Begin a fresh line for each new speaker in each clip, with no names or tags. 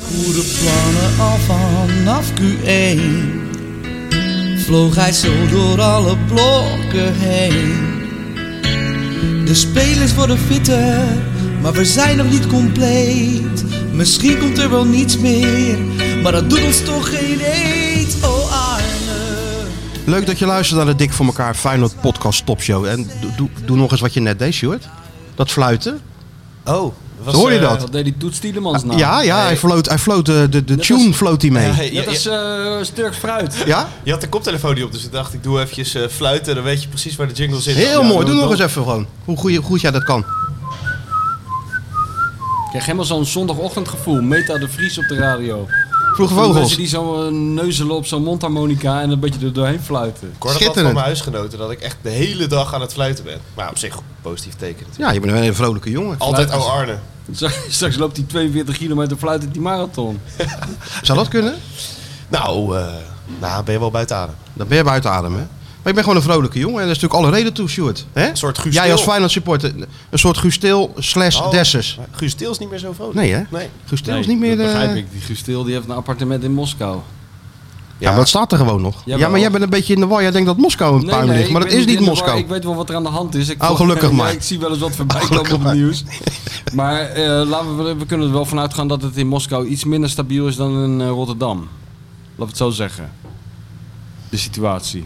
goede plannen al vanaf Q1 Vloog hij zo door alle blokken heen De spelers worden fitter, maar we zijn nog niet compleet Misschien komt er wel niets meer, maar dat doet ons toch geen eet Oh Arne
Leuk dat je luistert naar de Dik voor elkaar Feyenoord podcast topshow. En doe, doe, doe nog eens wat je net deed, Stuart. Dat fluiten.
Oh, was,
Hoor je
eh,
dat?
Dat deed die Toets Tielemans nou.
Ah, ja, ja, hij floot, hij floot eh, de, de tune
als-
floot hij mee.
ja,
Ja,
hey, je,
Net als
je,
eh Sturk Fruit.
je had de koptelefoon niet op, dus ik dacht ik doe eventjes eh, fluiten. Dan weet je precies waar de jingle zit.
Heel
Ja,
mooi. Doe
doe
nog
het
eens even gewoon. Hoe goed, je- hoe goed jij dat kan.
Ik krijg helemaal zo'n zondagochtendgevoel. Meta de Vries op de radio.
Vroege
Van die
vogels.
Mensen die zo eh, neuzelen op zo'n mondharmonica en een beetje er doorheen fluiten.
Ik hoor dat altijd
Schitterend.
van mijn huisgenoten dat ik echt de hele dag aan het fluiten ben. Maar op zich, positief teken. natuurlijk.
Ja, je bent wel een vrolijke jongen.
Altijd
Fluiten.
oh Arne.
Straks straks loopt die 42 kilometer fluitend die marathon.
Zou dat kunnen?
Nou, eh, nou ben je wel buiten adem.
Dan ben je buiten adem, hè? Maar je bent gewoon een vrolijke jongen. En daar is natuurlijk alle reden toe, Stuart. Hè?
Een soort Guus
Jij als
Til.
Feyenoord supporter. Een soort Gustil slash
Oh.
Dessers.
Maar Guus Til is niet meer zo vrolijk.
Nee, hè?
Nee.
Gustil is niet meer eh, de...
dat begrijp ik. Die Gustil die heeft een appartement in Moskou.
Ja, maar dat staat er gewoon nog.
Jawel.
ja, maar jij bent een beetje in de war. Jij denkt dat Moskou een puin ligt.
ik
Maar dat
ben
is niet
in de war.
Moskou.
Ik weet wel wat er aan de hand is. Ik
Oh, gelukkig
Ja,
maar.
Ik zie wel eens wat voorbij komen op het nieuws. Maar eh, laten we, we kunnen er wel vanuit gaan dat het in Moskou iets minder stabiel is dan in eh, Rotterdam. Laten we het zo zeggen. De situatie.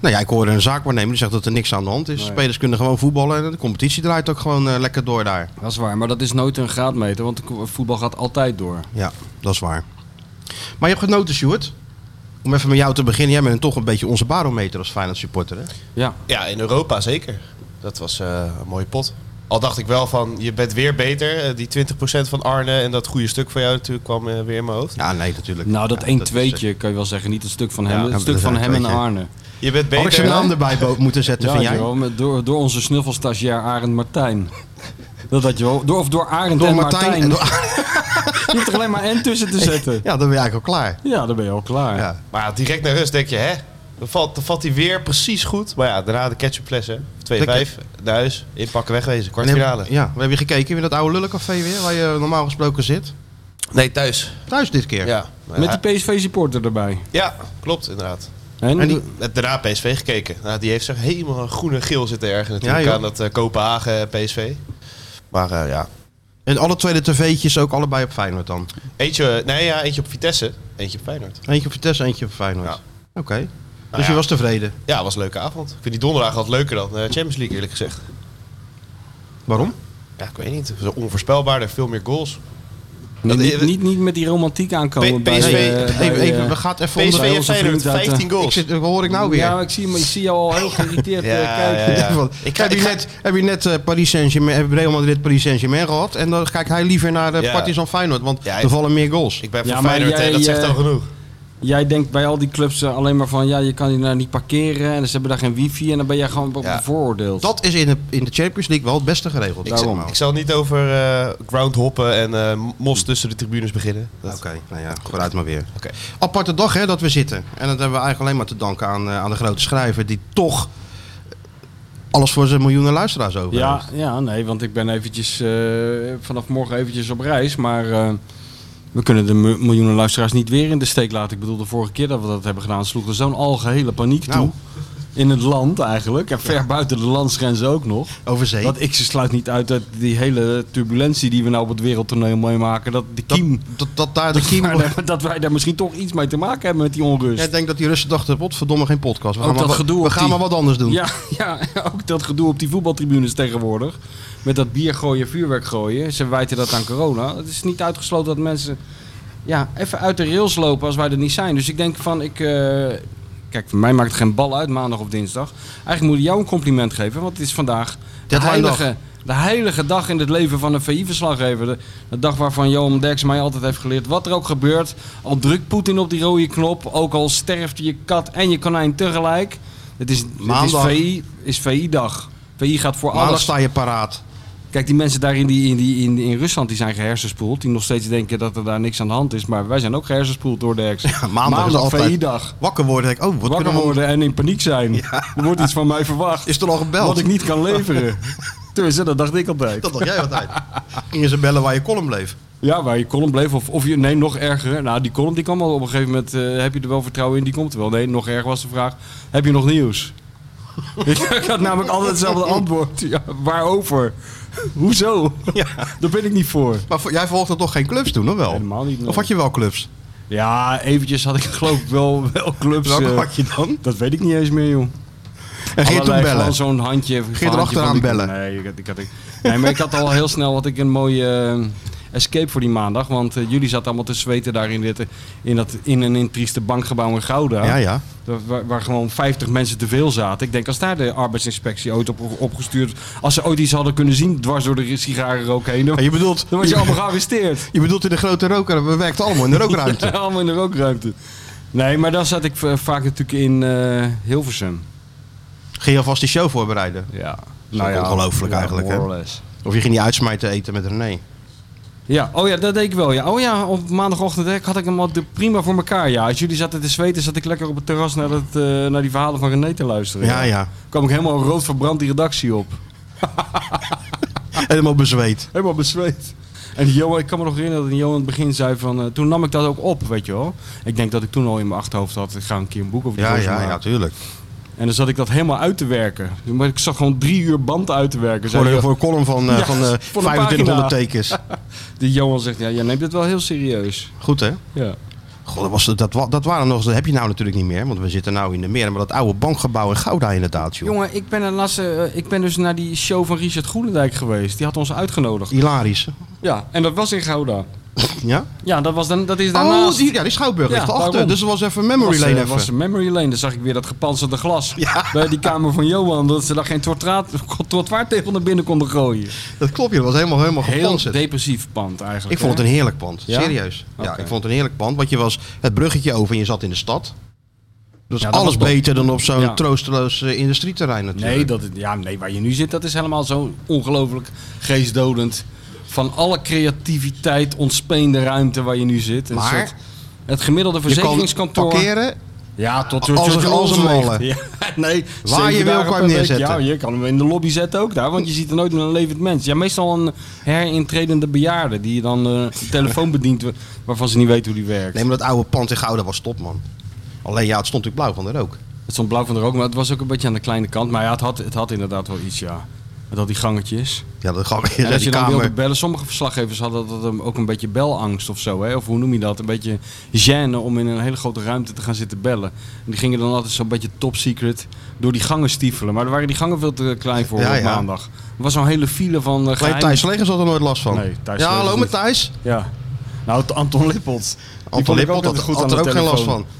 Nou ja, ik hoorde een zaakwaarnemer die zegt dat er niks aan de hand is.
Nee.
Spelers kunnen gewoon voetballen en de competitie draait ook gewoon eh, lekker door daar.
Dat is waar, maar dat is nooit een graadmeter, want de voetbal gaat altijd door.
Ja, dat is waar. Maar je hebt genoten, Sjoerd. Om even met jou te beginnen. Jij bent toch een beetje onze barometer als Feyenoord supporter, hè?
Ja,
Ja, in Europa zeker. Dat was eh, een mooie pot. Al dacht ik wel van, je bent weer beter. Eh, die 20% van Arne en dat goede stuk van jou natuurlijk kwam eh, weer in mijn hoofd.
Ja, nee, natuurlijk.
nou dat
Ja,
1
is, eh,
2tje kan je wel zeggen. Niet het stuk van
Ja,
hem,
dat
het stuk
is
van
een
hem en
tweetje.
Arne.
Je
Had
bent
ik nou
beter.
zijn naam
hè?
erbij bo- moeten zetten,
Ja,
vind
had je
jij?
wel, met- door, door onze snuffelstagiair Arend Martijn. Dat had je wel. Door, of door Arend
Door
en
Martijn
Martijn.
en
Je hoeft er alleen maar en tussen te zetten.
Ja, dan ben je eigenlijk al klaar.
Ja, dan ben je al klaar.
Ja.
Maar ja, direct naar rust denk je, hè? Dan valt, dan valt hij weer precies goed. Maar ja, daarna de ketchupfles, hè? 2-5, naar huis, inpakken, wegwezen,
En hebben-
kwartfinale.
Ja, we hebben je gekeken in dat oude lullencafé weer, waar je normaal gesproken zit.
Nee, thuis.
Thuis dit keer.
Ja.
Met die PSV-supporter erbij.
ja, klopt, inderdaad.
En,
En die-
Net Daarna PSV gekeken. Nou, die heeft zich helemaal groen en geel zitten ergens natuurlijk
Ja, joh.
aan dat eh, Kopenhagen eh, PSV. Maar eh, ja,
En alle tweede tv'tjes ook allebei op Feyenoord dan.
eentje, nee, ja, eentje op Vitesse, eentje op Feyenoord.
Eentje op Vitesse, eentje op Feyenoord.
Ja. Nou
Oké. dus je
ja.
was tevreden.
Ja, was een leuke avond. Ik vind die donderdag altijd leuker dan eh, Champions League eerlijk gezegd.
Waarom?
Ja, ik weet niet. Het is onvoorspelbaarder, veel meer goals.
Nee,
dat-
niet, niet, niet met die romantiek aankomen.
P-
bij,
PSV
eh,
even,
bij, eh,
even, we gaan even
PSV
onder...
heeft
onze
Feyenoord
vriend uit, eh,
15
Ik
goals.
zit, wat hoor ik nou weer?
Ja, ik zie, ik zie jou al heel geïrriteerd eh, kijken.
ja, ja.
Want
Ik,
heb,
ik
je
ga-
net, heb je net eh, Paris Saint-Germain, heb Real Madrid Paris Saint-Germain gehad. En dan kijkt hij liever naar de
Ja.
Partizan Feyenoord. Want
Ja,
er
ik-
vallen meer goals.
Ik ben
Ja,
van
maar
Feyenoord, hè,
jij,
dat zegt
eh,
al genoeg.
Jij denkt bij al die clubs eh, alleen maar van... ja, je kan hier nou niet parkeren en ze hebben daar geen wifi... en dan ben jij gewoon be-
Ja.
bevooroordeeld.
Dat is in de, in de Champions League wel het beste geregeld.
Ik, zal,
Daarom.
ik zal niet over eh groundhoppen en eh, mos tussen de tribunes beginnen. Dat-
Oké, nou ja, vooruit maar weer.
Oké.
Aparte dag hè, dat we zitten. En dat hebben we eigenlijk alleen maar te danken aan, eh, aan de grote schrijver... die toch eh, alles voor zijn miljoenen luisteraars over
Ja,
heeft.
ja, nee, want ik ben eventjes eh, vanaf morgen eventjes op reis, maar eh, we kunnen de mi- miljoenen luisteraars niet weer in de steek laten. Ik bedoel, de vorige keer dat we dat hebben gedaan, sloeg er zo'n algehele paniek
Nou.
toe. In het land eigenlijk, en ver buiten de landsgrenzen ook nog.
Over zee.
Want ik sluit niet uit dat die hele turbulentie die we nou op het wereldtoneel meemaken, dat de
dat,
kiem...
dat, dat daar de kiem...
maar dat- dat wij daar misschien toch iets mee te maken hebben met die onrust.
Jij denkt dat die Russen dachten, potverdomme, geen podcast. We gaan,
Ook
maar,
dat
wat-
gedoe
we
op
gaan
die-
maar wat anders doen.
Ja, ja, ook dat gedoe op die voetbaltribunes tegenwoordig. Met dat bier gooien, vuurwerk gooien. Ze wijten dat aan corona. Het is niet uitgesloten dat mensen ja, even uit de rails lopen als wij er niet zijn. Dus ik denk van, ik... eh, Kijk, voor mij maakt het geen bal uit maandag of dinsdag. Eigenlijk moet ik jou een compliment geven, want het is vandaag de
Deadline dag.
heilige, de heilige dag in het leven van een VI-verslaggever. De, de dag waarvan Johan Derks mij altijd heeft geleerd. Wat er ook gebeurt, al drukt Poetin op die rode knop, ook al sterft je kat en je konijn tegelijk. Het is,
Maandag.
Dus het is VI, is VI-dag. VI gaat voor
Maandag
alles.
sta je paraat.
Kijk, die mensen daar in, die, in, die, in, in Rusland die zijn gehersenspoeld. Die nog steeds denken dat er daar niks aan de hand is. Maar wij zijn ook gehersenspoeld door Derks.
Ja, maandag, is altijd
VI-dag.
Wakker worden, denk ik, oh, wat
Wakker
kunnen we...
worden en in paniek zijn. Er wordt iets van mij verwacht.
Is er al gebeld?
Wat ik niet kan leveren. Tenminste, dat dacht ik altijd.
Dat dacht jij altijd. Gingen ze bellen waar je column bleef.
Ja, waar je column bleef. Of, of je, nee, nog erger. Nou, die column die kwam al op een gegeven moment. eh, heb je er wel vertrouwen in? Die komt er wel. Nee, nog erger was de vraag. Heb je nog nieuws? ik had namelijk altijd hetzelfde antwoord. Ja, waarover? Hoezo? Daar ben ik niet voor.
Maar vo- jij volgde toch geen clubs toen, of wel?
Helemaal niet, nee.
Of had je wel clubs?
Ja, eventjes had ik geloof ik wel, wel clubs.
Welke
eh,
had je dan?
dat weet ik niet eens meer, joh.
En ging je toen
Allerlei, gewoon
bellen?
zo'n handje. Geert
erachteraan bellen.
Nee, ik, had- ik had, ik, nee, maar ik had al heel snel had ik een mooie eh, escape voor die maandag. Want eh, jullie zaten allemaal te zweten daar in, dit, eh, in, dat, in een intrieste bankgebouw in Gouda.
Ja, ja.
Daar- Waar, waar gewoon 50 mensen te veel zaten. Ik denk als daar de arbeidsinspectie ooit op, opgestuurd... Als ze ooit iets hadden kunnen zien dwars door de sigarenrook heen... Dan,
En je bedoelt,
dan was je allemaal gearresteerd.
je bedoelt in de grote roker, we werkten allemaal in de rookruimte.
allemaal in de rookruimte. Nee, maar daar zat ik eh, vaak natuurlijk in eh, Hilversum.
Ging je alvast die show voorbereiden?
Ja.
ook ongelooflijk
ja,
eigenlijk, hè?
more or less.
Of je ging die uitsmijten eten met René?
Ja, oh ja, dat deed ik wel. Ja. Oh ja, op maandagochtend hè, had ik hem al de- prima voor elkaar. Ja, als jullie zaten te zweten, zat ik lekker op het terras naar, dat, eh, naar die verhalen van René te luisteren.
Ja, ja.
Kwam ik helemaal rood verbrand die redactie op.
Helemaal bezweet.
Helemaal bezweet. En die Johan, ik kan me nog herinneren dat die Johan in het begin zei van... eh, toen nam ik dat ook op, weet je wel. Ik denk dat ik toen al in mijn achterhoofd had, ik ga een keer een boek over die
Ja,
gozer
ja,
maken.
ja, tuurlijk.
En dan zat ik dat helemaal uit te werken. Maar ik zag gewoon drie uur band uit te werken. Zei
Voor, een-
Jo-
voor een column van, eh,
Ja,
van eh,
voor een
2500
pagina.
tekens.
Die Johan zegt, ja, jij neemt dit wel heel serieus.
Goed, hè?
Ja.
God, dat, was, dat, wa- dat waren nog, dat heb je nou natuurlijk niet meer, want we zitten nou in de meer. Maar dat oude bankgebouw in Gouda inderdaad, joh.
Jongen, ik ben, een laatste, eh, ik ben dus naar die show van Richard Groenendijk geweest. Die had ons uitgenodigd.
Hilarisch.
Ja, en dat was in Gouda.
Ja?
Ja, dat, was dan, dat is daarnaast.
Oh, die, ja, die Schouwburg
Ja,
ligt erachter.
daarom.
Dus dat was even memory
was, eh,
lane even.
was een memory lane. Daar zag ik weer dat gepantserde glas bij die kamer van Johan. Dat ze daar geen trottoir trottoir tegen naar binnen konden gooien.
Dat klopt, je. Dat was helemaal, helemaal
Heel
gepantserd.
depressief pand eigenlijk.
Oh, Ik vond het
hè?
een heerlijk pand.
Ja?
Serieus. Ja,
Oké.
ik vond het een heerlijk pand. Want je was het bruggetje over en je zat in de stad. Dat is
Ja, dat
alles
was top.
beter dan op zo'n
Ja.
troosteloos eh, industrieterrein natuurlijk.
Nee, dat, ja, nee, waar je nu zit, dat is helemaal zo ongelooflijk geestdodend. Van alle creativiteit ontspeende ruimte waar je nu zit. Een
Maar-
soort- het gemiddelde
je kan
verzekeringskantoor.
parkeren.
Ja, tot
Als een- als een molen.
Ja, nee,
Waar
zeven
je wil kan je
dagen per
hem
week.
neerzetten.
Ja, je kan hem in de lobby zetten ook daar, want je ziet er nooit meer een levend mens. Ja, meestal een herintredende bejaarde die dan eh een telefoon bedient wa- waarvan ze niet weet hoe die werkt.
Nee, maar dat oude pand in Gouda was top, man. Alleen ja, het stond natuurlijk blauw van de rook.
Het stond blauw van de rook, maar het was ook een beetje aan de kleine kant. Maar ja, het had, het had inderdaad wel iets, ja. Het had die gangetjes.
Ja, dat ga
En als je
die
dan wilde
kamer.
bellen, sommige verslaggevers hadden dat een- ook een beetje belangst of zo. Hè? Of hoe noem je dat? Een beetje gêne om in een hele grote ruimte te gaan zitten bellen. En die gingen dan altijd zo'n beetje top secret door die gangen stiefelen. Maar daar waren die gangen veel te klein voor
Ja,
op
ja.
maandag. Er was zo'n hele file van eh,
Alleen
geheim-
Thijs Legers had er nooit last van.
Nee, Thijs
ja, hallo
Legers
met
niet.
Thijs.
Ja. Nou, t- Anton Lippold. Die
Anton
vond ik ook
Lippold had,
altijd goed
had
aan
er
de
ook geen last
telefoon.
van.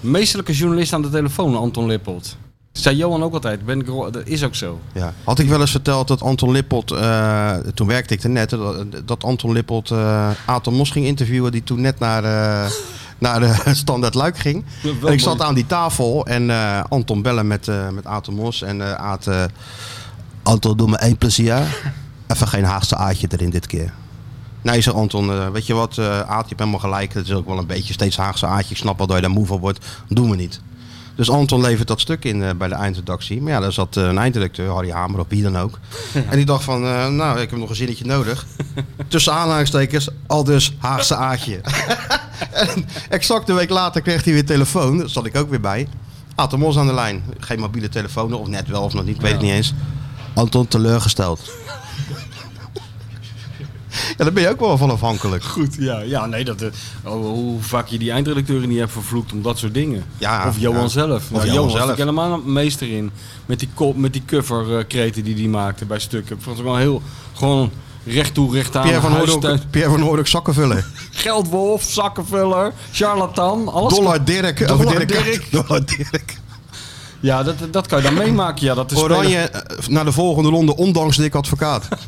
Meestelijke journalist aan de telefoon, Anton Lippold. Zei Johan ook altijd. Ben ik, ro- dat is ook zo.
Ja. Had ik wel eens verteld dat Anton Lippold, eh, toen werkte ik er net, hè, dat, dat Anton Lippold eh Aton Mos ging interviewen, die toen net naar, eh, naar de Standaard Luik ging.
Wel
en ik
mooi.
zat aan die tafel en eh, Anton bellen met, eh met Aton Mos en eh Aad, eh, Anton doe me één plezier, even geen Haagse aatje erin dit keer. Nee, zo Anton, eh, weet je wat, eh Aad, je hebt helemaal gelijk, het is ook wel een beetje steeds Haagse aatje, ik snap wel dat je daar moe van wordt, doen we niet. Dus Anton levert dat stuk in eh, bij de eindredactie. Maar ja, daar zat eh, een eindredacteur, Harry Hamer of wie dan ook. En die dacht van, eh, nou, ik heb nog een zinnetje nodig. Tussen aanhalingstekens, al dus Haagse Aatje. en exact een week later kreeg hij weer telefoon. Daar zat ik ook weer bij. Atomos aan de lijn. Geen mobiele telefoon, of net wel of nog niet, ik weet het niet eens. Anton teleurgesteld. ja, daar ben je ook wel van afhankelijk.
Goed, ja. Ja, nee, dat... eh, oh, hoe vaak je die eindredacteuren niet hebt vervloekt om dat soort dingen.
Ja,
of Johan
ja.
zelf.
Of
Nou,
Johan
Johan was
zelf.
ik helemaal een meester in. Met die, kop, met die cover eh, kreten die hij maakte bij stukken. Ik vond het wel heel... Gewoon recht toe, recht aan.
Pierre van
huistuin-
Hoordok- Pierre van Hoordok zakkenvuller.
Geldwolf, zakkenvuller, charlatan. Alles
Dollar Dirk. of
Dollar
Dirk-
Dirk.
Dollar Dirk.
Ja, dat, dat kan je dan meemaken. Ja, dat is
Oranje eh, naar de volgende ronde, ondanks Dick Advocaat.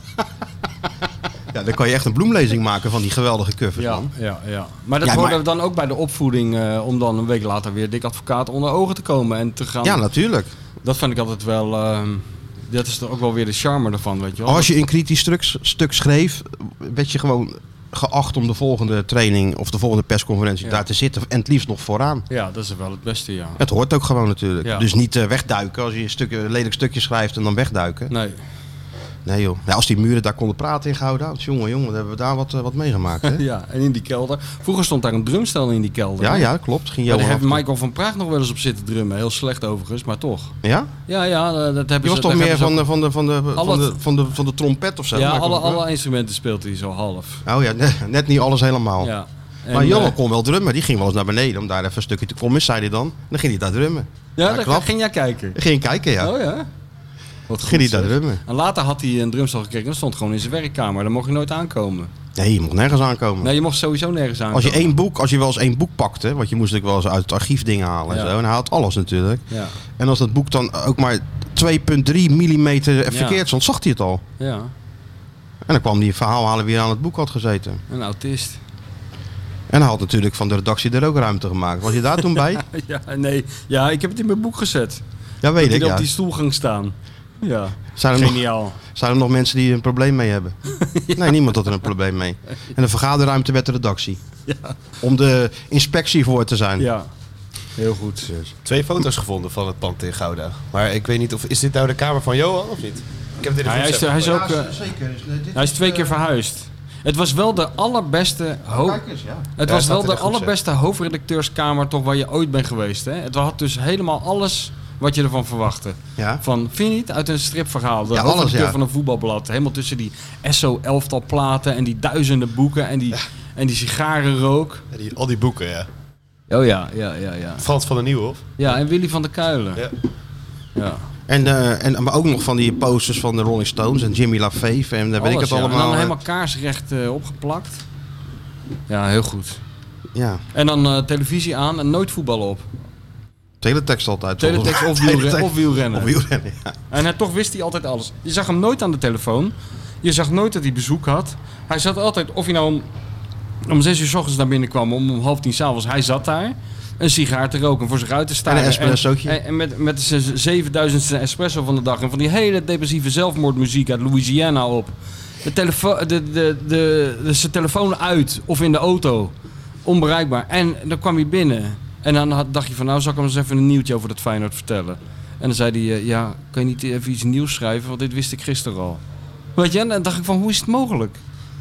ja, dan kan je echt een bloemlezing maken van die geweldige covers.
Ja,
man.
ja, ja. Maar dat
Ja,
hoorde
maar-
dan ook bij de opvoeding eh, om dan een week later weer dik advocaat onder ogen te komen en te gaan.
ja, natuurlijk.
Dat vind ik altijd wel. ehm, dat is dan ook wel weer de charme ervan, weet je wel.
Oh, Als je een kritisch stuk, stuk schreef, werd je gewoon geacht om de volgende training of de volgende persconferentie
Ja.
daar te zitten. En het liefst nog vooraan.
Ja, dat is wel het beste, ja.
Het hoort ook gewoon natuurlijk.
Ja.
Dus niet eh, wegduiken als je een, stuk, een lelijk stukje schrijft en dan wegduiken.
Nee.
Nee joh. Nou, als die muren daar konden praten in Gouda, jongen, jongen, dan hebben we daar wat, eh, wat meegemaakt. Hè?
Ja, en in die kelder. Vroeger stond daar een drumstel in die kelder.
ja,
hè?
ja, klopt. Ging
Ja,
Johan
daar heeft
af en toe-
Michael van Praag nog wel eens op zitten drummen. Heel slecht overigens, maar toch.
Ja?
Ja, ja, eh, dat
Je
hebben
was
ze...
toch
daar
meer
hebben
van
ze
de, van, de, van, de,
Al
van, de,
het-
van, de, van de trompet of zo?
ook- Ja,
Michael
alle,
van Praag?
alle instrumenten speelt hij zo half.
Oh ja, ne- net niet alles helemaal.
Ja. En,
Oh. maar Johan
eh,
kon wel drummen. Die ging wel eens naar beneden om daar even een stukje te komen, zei hij dan. Dan ging hij daar drummen.
Ja,
dat
daar
klopt.
ging jij kijken.
Dan ging hij kijken, ja.
Oh ja? Wat
ging hij
zeg.
daar drummen.
En later had hij een drumstel gekregen en dat stond gewoon in zijn werkkamer. Daar mocht je nooit aankomen.
Nee, je mocht nergens aankomen.
Nee, je mocht sowieso nergens aankomen.
Oh. Als je één boek, als je wel eens één boek pakte, want je moest natuurlijk wel eens uit het archief dingen halen en
Ja.
zo. En hij had alles natuurlijk.
Ja,
En als dat boek dan ook maar 2,3 mm verkeerd
Ja.
stond, zag hij het al.
ja.
En dan kwam die verhaalhalen weer aan het boek had gezeten.
Een autist.
En hij had natuurlijk van de redactie er ook ruimte gemaakt. Was je daar toen bij?
Ja, nee. Ja, ik heb het in mijn boek gezet.
Ja, weet
Die
ik. Ja.
dan op
Nou,
die stoel ging staan. Ja,
Zijn, er nog,
geniaal.
zijn er nog mensen die er een probleem mee hebben? Nee, niemand had er een probleem mee. En de vergaderruimte werd de redactie.
Ja.
Om de inspectie voor te zijn.
Ja, heel goed.
Twee foto's gevonden van het pand in Gouda. Maar ik weet niet of... Is dit nou de kamer van Johan of niet? Ik heb dit in de
Hij is,
groepsapp
hij, is ook, eh,
zeker.
hij is twee keer verhuisd. Het was wel de allerbeste, ho
ja.
het
Ja,
was
staat
wel
in
de
de groep,
allerbeste hoofdredacteurskamer toch waar je ooit bent geweest. Hè? Het had dus helemaal alles wat je ervan verwachtte.
Ja.
Van, vind je niet? Uit een stripverhaal. De
Ja, alles,
hoofdredacteur
ja.
van een voetbalblad. Helemaal tussen die SO-elftal platen en die duizenden boeken en die, en die sigarenrook.
Ja, die- al die boeken, ja.
Oh ja, ja, ja, ja.
Frans van der Nieuwhof.
Ja, en Willy van der Kuilen.
Ja.
Ja.
En, eh, en, maar ook nog van die posters van de Rolling Stones en Jimmy LaFave en daar weet ik het
Alles, ja. En
allemaal.
dan
eh,
helemaal kaarsrecht eh, opgeplakt. Ja, heel goed.
Ja,
En dan eh, televisie aan en nooit voetballen op.
Oh. teletext altijd.
Teletext of, wielren-
Teletext
of wielrennen.
of wielrennen, ja.
En hij, toch wist hij altijd alles. Je zag hem nooit aan de telefoon. Je zag nooit dat hij bezoek had. Hij zat altijd, of hij nou om, om zes uur s ochtends naar binnen kwam, om, om half tien s'avonds, hij zat daar. Een sigaar te roken, voor zich uit te staan.
En een espressootje.
En, en met, met zijn zevenduizendste espresso van de dag. En van die hele depressieve zelfmoordmuziek uit Louisiana op. De telefo- de, de, de, de- zijn telefoon uit of in de auto. Onbereikbaar. En dan kwam hij binnen. En dan had, dacht je van, nou zal ik hem eens even een nieuwtje over dat Feyenoord vertellen. En dan zei hij, eh, ja, kan je niet even iets nieuws schrijven? Want dit wist ik gisteren al. Weet je, en dan dacht ik van, hoe is het mogelijk?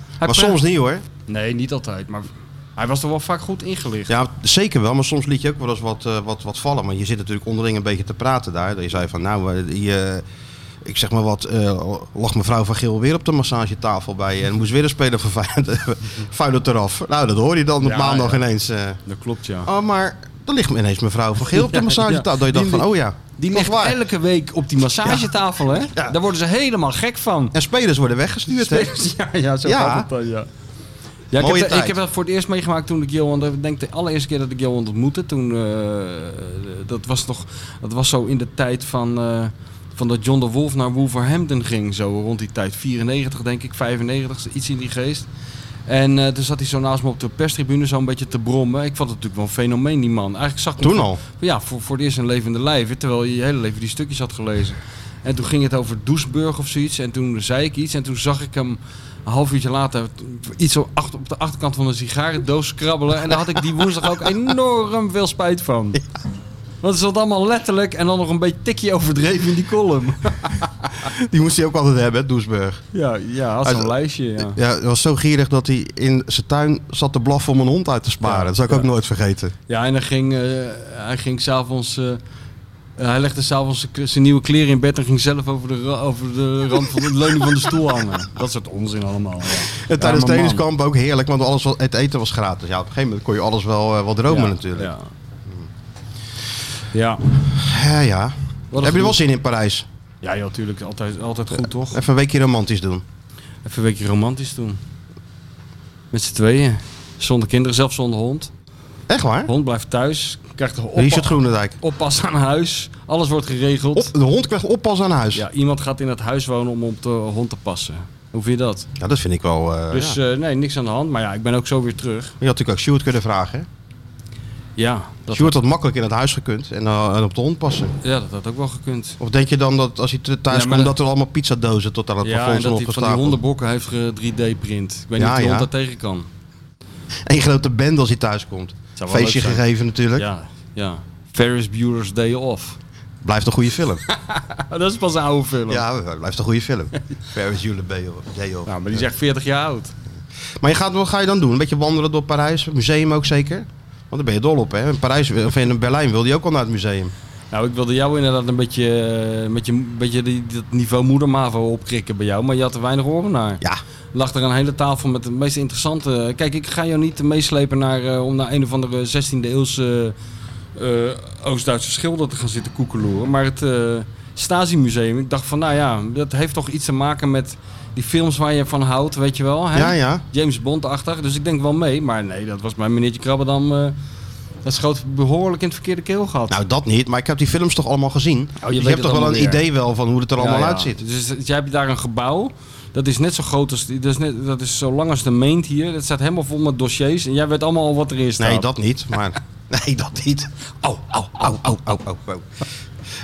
Hij
Maar
praat-
soms niet hoor.
Nee, niet altijd, maar hij was toch wel vaak goed ingelicht.
Ja, zeker wel, maar soms liet je ook wel eens wat, eh, wat, wat vallen. Want je zit natuurlijk onderling een beetje te praten daar. Dat je zei van, nou, eh, die, eh, ik zeg maar wat, eh, lag mevrouw van Geel weer op de massagetafel bij je. En moest weer een speler van Feyenoord, Feyenoord eraf. Nou, dat hoor je dan op
Ja,
maandag
ja.
ineens. eh,
Dat klopt, ja.
oh, maar dan ligt me ineens mevrouw van Geel op de
Ja,
massagetafel.
ja.
Dat je dacht van, oh ja,
Die
toch
ligt
waar.
elke week op die massagetafel, hè?
Ja.
Daar worden ze helemaal gek van.
En spelers worden weggestuurd, hè?
Ja, ja, zo
Ja.
gaat het dan, ja. Ja, ik,
Mooie
heb, dat-
tijd.
ik heb dat voor het eerst meegemaakt toen ik Johan, ik denk de allereerste keer dat ik Johan ontmoette. Toen, eh, dat was nog, dat was zo in de tijd van, eh, van dat John de Wolf naar Wolverhampton ging. Zo rond die tijd, 94 denk ik, 95, iets in die geest. En eh, toen zat hij zo naast me op de perstribune zo'n beetje te brommen. Ik vond het natuurlijk wel een fenomeen, die man. Eigenlijk zag ik hem
Toen
voor-
al.
Ja, voor, voor het eerst een levende lijf. hè, Terwijl je je hele leven die stukjes had gelezen. En toen ging het over Doesburg of zoiets. En toen zei ik iets. En toen zag ik hem een half uurtje later iets zo achter, op de achterkant van een sigarendoos krabbelen. En daar had ik die woensdag ook enorm veel spijt van. Want het zat allemaal letterlijk en dan nog een beetje tikje overdreven in die column.
Die moest hij ook altijd hebben, hè, Doesburg.
Ja, ja had zo'n
Uit-
lijstje. Ja.
Ja, hij was zo gierig dat hij in zijn tuin zat te blaffen om een hond uit te sparen.
Ja,
dat zou ik
ja.
ook nooit vergeten.
Ja, en dan ging, eh, hij ging s'avonds. eh hij legde s'avonds zijn k- zijn nieuwe kleren in bed en ging zelf over de, ra- over de rand van de leuning van de stoel hangen. Dat soort onzin allemaal. Ja.
En tijdens
maar man.
trainingskamp ook heerlijk, want alles was, het eten was gratis. Ja, op een gegeven moment kon je alles wel, eh, wel dromen
Ja,
natuurlijk. Ja,
Ja. ja.
ja.
Wat een
Heb je er wel
gedoe.
zin in Parijs?
Ja, joh, natuurlijk. Altijd, altijd goed, toch? Even
Even een weekje romantisch doen.
een weekje romantisch doen. Met z'n tweeën. Zonder kinderen, zelfs zonder hond.
Echt waar?
Hond blijft thuis. Krijgt een
Richard
oppa
Groenendijk.
oppas aan huis. Alles wordt geregeld.
Op, de hond krijgt oppas aan huis. Ja,
Ja, iemand gaat in het huis wonen om op de hond te passen. Hoe vind je dat?
dat vind ik wel... eh,
Dus
ja.
eh, nee, niks aan de hand. Maar ja, ik ben ook zo weer terug.
Je had natuurlijk ook Sjoerd kunnen vragen. Hè?
Ja, dat,
Sjoerd had makkelijk in het huis gekund en, eh, en op de hond passen.
ja, dat had ook wel gekund.
Of denk je dan dat als hij te- thuis
Ja, maar
komt
dat-
dat er allemaal pizzadozen tot aan het
Ja, en
plafond zijn
dat hij van die
opgestapeld?
hondenbokken heeft ge- 3D-print. Ik weet
Ja,
niet of die
ja.
hond daar tegen kan.
Eén grote band als hij thuis komt.
Zou wel
Feestje
leuk zijn.
gegeven natuurlijk.
Ja, ja. Ferris Bueller's Day Off.
Blijft een goede film.
dat is pas een oude film.
ja, eh, blijft een goede film. Paris Jules Day of... Day of-
Nou, maar die is echt 40 jaar oud.
Maar je gaat, wat ga je dan doen? Een beetje wandelen door Parijs? Museum ook zeker? Want daar ben je dol op, hè? In Parijs of in Berlijn wilde je ook al naar het museum.
Nou, ik wilde jou inderdaad een beetje, eh, met je, een beetje die, dat niveau moedermavo opkrikken bij jou, maar je had er weinig oren naar.
Ja,
Lag er een hele tafel met de meest interessante... Kijk, ik ga jou niet meeslepen naar, eh, om naar een of andere 16e eeuwse eh, Oost-Duitse schilder te gaan zitten koekeloeren. Maar het eh Stasi-museum, ik dacht van, nou ja, dat heeft toch iets te maken met die films waar je van houdt, weet je wel. Hè?
ja, ja.
James Bond-achtig, dus ik denk wel mee. Maar nee, dat was mijn meneertje Krabbedam... eh dat schoot behoorlijk in het verkeerde keel gehad.
Nou, dat niet. Maar ik heb die films toch allemaal gezien. Dus
Oh, weet
je hebt
het
toch wel een
allemaal weer.
idee wel van hoe het er allemaal
Ja, ja.
uitziet.
Dus het- jij hebt daar een gebouw. Dat is net zo groot als die- dat is, net, dat is zo lang als de meent hier. Dat staat helemaal vol met dossiers. En jij weet allemaal al wat erin staat.
Nee, dat Oh, niet. Maar... Nee, dat niet. Au, au,
Nou,
au, au, au, au, au.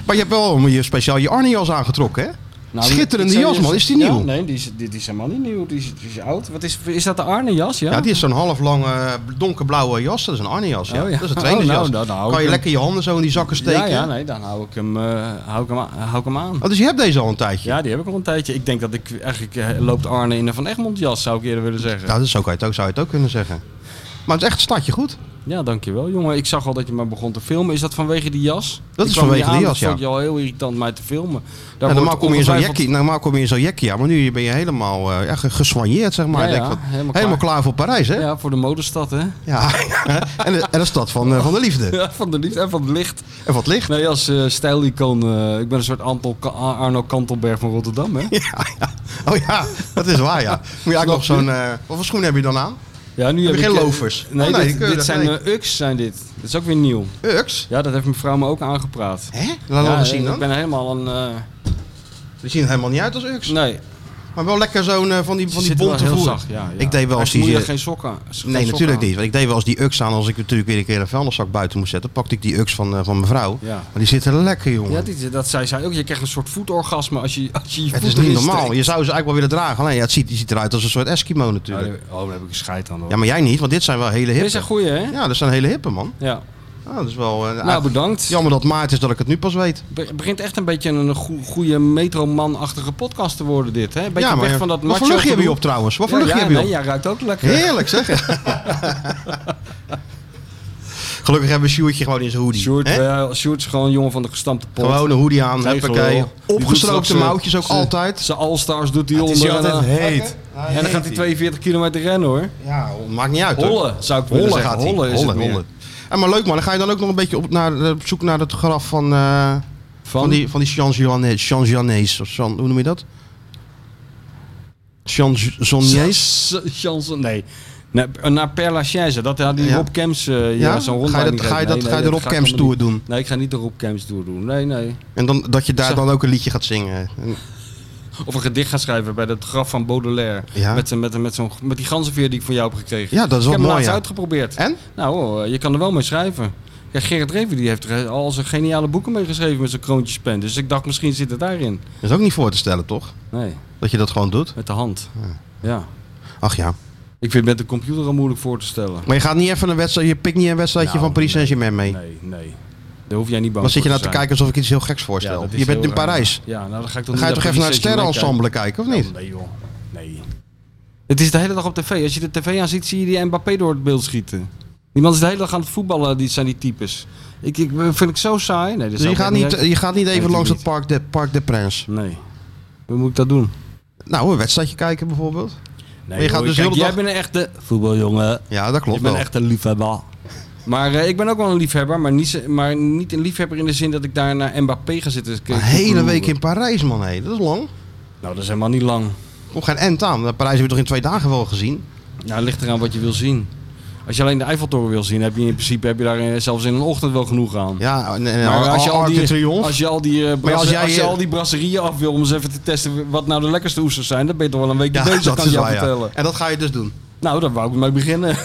Maar je hebt wel je speciaal je Arnie-jas aangetrokken, hè?
Nou,
Schitterende
ik zou
jas,
eerst-
man. Is die
Ja,
nieuw?
nee, die is, die, die is helemaal niet nieuw. Die is, die is oud. Wat is, is dat de Arne jas? Ja,
Ja, die is zo'n half lange donkerblauwe jas. Dat is een Arnie-jas. Ja.
Oh, ja.
Dat is een trainersjas.
Oh, nou, dan hou
kan
ik
je
hem.
lekker je handen zo in die zakken steken.
Ja, ja, nee, dan hou ik hem, eh, hou ik hem, aan- hou ik hem aan.
Oh, dus je hebt deze al een tijdje.
Ja, die heb ik al een tijdje. Ik denk dat ik eigenlijk eh, loopt Arne in een Van Egmond jas, zou ik eerder willen zeggen.
Nou, dat is ook, zou je het ook kunnen zeggen. Maar het is echt stadje goed.
Ja, dankjewel jongen. Ik zag al dat je maar begon te filmen. Is dat vanwege die jas?
Dat
Ik
is
kwam
vanwege
hier
die
aan,
jas,
dus
ja.
Dat vond je al heel irritant mij te filmen.
Ja,
Daar
normaal,
wordt
kom je in zo'n
ongetwijfeld-
jekkie, normaal kom je in zo'n jekkie, ja. Maar nu ben je helemaal eh, ja, ge- geswanjeerd, zeg maar.
Ja,
Ik denk
ja,
van,
helemaal
helemaal,
klaar.
klaar. voor Parijs, hè? Ja.
Ja, voor de modestad, hè?
en, de, en de stad van, eh, van de liefde.
Ja, van de liefde en van het licht.
En wat licht.
Nee, als eh, stijlicoon. eh, ik ben een soort Anton Ka- Arno Kantelberg van Rotterdam, hè?
Ja, ja. Oh ja, dat is waar, ja. Moet je eigenlijk nog zo'n... eh wat voor schoenen heb je dan aan?
Ja, nu
Heb
heb
je
ik,
geen
eh,
loafers?
Nee,
Oh, nee,
dit,
die
dit
keurig,
zijn
nee.
eh, Ux, zijn dit. Dat is ook weer nieuw.
Ux?
Ja, dat heeft mijn vrouw me ook aangepraat.
Hè? Laat
ja,
nog eens zien
eh,
dan.
Ik ben helemaal een... eh,
Die zien er helemaal niet uit als Ux.
nee,
Maar wel lekker zo'n eh, van die, van die
ze zitten wel
bonte
heel
voer.
zacht. Ja, ja.
Ik deed wel als
Echt,
die...
moet je
eh,
geen sokken. geen
Nee,
sokken
natuurlijk
aan.
niet. Want ik deed wel als die UX aan, als ik natuurlijk weer een keer een vuilniszak buiten moest zetten, pakte ik die UX van, eh, van mijn vrouw.
Ja.
Maar die zitten lekker, jongen.
Ja, die- dat zei zij ook. Je krijgt een soort voetorgasme als je als je, je
het
voet
is niet
erin
normaal.
steekt.
Je zou ze eigenlijk wel willen dragen. Alleen ja, het ziet, die ziet eruit als een soort Eskimo
Oh,
natuurlijk.
daar- oh, daar heb ik een scheid aan. hoor.
Ja, maar jij niet, want dit zijn wel hele
Dit is een
hippe.
goeie, hè? Ja.
Ja, dat zijn hele hippe, man. Ja, dat is wel, eh,
Nou,
eigenlijk-
bedankt.
Jammer dat het maart is dat ik het nu pas weet.
Be- Het begint echt een beetje een goe- goede metroman-achtige podcast te worden, dit. Hè? Beetje
ja, maar
weg van dat
wat voor
macho
luchtje heb je
gedoe.
op trouwens? Wat voor
ja,
luchtje
ja,
heb je
nee,
op?
ja, ruikt ook lekker.
Heerlijk zeg. Gelukkig hebben we Sjoerdje gewoon in zijn hoodie.
Sjoerd,
hè?
wel, Sjoerd is gewoon een jongen van de gestampte pot.
Gewoon een hoodie aan,
Nee, joh.
huppakee.
Die doet straks,
Opgestroopte
eh,
mouwtjes ook
zijn-
altijd.
Zijn All-Stars doet hij
is
onder.
hier
En,
altijd
eh,
heet.
en dan gaat hij 42 kilometer rennen, hoor.
Ja, maakt niet uit. hoor.
Hollen, zou ik willen
Hollen
zeggen.
gaat hij.
Hollen is het meer.
En maar leuk man, dan ga je dan ook nog een beetje op, naar, eh, op zoek naar het graf van, eh, van? die, van die Jean Jeannees. Jean Jeannees, of Jean, hoe noem je dat? Jean Jeannees?
S- Chanson, nee. Naar, naar Père Lachaise, dat had die
Ja.
Rob Camps eh, ja,
Ja?
zo'n
Ga je
rondleiding
dat- ga je
geven.
dat-
Nee,
ga je
nee,
de Rob
gaat
Camps
allemaal
Tour
niet.
doen?
Nee, ik ga niet de Rob Camps Tour doen. Nee, nee.
En dan, dat je daar
Zo.
dan ook een liedje gaat zingen. En-
Of een gedicht gaan schrijven bij dat graf van Baudelaire.
Ja.
Met, met, met, zo'n, met die ganzenveer die ik van jou heb gekregen.
Ja, dat is
ik
wel
heb hem
mooi.
laatst
ja.
uitgeprobeerd.
En?
Nou, oh, je kan er wel mee schrijven. Ja, Gerard Reven die heeft er al zijn geniale boeken mee geschreven met zijn kroontjespen. Dus ik dacht, misschien zit het daarin.
Dat is ook niet voor te stellen, toch?
Nee,
Dat je dat gewoon doet.
met de hand. Ja.
Ach ja.
Ik vind het met de computer al moeilijk voor te stellen.
Maar je gaat niet even een wedstrijd, je pikt niet een wedstrijdje
Nou,
van Paris
nee.
Saint-Germain mee.
Nee, nee. Daar hoef jij niet bang
Dan zit je
voor
nou te
zijn.
kijken alsof ik iets heel geks
Ja,
voorstel.
dat is
je bent
heel
in
raar.
Parijs.
Ja, nou, dan ga ik toch
Dan ga je
niet
toch even naar het
Paris Saint-Germain
sterrenensemble kijken, of niet?
kijken? Nee joh, nee. Het is de hele dag op tv. Als je de tv aan ziet, zie je die Mbappé door het beeld schieten. Die man is de hele dag aan het voetballen, die zijn die types. Ik, ik vind ik zo saai. Nee, dat
Dus
zou
je
ik
gaat,
echt
niet, je gaat niet even
Nee,
langs het
natuurlijk
Parc de, Parc de Prince.
Nee. Hoe moet ik dat doen?
Nou, een wedstrijdje kijken bijvoorbeeld.
Nee,
je gaat dus
kijk,
heel de
jij
dag-
bent een echte voetbaljongen.
Ja, dat klopt
Ik ben
wel.
echt een liefhebber. Maar eh, ik ben ook wel een liefhebber, maar niet, zo- maar niet een liefhebber in de zin dat ik daar naar Mbappé ga zitten.
Een hele week in Parijs, man. hé. Dat is lang.
Nou, dat is helemaal niet lang.
Kom geen end aan. Parijs hebben we toch in twee dagen wel gezien?
Nou, het ligt eraan wat je wil zien. Als je alleen de Eiffeltoren wil zien, heb je in principe heb je daar eh, zelfs in een ochtend wel genoeg aan.
Ja, en, en
Maar als je, al
Arc de
die,
Triomphe.
als je al die, eh, brasse-
als jij,
als je
eh,
al die brasserieën af wil om eens even te testen wat nou de lekkerste oesters zijn, dan ben je toch wel een weekje
Ja,
bezig, kan ik jou
waar, ja.
vertellen.
En dat ga je dus doen.
Nou, daar wou ik mee beginnen.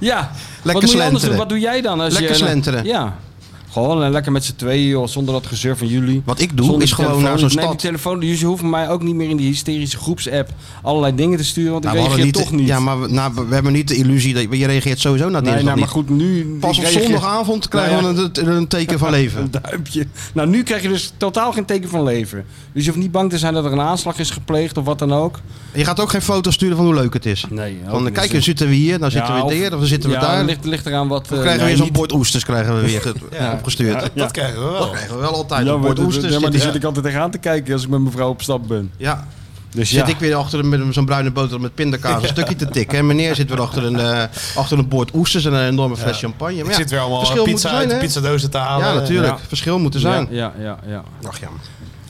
ja, wat moet je anders
slenteren.
doen? Wat doe jij dan? Als
Lekker
je,
slenteren.
Ja. Gewoon eh, lekker met z'n tweeën, joh, zonder dat gezeur van jullie.
Wat ik doe,
Zonder
is
die
gewoon
telefoon.
naar zo'n
Nee,
stad.
die telefoon, dus je hoeft mij ook niet meer in die hysterische groepsapp allerlei dingen te sturen, want
Nou, we
ik
hadden
reageer toch niet.
Ja, maar we, nou, we- we hebben niet de illusie dat je reageert sowieso naar
nee,
dinsdag
nou, maar
niet.
goed, nu...
Pas op
ik reageer-
zondagavond krijgen
Nou
we een, een teken van leven.
Een duimpje. Nou, nu krijg je dus totaal geen teken van leven. Dus je hoeft niet bang te zijn dat er een aanslag is gepleegd of wat dan ook.
Je gaat ook geen foto sturen van hoe leuk het is.
Nee. ook
Van,
niet.
kijk, dan zitten we hier, dan zitten
Ja,
we
of-
daar, dan zitten we
ja,
daar.
Ligt, eh, ligt eraan wat...
Dan krijgen we weer zo'n bord oesters krijgen we weer ge-
Ja.
opgestuurd. Dat
Dat krijgen we wel.
krijgen we wel altijd,
Ja,
een
maar,
bord
dat-
oesters.
ja, maar
zit
die
ik-
zit ik altijd tegenaan te kijken als ik met mijn vrouw op stap ben.
Ja.
Dus
Zit
ja.
ik weer achter een, met zo'n bruine boter met pindakaas een stukje te tikken. En meneer zit weer achter een, eh, achter een bord oesters en een enorme fles champagne. Maar
Ik
ja,
zit weer allemaal
verschil
eh,
moet
pizza
er zijn,
uit de
hè?
pizzadozen te halen.
Ja, natuurlijk.
Ja.
Verschil moet er zijn.
Ja, ja, ja. ja.
Ach ja.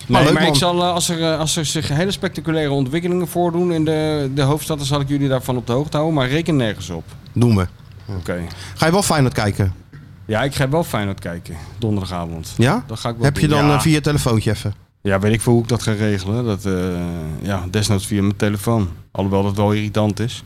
Nee,
leuk,
maar ik
man.
zal, eh, als, er, eh, als er zich hele spectaculaire ontwikkelingen voordoen in de, de hoofdstad, dan zal ik jullie daarvan op de hoogte houden. Maar reken nergens op.
Doen we.
Oké.
Ga je wel Feyenoord kijken?
Ja, ik ga wel Feyenoord kijken, donderdagavond.
Ja?
Dat ga ik wel
Heb je
doen.
dan
ja.
eh, via je telefoontje even?
Ja, weet ik veel hoe ik dat ga regelen. Dat, eh, ja, desnoods via mijn telefoon. Alhoewel dat wel irritant is.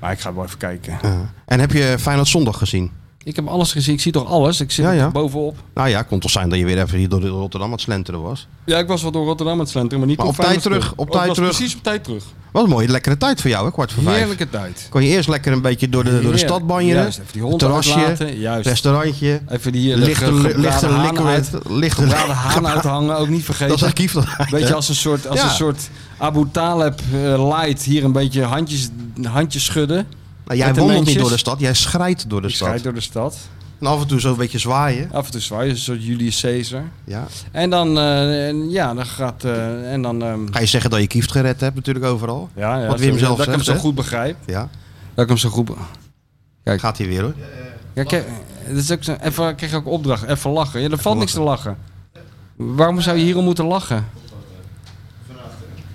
Maar ik ga wel even kijken.
Ja. En heb je Feyenoord zondag gezien?
Ik heb alles gezien. Ik zie toch alles? Ik zit
Ja,
er
ja.
toch bovenop.
Nou ja, kon toch zijn dat je weer even hier door Rotterdam aan het slenteren was.
Ja, ik was wel door Rotterdam aan het slenteren, maar niet
Maar
door
op tijd
Feyenoord
terug, op
Oh, ik
tijd
was
terug.
Precies op tijd terug.
Wat een mooie lekkere tijd voor jou, hè? kwart voor vijf.
Heerlijke tijd.
Kon je eerst lekker een beetje door de, door de
Heerlijk.
stad banjeren.
Juist, even die hond
terrasje,
uitlaten, juist.
restaurantje.
Even die eh,
Lichte,
lekkere
lichte, lichte
gebraden haan uit-
liquid. Lichte,
Gebraden haan uithangen, ook niet
dat is
vergeten.
archief.
Beetje als een soort, als
Ja.
een soort Abu Taleb eh, light. Hier een beetje handjes, handjes schudden.
Nou, jij
Met de
wandelt niet
mensen.
door de stad, jij schrijdt door de
Ik
stad.
schijt door de stad.
En af en toe zo'n beetje zwaaien.
Af en toe zwaaien, een soort Julius Caesar.
Ja.
En dan, eh, en ja, dan gaat... eh, en dan, ehm,
Ga je zeggen dat je kieft gered hebt natuurlijk overal.
ja, ja,
Wat Wim
zo-
zelf
dat ik hem
zegt,
zo
hè?
goed begrijp.
Ja,
Dat ik hem zo goed... be-
gaat hij weer hoor.
Ja, kijk, dat is ook zo, even, kreeg ook opdracht. Even lachen. Ja, er valt niks te lachen. Waarom zou je hierom moeten lachen?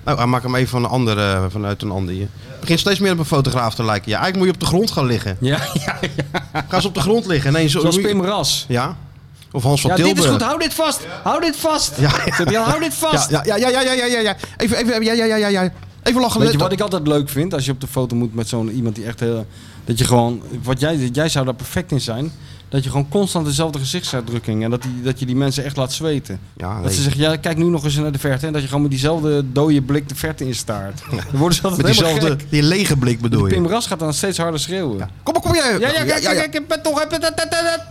Nou, hij maakt hem even van een andere, vanuit een ander. Je begint steeds meer op een fotograaf te lijken. Ja, eigenlijk moet je op de grond gaan liggen.
Ja, ja
Ga eens op de grond liggen. Nee, zo,
zoals Pim Ras.
Ja. Of Hans van
Ja,
Tilburg.
dit is goed. Hou dit vast. Hou dit vast.
Ja, ja.
Zeg je, hou dit vast.
Ja, ja, ja, ja, ja, ja, ja, ja. Even, even, ja, ja, ja, ja, ja. Even lachen.
Weet je wat ik altijd leuk vind als je op de foto moet met zo'n iemand die echt heel. Dat je gewoon. Wat jij, jij zou daar perfect in zijn. Dat je gewoon constant dezelfde gezichtsuitdrukking. En dat, die, dat je die mensen echt laat zweten.
Ja,
Dat
nee.
ze zeggen, ja, kijk nu nog eens naar de verte. En dat je gewoon met diezelfde dode blik de verte instaart. Dan worden ze altijd
Met
helemaal
diezelfde, die lege blik bedoel
gek. Pim
je.
Ras gaat dan steeds harder schreeuwen.
Kom op, kom jij.
Ja, ja, kijk, kijk, kijk, ik ben toch... ik ben- dat, dat, dat, dat.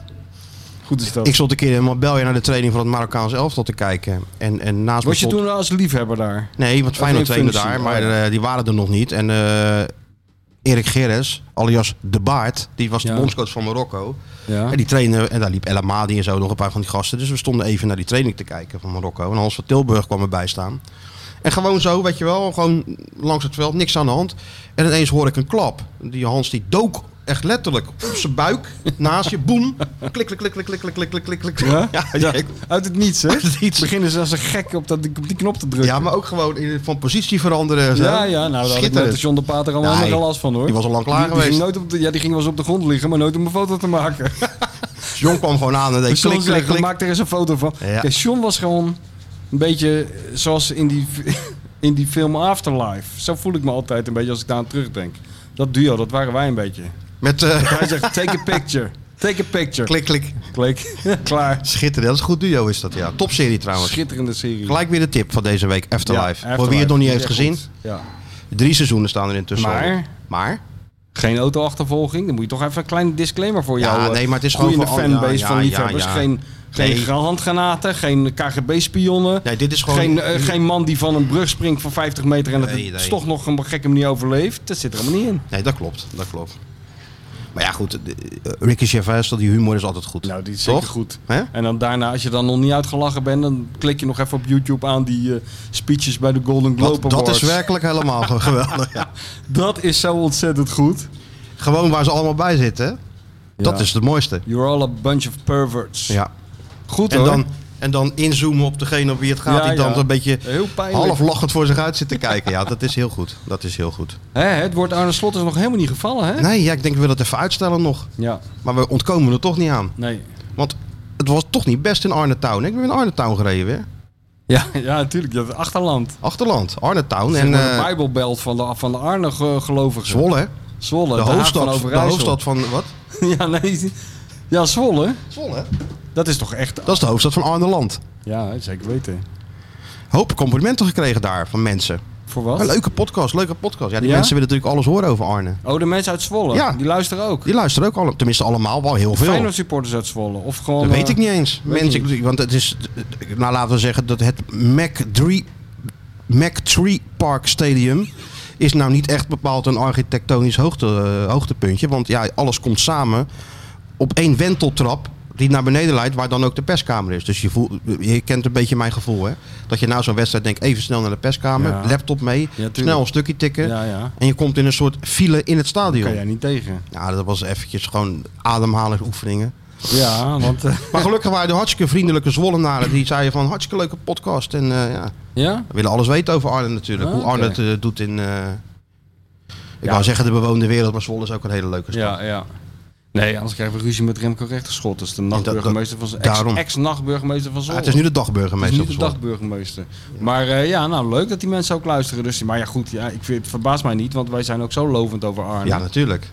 Goed is dat.
Ik stond een keer in Marbella naar de training van het Marokkaanse elftal te kijken. En, en naast me
Was je
stond-
toen als liefhebber daar?
Nee, want Feyenoord
Of in
trainde
functie,
daar,
oh
maar
ja.
eh, die waren er nog niet. En eh, Erik Gerres, alias De Baard, die was
Ja.
de bondscoach van Marokko.
Ja.
En die trainde, en daar liep El Amadi en zo nog een paar van die gasten. Dus we stonden even naar die training te kijken van Marokko. En Hans van Tilburg kwam erbij staan. En gewoon zo, weet je wel, gewoon langs het veld, niks aan de hand. En ineens hoor ik een klap. Die Hans die dook echt letterlijk op zijn buik naast je. Boem. Klik, klik, klik, klik, klik, klik, klik, klik, klik.
Ja?
ja,
Ja,
ik-
Uit het niets, hè?
het niets.
Beginnen ze als een gek op, dat, op die knop te drukken.
ja, maar ook gewoon in- van positie veranderen. en zo.
Ja, ja, nou, daar had ik net
Schitterend.
als John de Pater
Nee,
allemaal helemaal geen last van, hoor.
die was al lang klaar
Die- die
geweest.
Ging nooit op de, ja, die ging wel eens op de grond liggen, maar nooit om een foto te maken.
John kwam gewoon aan en deed
John
klik, klik,
zegt,
klik.
maak er eens een foto van.
Ja.
Kijk, John was gewoon een beetje zoals in die, in die film Afterlife. Zo voel ik me altijd een beetje als ik daar aan terugdenk. Dat duo, dat waren wij een beetje.
Met eh,
Hij zegt, take a picture. Take a picture.
klik, klik.
Klik. Klaar.
Schitterend. Dat is een goed duo is dat, ja. Topserie trouwens.
Schitterende serie.
Gelijk weer de tip van deze week,
Ja,
Afterlife. Voor wie het nog niet heeft
Echt
gezien.
goed. Ja.
Drie seizoenen staan er intussen al.
Maar?
Maar?
Geen autoachtervolging. Dan moet je toch even een kleine disclaimer voor
Ja,
jou. eh,
nee, maar het is
groeiende
gewoon voor- oh,
fanbase
ja,
van
ja,
liefhebbers.
ja, ja.
Geen, geen
Nee.
handgranaten, geen KGB-spionnen.
Nee, dit is gewoon...
geen, eh, geen man die van een brug springt van 50 meter en dat
Nee,
het
nee.
toch nog op een gekke manier overleeft. Dat zit er helemaal niet in.
Nee, dat klopt. Dat klopt. Maar ja, goed. eh, eh, Ricky Gervais, die humor is altijd goed.
Nou, die is
Toch?
zeker goed.
Hè?
En dan daarna, als je dan nog niet uitgelachen bent, dan klik je nog even op YouTube aan die eh, speeches bij de Golden Globe
Dat, dat is
Awards.
werkelijk helemaal ge- geweldig. ja.
Dat is zo ontzettend goed.
Gewoon waar ze allemaal bij zitten. hè? Dat
Ja.
is het mooiste.
You're all a bunch of perverts.
Ja.
Goed
En
hoor.
dan, en dan inzoomen op degene op wie het gaat.
Ja,
die dan
ja.
een beetje
Heel pijnlijk.
half lachend voor zich uit zit te kijken. Ja, dat is heel goed. Dat is heel goed.
Hè, het wordt Arne Slot is nog helemaal niet gevallen, hè?
Nee, ja, ik denk we willen het even uitstellen nog.
Ja,
Maar we ontkomen er toch niet aan.
nee.
Want het was toch niet best in Arnhem-Town. Ik ben in Arnhem-Town gereden weer.
Ja, ja natuurlijk. Dat achterland.
Achterland, Arnhem-Town
En,
en
de
eh
Bijbelbelt van de, van de Arne ge- gelovigen.
Zwolle. hè?
Zwolle,
De
haven
hoofdstad,
van
de
Overijssel.
hoofdstad van wat?
ja, nee. Ja, Zwolle.
Zwolle.
Dat is toch echt...
Dat is de hoofdstad van Arnhem Land.
Ja, zeker weten.
Hoop complimenten gekregen daar van mensen.
Voor
Een
wat?
leuke podcast, leuke podcast. Ja, die
Ja?
mensen willen natuurlijk alles horen over Arne.
Oh, de mensen uit Zwolle.
Ja.
Die luisteren ook.
Die luisteren ook allemaal, tenminste allemaal wel heel veel.
Feyenoord supporters uit Zwolle. Of gewoon...
Dat
eh,
weet ik niet eens. Mensen, ik- Want het is, nou laten we zeggen dat het Mac 3, Mac 3 Park Stadium is nou niet echt bepaald een architectonisch hoogte, eh, hoogtepuntje. Want ja, alles komt samen op één wenteltrap die naar beneden leidt, waar dan ook de perskamer is. Dus je, voelt, je kent een beetje mijn gevoel, hè? Dat je na zo'n wedstrijd denkt, even snel naar de perskamer,
Ja.
laptop mee,
tuurlijk.
snel een stukje tikken.
Ja, ja.
En je komt in een soort file in het stadion.
Kan jij niet tegen.
Ja, dat was eventjes gewoon ademhalingsoefeningen.
Ja, want... eh,
Maar gelukkig waren de hartstikke vriendelijke Zwollenaren. Die zeiden van hartstikke leuke podcast. En eh, ja,
ja?
we willen alles weten over Arnhem natuurlijk.
Ah,
Hoe Arnhem het
oké.
eh, doet in... eh, ik
Ja.
wou zeggen de bewoonde wereld, maar Zwolle is ook een hele leuke stad.
Ja, ja. Nee, anders krijgen we ruzie met Remco Rechterschot. Dat is de nachtburgemeester van ex-
daarom.
ex-nachtburgemeester van
Ah,
Zwolle.
het is nu de
Het is
dagburgemeester
niet
van
de
Zwolle.
dagburgemeester. Maar eh, ja, nou leuk dat die mensen ook luisteren. Dus, maar ja, goed, ja, ik vind, het verbaast mij niet, want wij zijn ook zo lovend over Arnhem.
Ja, natuurlijk.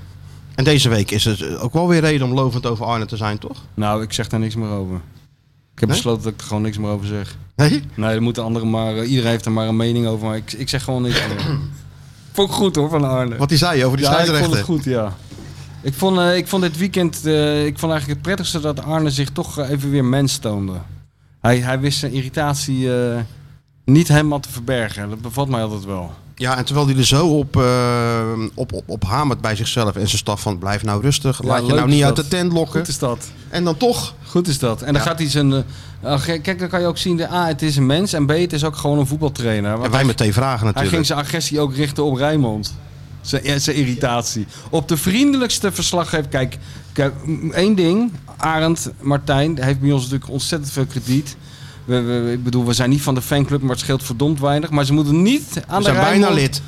En deze week is het eh, ook wel weer reden om lovend over Arnhem te zijn, toch?
Nou, ik zeg daar niks meer over. Ik heb
Nee?
besloten dat ik er gewoon niks meer over zeg.
Nee?
Nee, er moeten anderen maar, eh, iedereen heeft er maar een mening over, maar ik, ik zeg gewoon niks over. Vond ik goed hoor, van Arnhem.
Wat die zei je over die
ja, ik vond het
scheidsrechter.
goed, ja. Ik vond, eh, ik vond dit weekend, eh, ik vond eigenlijk het prettigste dat Arne zich toch eh, even weer mens toonde. Hij, hij wist zijn irritatie eh, niet helemaal te verbergen. Dat bevat mij altijd wel.
Ja, en terwijl hij er zo op, eh, op, op, op hamert bij zichzelf en zijn staf van blijf nou rustig.
Ja,
laat je
leuk
nou
is
niet uit
dat.
de tent lokken.
Goed is dat.
En dan toch.
Goed is dat. En dan gaat hij zijn... eh, ah, ge- kijk, dan kan je ook zien, de A, het is een mens. En B, het is ook gewoon een voetbaltrainer. Want
En wij
hij-
meteen vragen
Hij
natuurlijk.
ging zijn agressie ook richten op Rijnmond. Zijn, ja, zijn irritatie. Op de vriendelijkste verslaggever. Kijk, kijk, m- één ding. Arend, Martijn, heeft bij ons natuurlijk ontzettend veel krediet. We, we- ik bedoel, we zijn niet van de fanclub, maar het scheelt verdomd weinig. Maar ze moeten niet aan
We
de
zijn bijna
Rijnmond-
lid.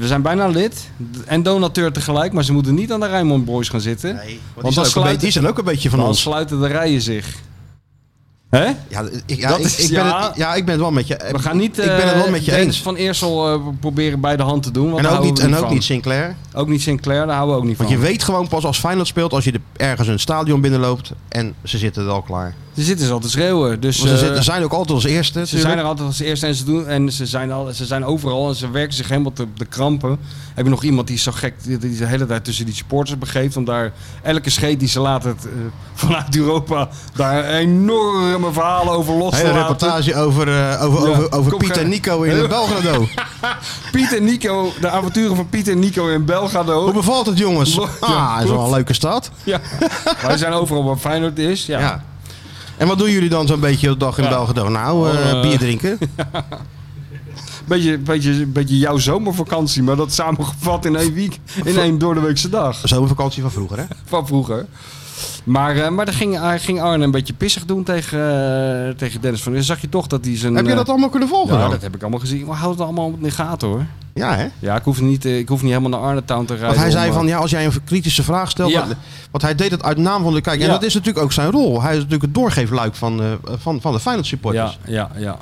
We zijn bijna lid. d- En donateur tegelijk. Maar ze moeten niet aan de Rijnmond Boys gaan zitten.
Want die, zijn ook een
sluiten-
beetje- die zijn ook een beetje van
dan
ons.
sluiten de rijen zich. Hè?
Ja, ik, ja,
Dat
ik,
is-
ik ben
ja.
het, ja, ik ben het wel met je.
We gaan niet
ik ben het wel
eh,
met je
Dennis
eens.
van Eersel eh, proberen bij de hand te doen. want
En
daar
ook,
houden Oh.
niet,
we
en ook
van.
niet Sinclair.
Ook niet Sinclair, daar houden we ook niet van.
Want je weet gewoon pas als Feyenoord speelt als je de, ergens een stadion binnenloopt en ze zitten er al klaar.
Ze zitten ze al te schreeuwen. Dus
Want ze
eh,
zitten- zijn ook altijd als eerste.
ze
natuurlijk.
zijn er altijd als eerste en ze, doen, en ze, zijn, al, ze zijn overal en ze werken zich helemaal te, te krampen. Heb je nog iemand die is zo gek, die, die de hele tijd tussen die supporters begeeft. Om daar elke scheet die ze laten eh, vanuit Europa, daar enorme verhalen over los te
Hele
laten.
reportage over, eh, over,
Ja,
over, over
kom,
Piet
ga-
en Nico in
Heel-
het Belgrado.
Piet en Nico, de avonturen van Piet en Nico in
Hoe
Belgrado.
bevalt het jongens?
Ja,
Ah, is wel
goed.
een leuke stad.
Ja. Wij zijn overal waar Feyenoord is. Ja.
Ja. En wat doen jullie dan zo'n beetje op dag in Belgrado? Nou, eh,
Eh,
bier drinken.
Beetje, beetje, beetje jouw zomervakantie, maar dat samengevat in één week, in één doordeweekse dag.
Zomervakantie van vroeger, hè?
van vroeger. Maar, eh, maar dan ging, hij ging Arne een beetje pissig doen tegen, eh, tegen Dennis van Eerst. Zag je toch dat hij zijn...
Heb je
eh,
dat allemaal kunnen volgen?
Ja,
dan?
dat heb ik allemaal gezien. Maar houd het allemaal in de gaten hoor.
ja hè?
Ja, ik hoef niet, eh, ik hoef niet helemaal naar Arnhem te rijden.
Want hij
om,
zei
eh,
van ja, als jij een kritische vraag stelt.
Ja.
Want, want hij deed het uit naam van de kijker. En
Ja.
dat is natuurlijk ook zijn rol. Hij is natuurlijk het doorgeefluik van, eh, van, van de Feyenoord supporters.
Ja, ja, ja.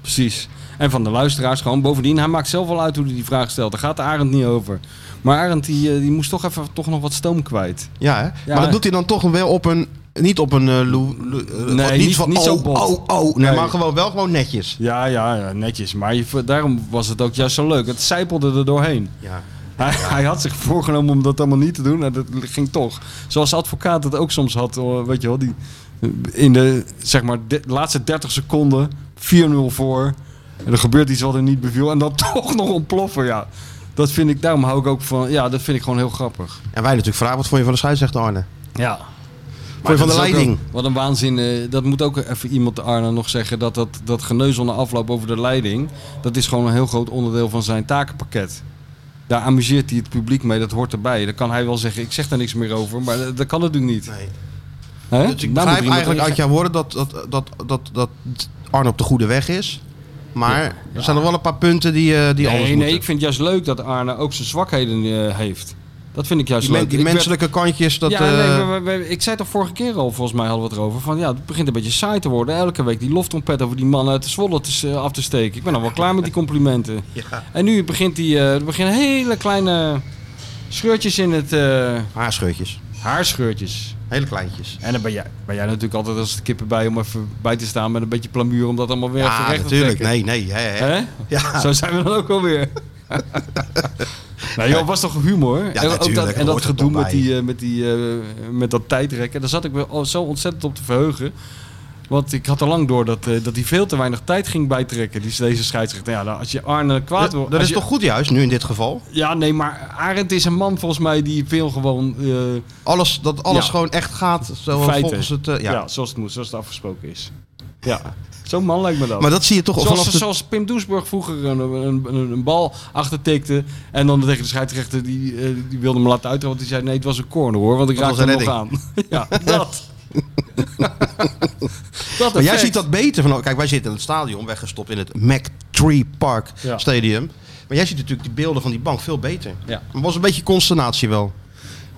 Precies. En van de luisteraars gewoon. Bovendien, hij maakt zelf wel uit hoe hij die vraag stelt. Daar gaat Arend niet over. Maar Arend die, eh, die moest toch even toch nog wat stoom kwijt.
Ja, hè? maar
hè?
dat doet hij dan toch wel op een. Niet op een. eh, lo- lo- eh,
Nee,
wat-
niet-
van.
niet zo
oh,
bot.
oh, oh. Nee,
Nee.
maar gewoon, wel gewoon netjes.
Ja, ja, ja netjes. Maar je, daarom was het ook juist zo leuk. Het zijpelde er doorheen.
Ja.
Hij, hij had zich voorgenomen om dat allemaal niet te doen. En dat ging toch. Zoals de advocaat dat ook soms had. hoor, Weet je wel, die eh, in de zeg maar, de, laatste 30 seconden 4-0 voor. En er gebeurt iets wat er niet beviel. En dan toch nog ontploffen. Ja. Dat vind ik, daarom hou ik ook van. Ja, dat vind ik gewoon heel grappig.
En wij natuurlijk vragen: wat vond je van de scheidsrechter Arne?
Ja.
Vond je van de leiding?
wat een waanzin. eh, dat moet ook even iemand Arne nog zeggen. Dat, dat dat geneuzel na afloop over de leiding. Dat is gewoon een heel groot onderdeel van zijn takenpakket. Daar amuseert hij het publiek mee. Dat hoort erbij. Dan kan hij wel zeggen: ik zeg daar niks meer over. Maar dat, dat kan natuurlijk niet.
Nee.
Hè?
Dus ik
Daar Nou,
begrijp
moet iemand
eigenlijk
in-
uit jouw woorden dat, dat, dat, dat, dat Arne op de goede weg is. Maar er zijn nog wel een paar punten die, eh, die anders
Nee,
moeten.
nee, ik vind het juist leuk dat Arne ook zijn zwakheden eh, heeft. Dat vind ik juist
die men-
leuk.
Dus die
Ik werd-
menselijke kantjes, dat...
ja,
eh,
nee, we- we- we- ik zei toch vorige keer al, volgens mij hadden we het erover, van ja, het begint een beetje saai te worden. Elke week die loftrompet over die man uit de Zwolle te s- eh, af te steken. Ik ben al wel klaar met die complimenten. En nu begint die, eh, er beginnen hele kleine Scheurtjes in het eh,
Haarscheurtjes.
haarscheurtjes.
Hele kleintjes.
En dan ben jij, ben jij natuurlijk altijd als de kippen bij om even bij te staan met een beetje plamuur om dat allemaal weer even
Ja,
recht
natuurlijk.
te trekken.
Nee, nee. Hè, hè.
Hè?
Ja.
Zo zijn we dan ook alweer. nou joh, was toch humor? En ook
natuurlijk,
dat,
dat
en dat
hoort er
gedoe
dan
met,
bij.
die, eh, met, die, eh, met dat tijdrekken. Daar zat ik me al zo ontzettend op te verheugen. Want ik had al lang door dat, eh, dat hij veel te weinig tijd ging bijtrekken. Die, deze scheidsrechter. Ja, nou, als je Arne kwaad
Dat,
wordt...
dat
als
is
je-
toch goed juist, nu in dit geval?
Ja, nee, maar Arend is een man volgens mij die veel gewoon... eh,
Alles, dat alles
Ja.
gewoon echt gaat zoals
Feiten.
volgens het... eh,
ja.
ja.
zoals het moet, zoals het afgesproken is. Ja, zo'n man lijkt me dat.
Maar dat zie je toch al
zoals,
vanaf de...
zoals Pim Doesburg vroeger een, een, een, een bal achtertikte en dan tegen de scheidsrechter, die, eh, die wilde hem laten uitrollen, want die zei nee, het was een corner hoor, want ik
Dat
raakte
was
hem
een
nog aan. ja, dat. dat
Maar jij
effect.
ziet dat beter. Van, kijk, wij zitten in het stadion, weggestopt in het Mac Tree Park
Ja.
Stadium. Maar jij ziet natuurlijk die beelden van die bank veel beter.
Ja.
Er was een beetje consternatie wel.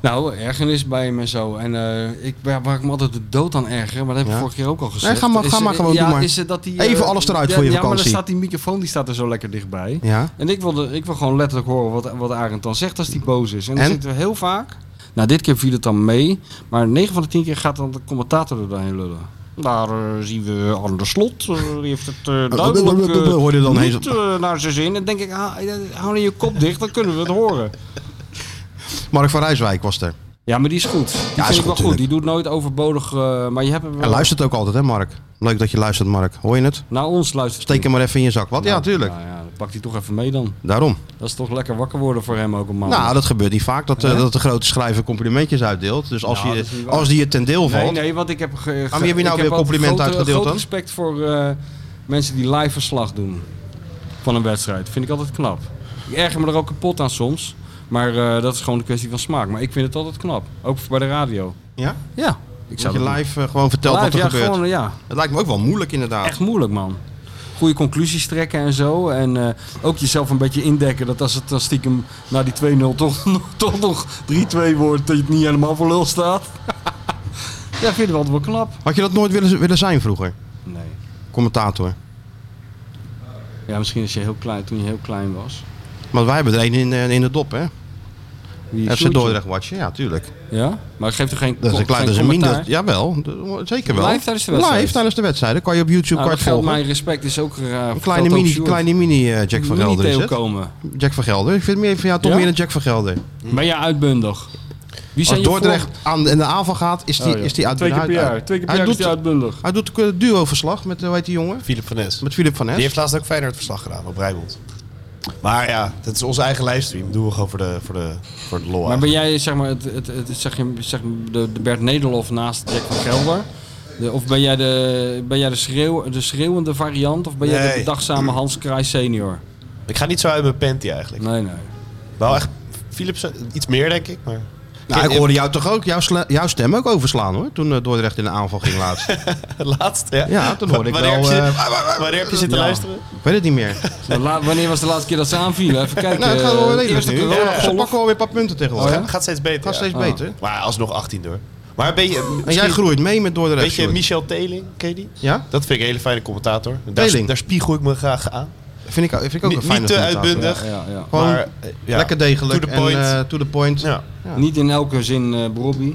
Nou, ergernis bij hem en zo. En eh, ik, waar, waar ik me altijd de dood aan erger, maar dat heb ik
Ja.
vorige keer ook al gezegd.
Nee, ga maar-
is,
ga maar
eh,
gewoon,
ja,
doe maar.
Is, eh, dat die,
Even
eh,
alles eruit
ja,
voor je
Ja, maar dan
vakantie.
staat die microfoon die staat er zo lekker dichtbij.
Ja.
En ik, wilde, ik wil gewoon letterlijk horen wat, wat Arend dan zegt als die boos is. En dan
En?
zitten we heel vaak. Nou, dit keer viel het dan mee. Maar 9 van de 10 keer gaat dan de commentator er doorheen lullen. Daar eh, zien we aan de slot. eh, die heeft het eh, duidelijk eh,
Hoor je dan
niet
eens-
eh, naar zijn zin. En dan denk ik, ah, eh, hou nou je kop dicht, dan kunnen we het horen.
Mark van Rijswijk was er.
Ja, maar die is goed. Die vind
is
ik wel
goed,
goed.
tuurlijk.
Die doet nooit overbodig. eh, maar je hebt hem
Hij luistert ook altijd, hè Mark? Leuk dat je luistert, Mark. Hoor je het?
Naar ons luistert.
Steek hem maar even in je zak. Wat? Ja, tuurlijk.
Nou, ja, dan pakt hij toch even mee dan.
Daarom.
Dat is toch lekker wakker worden voor hem ook een man.
Nou, dat gebeurt niet vaak, dat, eh, dat de grote schrijver complimentjes uitdeelt. Dus als,
Nou,
je,
dat is niet waar.
als die je ten deel
Nee,
valt...
nee, want ik heb. Ge, ge-
Aan wie heb je nou
ik
weer
altijd
compliment
grote-
uitgedeeld
groot
dan?
respect voor eh, mensen die live verslag doen van een wedstrijd. Vind ik altijd knap. Ik erger me er ook kapot aan soms. Maar eh, dat is gewoon een kwestie van smaak. Maar ik vind het altijd knap. Ook bij de radio.
Ja?
Ja, ik
Dat je
zou dat
live eh, gewoon vertelt
doen.
wat er
Live, ja,
gebeurt.
gewoon, ja,
Het lijkt me ook wel moeilijk inderdaad.
echt moeilijk, man. Goede conclusies trekken en zo. En eh, ook jezelf een beetje indekken dat als het dan stiekem na die 2-0 toch, nog- toch nog 3-2 wordt, dat je het niet helemaal voor lul staat. ja, ik vind het altijd wel knap.
Had je dat nooit willen, willen zijn vroeger?
Nee.
Commentator.
Ja, misschien als je heel klein, toen je heel klein was.
Maar wij hebben er één in, eh, in de dop, hè?
Wie
FC
Sjoerdje?
Dordrecht watchen, ja, tuurlijk.
Ja, maar geeft er geen
Dat is een klein,
geen
dat is een
commentaar.
minder. Jawel, de- zeker wel.
Live tijdens de wedstrijd.
Live tijdens de wedstrijd. Dan kan je op YouTube
Nou, dat
kwart
geldt,
volgen.
mijn respect is ook raar.
Een kleine mini, kleine mini eh, Jack van Gelder is het.
komen.
Jack van Gelder. Ik vind meer, van, ja, toch
Ja?
meer een Jack van Gelder.
Ben jij uitbundig? Wie zijn
Als
je
Dordrecht aan, in de aanval gaat, is die,
voor-
is die uit.
Twee keer per
hij-
jaar. Twee keer
hij
per jaar is
doet,
die uitbundig.
Hij doet ook een duo-verslag met, eh, hoe heet die jongen?
Philip van Nes.
Met Philip van
Die
Hest.
heeft laatst ook Feyenoord verslag gedaan op Rijnmond. Maar ja, dat is onze eigen livestream. Doen we gewoon voor de, voor de, voor de lol.
Maar ben
eigenlijk.
jij zeg maar, het, het, het, zeg je, zeg maar de, de Bert Nederlof naast Jack van Gelder? De, of ben jij, de, ben jij de, schreeuw, de schreeuwende variant? Of ben jij de
Nee.
bedachtzame Hans Kraai senior?
Ik ga niet zo uit mijn panty eigenlijk.
Nee, nee.
Wel echt Philips iets meer denk ik, maar...
Nou, ik hoorde jou toch ook, jouw, sla- jouw stem ook overslaan hoor. Toen eh, Dordrecht in de aanval ging laatst.
Het laatste, ja.
Ja, toen hoorde ik
wanneer
wel,
Heb je, Ah,
eh,
wanneer heb je zitten
Ja.
luisteren?
ik weet het niet meer.
Maar la- wanneer was de laatste keer dat ze aanvielen? Even kijken.
Nou, het gaat wel
eh,
weer redelijk
eerste
nu.
corona-
Ja, Ze pakken alweer een paar punten tegenwoordig.
Oh ja?
Het
Gaat steeds beter.
gaat
ja.
steeds
Ah.
beter.
Maar alsnog 18 hoor. Maar ben je,
En jij
misschien-
groeit mee met Dordrecht.
Weet je
Sjoerd.
Michel Teling, ken je die?
Ja?
Dat vind ik een hele fijne commentator. Daar,
Teling?
daar spiegel ik me graag aan.
Vind ik, vind ik ook een
Niet,
fijne
niet te
commentator.
uitbundig,
Ja, ja, ja.
Gewoon
maar eh, ja,
Lekker degelijk.
To the point.
En, eh, to the point.
Ja.
Ja.
Niet in elke zin eh Brobby.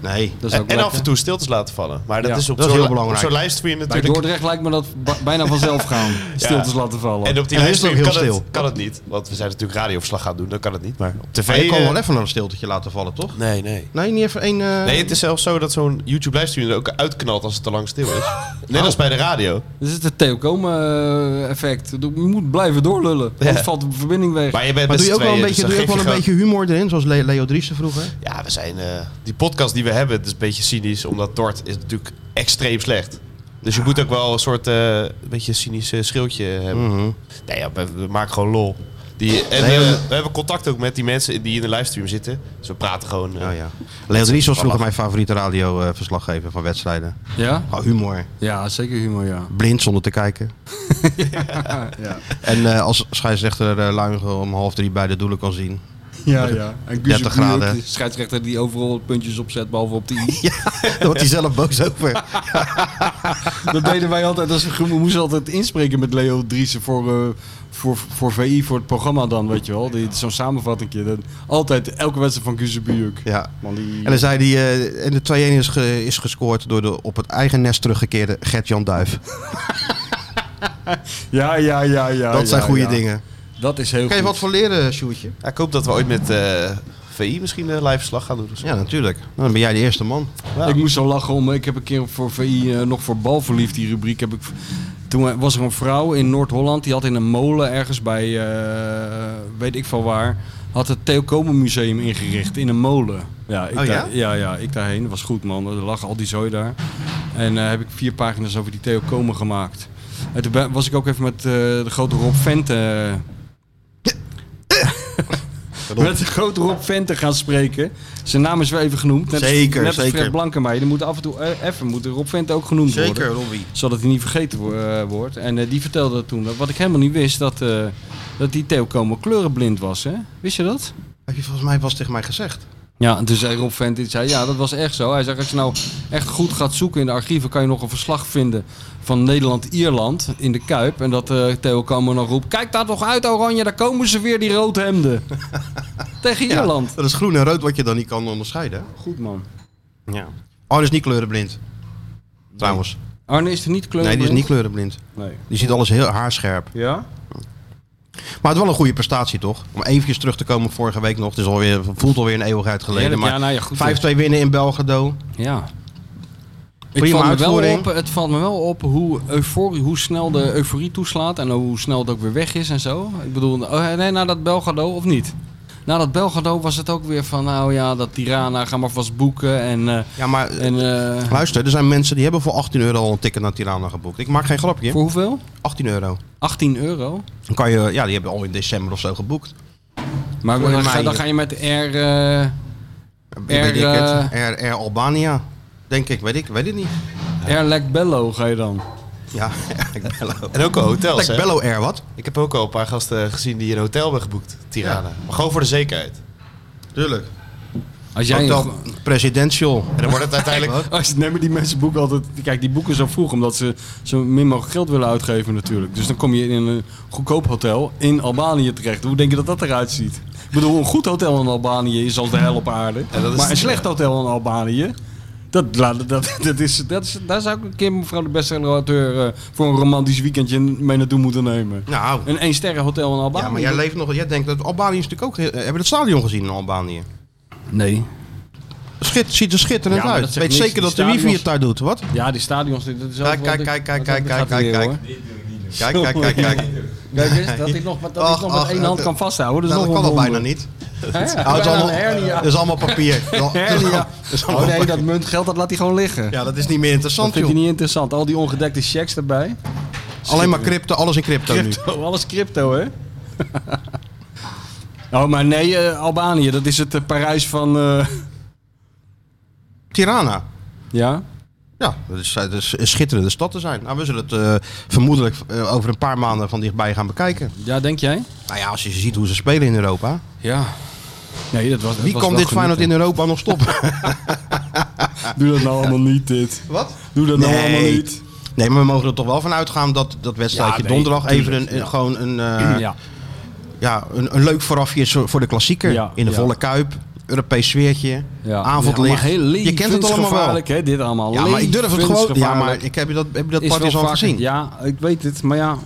Nee.
Dat is
En,
ook
en
lekker.
af en toe stiltes laten vallen. Maar dat
Ja,
is op
dat is
zo'n
heel
li- op
belangrijk.
zo'n livestream
Bij
natuurlijk.
Dordrecht lijkt me dat ba- bijna vanzelf gaan. Stiltes laten vallen.
En op die
En dan is het
livestream
ook
kan,
heel
het,
stil.
kan het niet. Want we zijn natuurlijk radioverslag gaan doen, dan kan het niet. Maar op tv...
Maar je kan
eh,
wel even een stiltetje laten vallen, toch?
Nee, nee.
Nee, niet even één... eh,
Nee, het is zelfs zo dat zo'n YouTube livestream er ook uitknalt als het te lang stil is. Net als bij de radio.
Dit is Dus het Theocome-effect. Je moet blijven doorlullen. Anders
Ja.
valt de verbinding weg.
Maar je bent
Maar
met
doe
z'n
je ook wel een,
tweeën,
beetje, doe
dus
je ook
dan
wel een
geef je
beetje humor erin, zoals Le- Leo Driessen vroeger?
gewoon- Ja, we zijn... eh, die podcast die we hebben, het is een beetje cynisch. Omdat Dort is natuurlijk extreem slecht. Dus je moet ook wel een soort eh, een beetje cynisch eh, schildje hebben. Nee, ja, we, we maken gewoon lol. Die, en
Mhm. Nee,
eh,
we-
we hebben contact ook met die mensen die in de livestream zitten. Dus we praten gewoon... eh,
Oh, Ja, ja. Leo Driessen was vroeger mijn favoriete radioverslaggever van wedstrijden.
Ja?
Oh, humor.
Ja, zeker humor, ja.
Blind zonder te kijken. En eh, als scheidsrechter eh Luijgen om half drie bij de doelen kan zien.
Ja, ja. En Guus
30 graden.
de scheidsrechter die overal puntjes opzet, behalve op de i.
Daar wordt hij zelf boos over.
Dat deden wij altijd. Als we, we moesten altijd inspreken met Leo Driessen voor, eh, voor, voor VI, voor het programma dan, weet je wel. Die- Zo'n samenvattingje. Dat, altijd elke wedstrijd van Guus de Buurk.
Ja.
Man, die...
En dan zei hij, eh, en de 2-1 is, ge- is gescoord door de op het eigen nest teruggekeerde Gert-Jan Duif.
Ja, ja, ja, ja.
dat
Ah, ja,
zijn goede
ja.
dingen.
Dat is heel
Kan je
goed.
wat voor leren, Sjoerdje?
Ja, ik hoop dat we ooit met eh, VI misschien een live verslag gaan doen. of zo.
Ja, natuurlijk. Dan ben jij de eerste man.
Ja.
Ik moest zo lachen om. Ik heb een keer voor VI eh, nog voor balverliefd die rubriek. Heb ik, toen eh, was er een vrouw in Noord-Holland die had in een molen ergens bij eh, weet ik van waar. Had het Theo Komen Museum ingericht in een molen. Ja, ik
Oh ja?
daar- ja, ja, ik daarheen. Dat was goed man. Er lag al die zooi daar. En eh, heb ik vier pagina's over die Theo Komen gemaakt. En toen ben- was ik ook even met eh, de grote Rob Vente. met de grote Rob Vente gaan spreken. Zijn naam is wel even genoemd. Net als-
Zeker,
net als
zeker.
Fred Blankenmeijer. Moet af en toe eh, even moet Rob Vente ook genoemd worden.
Robbie.
Zodat hij niet vergeten wo- eh, wordt. En eh, die vertelde toen, dat- wat ik helemaal niet wist, dat, eh, dat die Theo Komen kleurenblind was. Hè? Wist je dat?
Heb je volgens mij pas tegen mij gezegd.
Ja, en toen zei Rob Vent, die zei, ja, dat was echt zo. Hij zei, als je nou echt goed gaat zoeken in de archieven, kan je nog een verslag vinden van Nederland-Ierland in de Kuip. En dat eh, Theo Kamer nog roept, kijk daar toch uit Oranje, daar komen ze weer, die roodhemden. Tegen
Ja,
Ierland.
dat is groen en rood wat je dan niet kan onderscheiden.
Goed man.
Ja. Arne is niet kleurenblind. Trouwens.
Arne is er niet
Nee,
kleurenblind?
die is niet kleurenblind.
Nee.
Die ziet alles heel haarscherp.
Ja?
Maar het is wel een goede prestatie, toch? Om eventjes terug te komen op vorige week nog. Het is alweer, voelt alweer een eeuwigheid geleden.
Heerlijk,
Maar
ja, nou ja, goed.
5-2 winnen in Belgrado.
Ja.
Prima
Het valt, me wel
uitvoering.
op, het valt me wel op hoe, euforie, hoe snel de euforie toeslaat en hoe snel het ook weer weg is en zo. Ik bedoel, oh, nee, na dat Belgrado of niet? Na dat Belgrado was het ook weer van, nou ja, dat Tirana, ga maar vast boeken en... eh,
Ja, maar
en eh,
luister, er zijn mensen die hebben voor 18 euro al een ticket naar Tirana geboekt. Ik maak geen grapje.
voor hoeveel?
18 euro.
18 euro.
Dan kan je, ja, die hebben al in december of zo geboekt.
Maar
Voor in
dan ga,
mei.
dan ga je met de R... eh,
weet ik
eh,
het. Air, Air Albania. Denk ik, weet ik, weet het niet.
R Lek Bello ga je dan.
Ja, ik bello.
En ook al hotels.
Ik
hè?
bello Air wat?
Ik heb ook al een paar gasten gezien die een hotel hebben geboekt. Tirana. Maar gewoon voor de zekerheid.
Tuurlijk.
Als jij... een
Hotel
go-
Presidential.
En dan wordt het uiteindelijk...
Als je, nee, maar die mensen boeken altijd. Kijk, die boeken zo vroeg omdat ze zo min mogelijk geld willen uitgeven, natuurlijk. Dus dan kom je in een goedkoop hotel in Albanië terecht. Hoe denk je dat dat eruit ziet? Ik bedoel, een goed hotel in Albanië is als de hel op aarde.
Ja, dat is-
maar een slecht hotel in Albanië. Dat, dat, dat, dat is, dat is, daar zou ik een keer mevrouw de bestsellerauteur eh, voor een romantisch weekendje mee naartoe moeten nemen.
Nou,
Een één sterren hotel in Albanië.
ja, maar jij leeft nog. Jij denkt dat Albanië is natuurlijk ook. heel- eh, Hebben we het stadion gezien in Albanië?
Nee.
Schit, ziet er schitterend
Ja, maar dat
uit.
zegt
Weet
niks.
zeker dat
Die
de wifi het
stadions-
daar doet. Wat? Kijk,
Ja, die stadions. dit- dit is
Kijk,
overal
kijk,
dik-
kijk, kijk,
wat
kijk,
dat gaat
kijk,
hier,
kijk.
hoor.
Kijk, kijk, kijk, kijk.
Kijk eens, dat ik nog, dat ik
Ach,
nog met
ach,
één
dat-
hand kan vasthouden. Dat is
Nou, dat
nog
kan
een
al bijna
wonder.
niet.
Hè?
Nou, het is
Bijna
allemaal,
een hernia.
dat is allemaal papier. Dat- dat is
Hernia.
allemaal- dat is
Oh
allemaal
nee, dat
papier.
muntgeld dat laat hij gewoon liggen.
Ja, dat is niet meer
dat
interessant,
vindt
joh.
hij niet interessant. Al die ongedekte checks erbij.
Alleen maar crypto, alles in crypto, nu.
Crypto, alles crypto, hè? Oh, maar nee, eh, Albanië, dat is het eh, Parijs van... eh,
Tirana.
ja?
Ja, dat is, dat is een schitterende stad te zijn. Nou, we zullen het eh, vermoedelijk eh, over een paar maanden van dichtbij gaan bekijken.
Ja, denk jij?
Nou ja, als je ziet hoe ze spelen in Europa.
Ja. Nee, dat was dat
Wie
was
kan
wel
dit Feyenoord in
genieten.
Europa nog stoppen?
Doe dat nou allemaal niet, dit.
Wat?
Doe dat nou
Nee.
allemaal niet.
Nee, maar we mogen er toch wel van uitgaan dat dat wedstrijdje
Ja, nee,
donderdag even
tuurlijk,
een, een-
ja.
gewoon een, eh, ja.
ja.
een, een leuk voorafje is voor de klassieker.
Ja,
in de
ja.
volle kuip, Europees sfeertje,
Ja. Ja,
avondlicht.
maar heel
je kent het allemaal wel.
levensgevaarlijk, Hè, dit allemaal.
Ja, maar ik durf het gewoon. Ja, maar ik heb je dat, heb je dat
Is wel
Partizan
vaak-
gezien?
Ja, ik weet het, maar ja.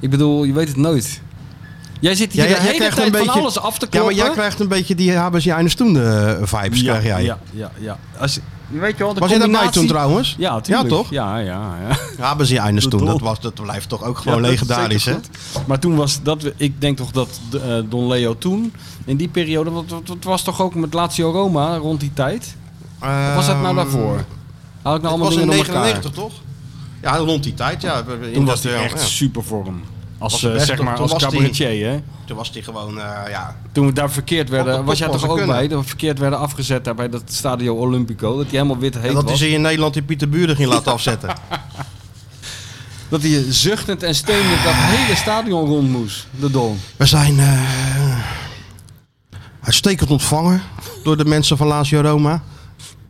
Ik bedoel, je weet het nooit. Jij zit hier
Ja,
de hele tijd van alles af te
ja, maar
kloppen.
jij krijgt een beetje die Habers Jainus toen eh, vibes, krijg jij.
Ja, ja, ja. Als, je- je weet je wel, de
Was je
combinatie...
daarbij toen trouwens?
Ja, tuurlijk.
Ja, toch?
Ja, ja, ja.
Habers Jainus toen,
Bedoel.
dat, was, dat blijft toch ook gewoon
Ja, dat is
legendarisch, hè?
zeker goed. Maar toen was dat, ik denk toch dat eh, Don Leo toen, in die periode, want het- het was toch ook met Lazio Roma rond die tijd? Of was
Ehm,
dat nou daarvoor? Haal ik nou
Het
allemaal
was in
dingen door elkaar?
99, toch? Ja, rond die tijd, ja. We- we- in
Toen was
dat,
hij
eh,
echt
ja.
supervorm. Als,
Was de
eh,
beste,
zeg maar,
toen
als
was die-
cabaretier, hè?
Toen was hij gewoon, eh, ja,
Toen we daar verkeerd
Op
werden,
de
was jij
kop
toch ook
was kunnen.
bij? Dat we verkeerd werden afgezet daar bij dat Stadio Olimpico. Dat hij helemaal wit heet
En dat hij
was.
ze in Nederland in Pieterburen ging laten afzetten.
Dat hij zuchtend en steunend dat hele stadion rond moest, de Don.
We zijn eh, uitstekend ontvangen door de mensen van Lazio Roma.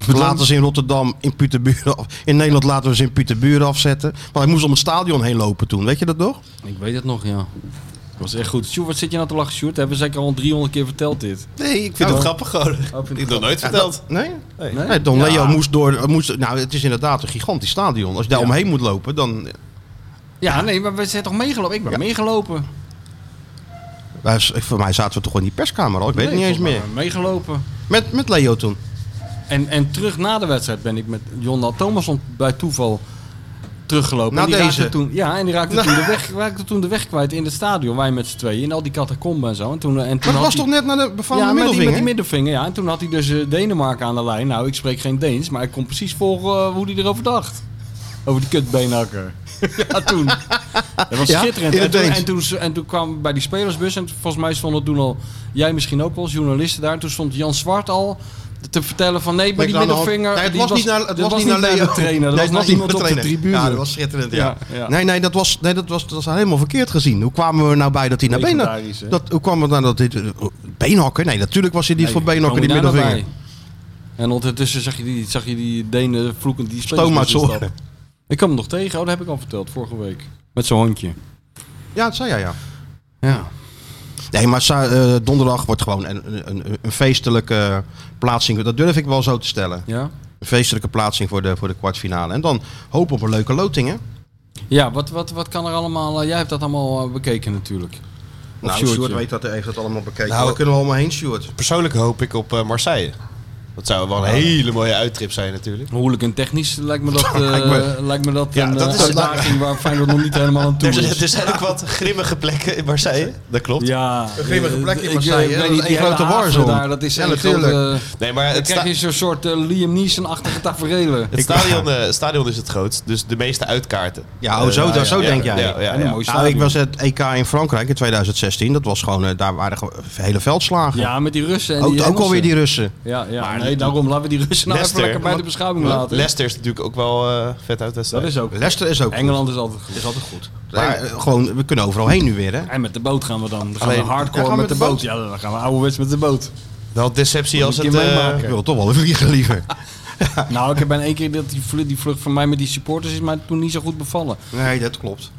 We laten ze in Rotterdam, in Pieterburen, af- in Nederland laten we ze in Pieterburen afzetten. Maar hij moest om het stadion heen lopen toen, weet je dat nog?
Ik weet het nog, ja. Dat was echt goed. Sjoerd, wat zit je nou te lachen, Sjoerd? Hebben we zeker al 300 keer verteld dit.
Nee, ik vind het grappig gewoon.
het
ik heb
grappig.
nog nooit verteld.
Nee?
Nee.
Nee?
Nee, Don Leo moest door, moest, nou het is inderdaad een gigantisch stadion. Als je daar omheen moet lopen, dan...
Ja, nee, maar we zijn toch meegelopen? Ik ben meegelopen.
Wij- Voor mij zaten we toch in die perskamer al, ik weet het
Nee,
niet eens
volgens
meer.
mij ben ik Meegelopen.
Met, met Leo toen.
En, en terug na de wedstrijd ben ik met Jonna Thomasson bij toeval teruggelopen.
Na
en die
deze?
Raakte toen, ja, en die raakte, toen de weg, raakte toen de weg kwijt in het stadion. Wij met z'n tweeën in al die catacomben en zo. En toen,
Maar
en toen
dat
had
was
hij-
toch net naar de befaamde
ja, met die, met
middelvinger?
die middelvinger, ja. En toen had hij dus eh, Denemarken aan de lijn. Nou, ik spreek geen Deens, maar ik kon precies volgen eh, hoe hij erover dacht. Over die kutbeenhakker. ja, toen. Dat was
Ja,
schitterend.
in
En
het
toen,
Deens.
en, toen, en toen kwam we bij die spelersbus. En volgens mij stonden toen al, jij misschien ook wel, als journalisten daar. En toen stond Jan Zwart al te vertellen van nee, maar
Ik
die
aan de hand-
middelvinger...
Nee, het
die
was, niet naar, het
dat
was niet naar Leo.
de trainer. Dat
Nee,
was naar
niet
iemand
naar
op
de
de
trainer.
tribune.
Ja, dat was schitterend. Ja.
Ja, ja.
Nee, nee, dat was, nee dat, was, dat was helemaal verkeerd gezien. Hoe kwamen we nou bij dat hij naar benen...
Legendarisch, hè?
Dat, hoe kwam het nou dat dit... Beenhakker? Nee, natuurlijk was hij niet
Nee,
voor beenhakker,
kom je
die
daar nou
middelvinger.
bij? En ondertussen zag je die, zag je die Denen vloekend die spelers
Stoom uit zijn
binnenstappen.
oren.
Ik kwam hem nog tegen, oh, dat heb ik al verteld vorige week. Met zijn hondje.
Ja, dat zei jij, ja.
Ja.
Nee, maar za- eh, donderdag wordt gewoon een, een, een, een feestelijke eh, plaatsing. Dat durf ik wel zo te stellen.
Ja,
Een feestelijke plaatsing voor de, voor de kwartfinale. En dan hoop op een leuke loting, hè?
ja wat, wat, wat kan er allemaal. eh, jij hebt dat allemaal eh, bekeken natuurlijk. Of
Nou,
Sjoerdje.
Stuart weet dat, hij heeft dat allemaal bekeken.
Nou,
Daar kunnen we allemaal heen, Stuart.
Persoonlijk hoop ik op eh, Marseille. Dat zou wel een hele mooie uittrip zijn natuurlijk.
Hooligan technisch lijkt me dat, eh, lijkt, me, dat
Ja,
een
dat
eh,
is-
uitdaging waar Feyenoord nog niet helemaal aan toe
Er,
is.
er zijn ook wat grimmige plekken in Marseille. Dat klopt.
Ja.
Een grimmige
eh,
plek in
ik, eh,
Marseille,
weet
hè? Dat
niet,
is
die
één
hele
grote
haven
warzone.
daar, dat is
Ja,
één
natuurlijk.
grote-
Nee, maar
dan
het,
krijg
sta-
je zo'n soort eh, Liam Neeson-achtige tafereelen.
het stadion, eh, het stadion is het grootst. Dus de meeste uitkaarten.
Ja, oh, zo,
Eh,
dat- zo denk jij.
Ja, ja,
En een
ja.
mooie
Nou, ik
stadion.
was het EK in Frankrijk in 2016. Dat was gewoon, eh, daar waren gewoon hele veldslagen.
Ja, met die Russen en
ook,
die
ook
Engelsen.
alweer die Russen.
Ja, ja. nee, daarom laten we die Russen nou even
Leicester.
lekker bij de beschouwing laten.
Leicester is natuurlijk ook wel eh, vet uit
Dat is ook.
Leicester is ook
Engeland is altijd goed. Is altijd goed.
goed. Maar, eh, gewoon, we kunnen overal heen nu weer, hè?
En met de boot gaan we dan. Dan gaan
Alleen-
we hardcore
Ja, gaan we
met de, boot. Ja, dan gaan we ouderwets met de boot.
Wel deceptie als
Moet
het...
ik je meemaken.
eh
Ik wil toch wel vliegen liever.
nou, ik heb bij één keer dat die vlucht, die vlucht van mij met die supporters is mij toen niet zo goed bevallen.
Nee, dat klopt.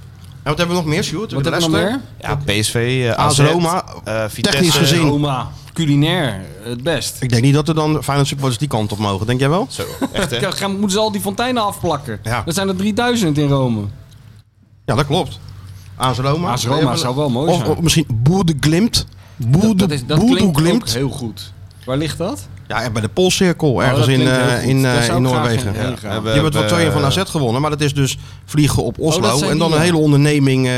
En wat hebben we nog meer, Sjoerd?
Wat hebben we nog
Leicester?
meer?
ja, PSV, eh, AZ,
AS Roma,
eh, Vitesse.
technisch gezien.
Roma, culinair, het best.
Ik denk niet dat er dan Feyenoord supporters die kant op mogen. Denk jij wel?
Zo, echt hè?
Ja, gaan, moeten ze al die fonteinen afplakken?
Ja.
Dat zijn er 3000 in Rome.
Ja, dat klopt. AS Roma.
AS Roma zou wel mooi
of,
zijn.
Of misschien Boerde Glimt.
Dat, dat,
Boerde
is, dat
Boerde
klinkt ook
Glimt.
heel goed. Waar ligt dat?
Ja, en bij de Poolcirkel, ergens
Oh, dat
in,
klinkt heel
eh,
goed.
in, eh,
Daar zou
in
ik graag
Noorwegen.
heen
Ja.
gaan. eh,
En we
Je hebt wel
hebben-
twee van AZ gewonnen, maar dat is dus vliegen op Oslo.
Oh, dat zijn
en dan
die,
een
ja.
hele onderneming eh,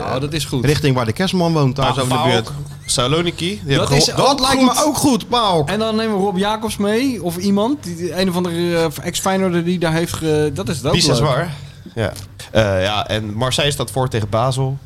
Oh, dat is goed.
richting waar de kerstman woont, daar
Ah,
zo in de
Valk,
buurt.
Saloniki. die hebben
Dat
geho-
is ook goed.
ook goed, Paul.
En dan nemen we Rob Jacobs mee. Of iemand. Die, die- een of andere eh, ex-Feyenoorder die daar heeft... Ge, dat is het ook
Pisa
leuk.
zwaar. Ja. Eh, ja, en Marseille staat voor tegen Basel.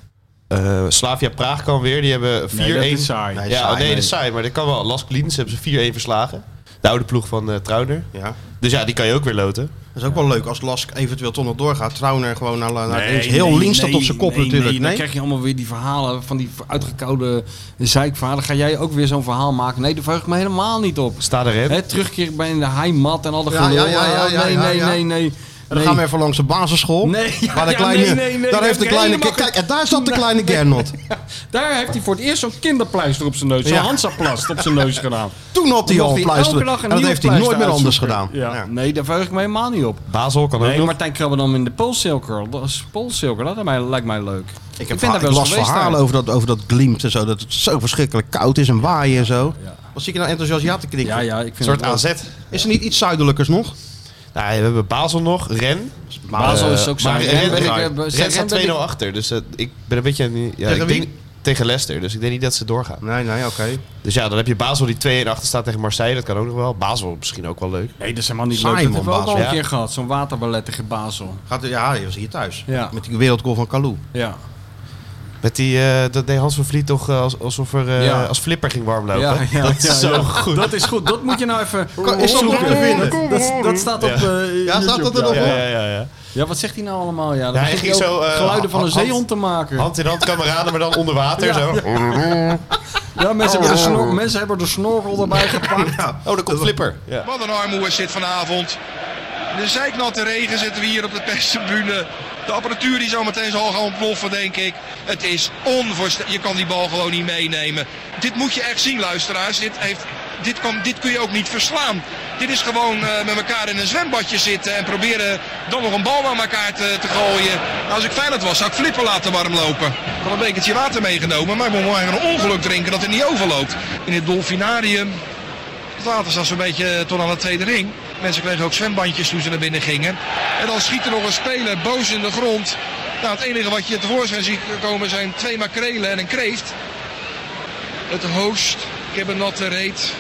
Eh, Slavia Praag kan weer. Die hebben 4-1.
Nee, dat is saai.
Nee,
ja,
saai,
nee,
nee.
dat is saai. Maar dat kan wel. Las Klins hebben ze 4-1 verslagen. De oude ploeg van eh Trauner.
Ja.
Dus ja, die kan je ook weer loten.
Dat is ook wel leuk als Lask eventueel toch nog doorgaat. Trauner gewoon naar, naar
Nee,
links. Heel
nee,
links dat
nee,
op zijn kop
nee,
natuurlijk.
Nee,
Nee,
dan krijg je allemaal weer die verhalen van die uitgekoude zeikverhalen. Ga jij ook weer zo'n verhaal maken? Nee, daar verheug ik me helemaal niet op.
Sta er
Hè, terugkeer bij de heimat en al de
Ja,
gelul.
ja, ja, ja,
Ah,
ja,
nee,
ja,
nee,
ja.
nee, nee.
En dan gaan we even langs de basisschool.
Nee, ja,
waar de
ja,
kleine,
nee, nee, nee,
daar
dat
heeft de
heb ik
kleine.
helemaal
Kijk,
geen-
en daar zat de kleine Gernot.
Daar heeft hij voor het eerst zo'n kinderpleister op zijn neus. Zo'n
Ja.
Hansaplast op zijn neus gedaan.
Toen had hij
Mocht
al een pleister.
elke dag
En dat
nieuwe
heeft hij nooit
pleister
meer anders gedaan.
uitzoeken. Ja. Nee, daar verheug ik me helemaal niet op.
Basel kan ook
Nee,
nog.
Martijn Krabbenam in de Poolsilker. Dat is Poolsilker, dat mij- lijkt mij leuk.
Ik,
ben
heb
daar
verha-
wel
ik
eens
las
geweest
verhalen
daar.
over dat, over dat glimt en zo. Dat het zo verschrikkelijk koud is en waaien en zo. Wat zie ik nou enthousiast ja te knikken?
Ja, ja, ik
Een
vind
soort
het leuk.
AZ.
Is er niet iets zuidelijkers nog?
Nou, we hebben Basel nog. Ren.
Basel is
Eh,
ook
maar
saai.
Ren,
Ren ben ik-
Ren-
eh, ben-
Ren
Ren
staat
ben ik-
2-0 achter. Dus eh, ik ben een beetje... aan die- Ja,
Tegen
ik
wie?
denk, tegen Leicester. Dus ik denk niet dat ze doorgaan.
Nee, nee, oké.
Dus ja, dan heb je Basel die 2-1 achter staat tegen Marseille. Dat kan ook nog wel. Basel misschien ook wel leuk.
Nee, dat is helemaal niet
Saai,
leuk. Dat
man,
hebben we ook al
Basel.
een
Ja.
keer gehad. Zo'n waterballet tegen Basel.
Gaat, ja, hij was hier thuis.
Ja.
Met die wereldgoal van Kalou.
Ja.
Met die, eh, dat deed Hans van Vliet toch eh, als, alsof er eh,
Ja.
als flipper ging
Nou,
warmlopen.
Ja, ja,
dat is
ja,
zo
ja.
goed.
Dat is goed. Dat moet je nou even
Kan- is dat nog
opzoeken.
te vinden?
Dat, dat staat op
Ja.
eh, YouTube,
staat dat er nog?
ja.
Ja, ja, ja, ja.
Ja, wat zegt hij nou allemaal? Ja, dan
Ja, hij
begint
ging
hij ook
zo, eh,
geluiden van een
hand-
zeehond te maken.
Hand in hand kameraden, maar dan onder water. zo.
Ja, mensen, hebben de snor- mensen hebben de snorkel erbij gepakt.
Oh, daar komt Flipper. Ja.
Wat een armoe zit vanavond. In de zeiknatte regen zitten we hier op de perstribune. De apparatuur die zometeen zal gaan ontploffen, denk ik. Het is onvoorstelbaar. Je kan die bal gewoon niet meenemen. Dit moet je echt zien, luisteraars. Dit, heeft, dit, kan, dit kun je ook niet verslaan. Dit is gewoon eh, met elkaar in een zwembadje zitten en proberen dan nog een bal naar elkaar te, te gooien. Nou, Als ik Feyenoord was, zou ik flippen laten warm lopen. Ik had een bekertje water meegenomen, maar ik moet maar een ongeluk drinken dat het niet overloopt. In het dolfinarium het water zat zo'n beetje eh, tot aan de tweede ring. Mensen kregen ook zwembandjes toen ze naar binnen gingen. En dan schiet er nog een speler boos in de grond. Nou, het enige wat je tevoorschijn ziet komen zijn twee makrelen en een kreeft. Het hoogst. Ik heb een natte reet.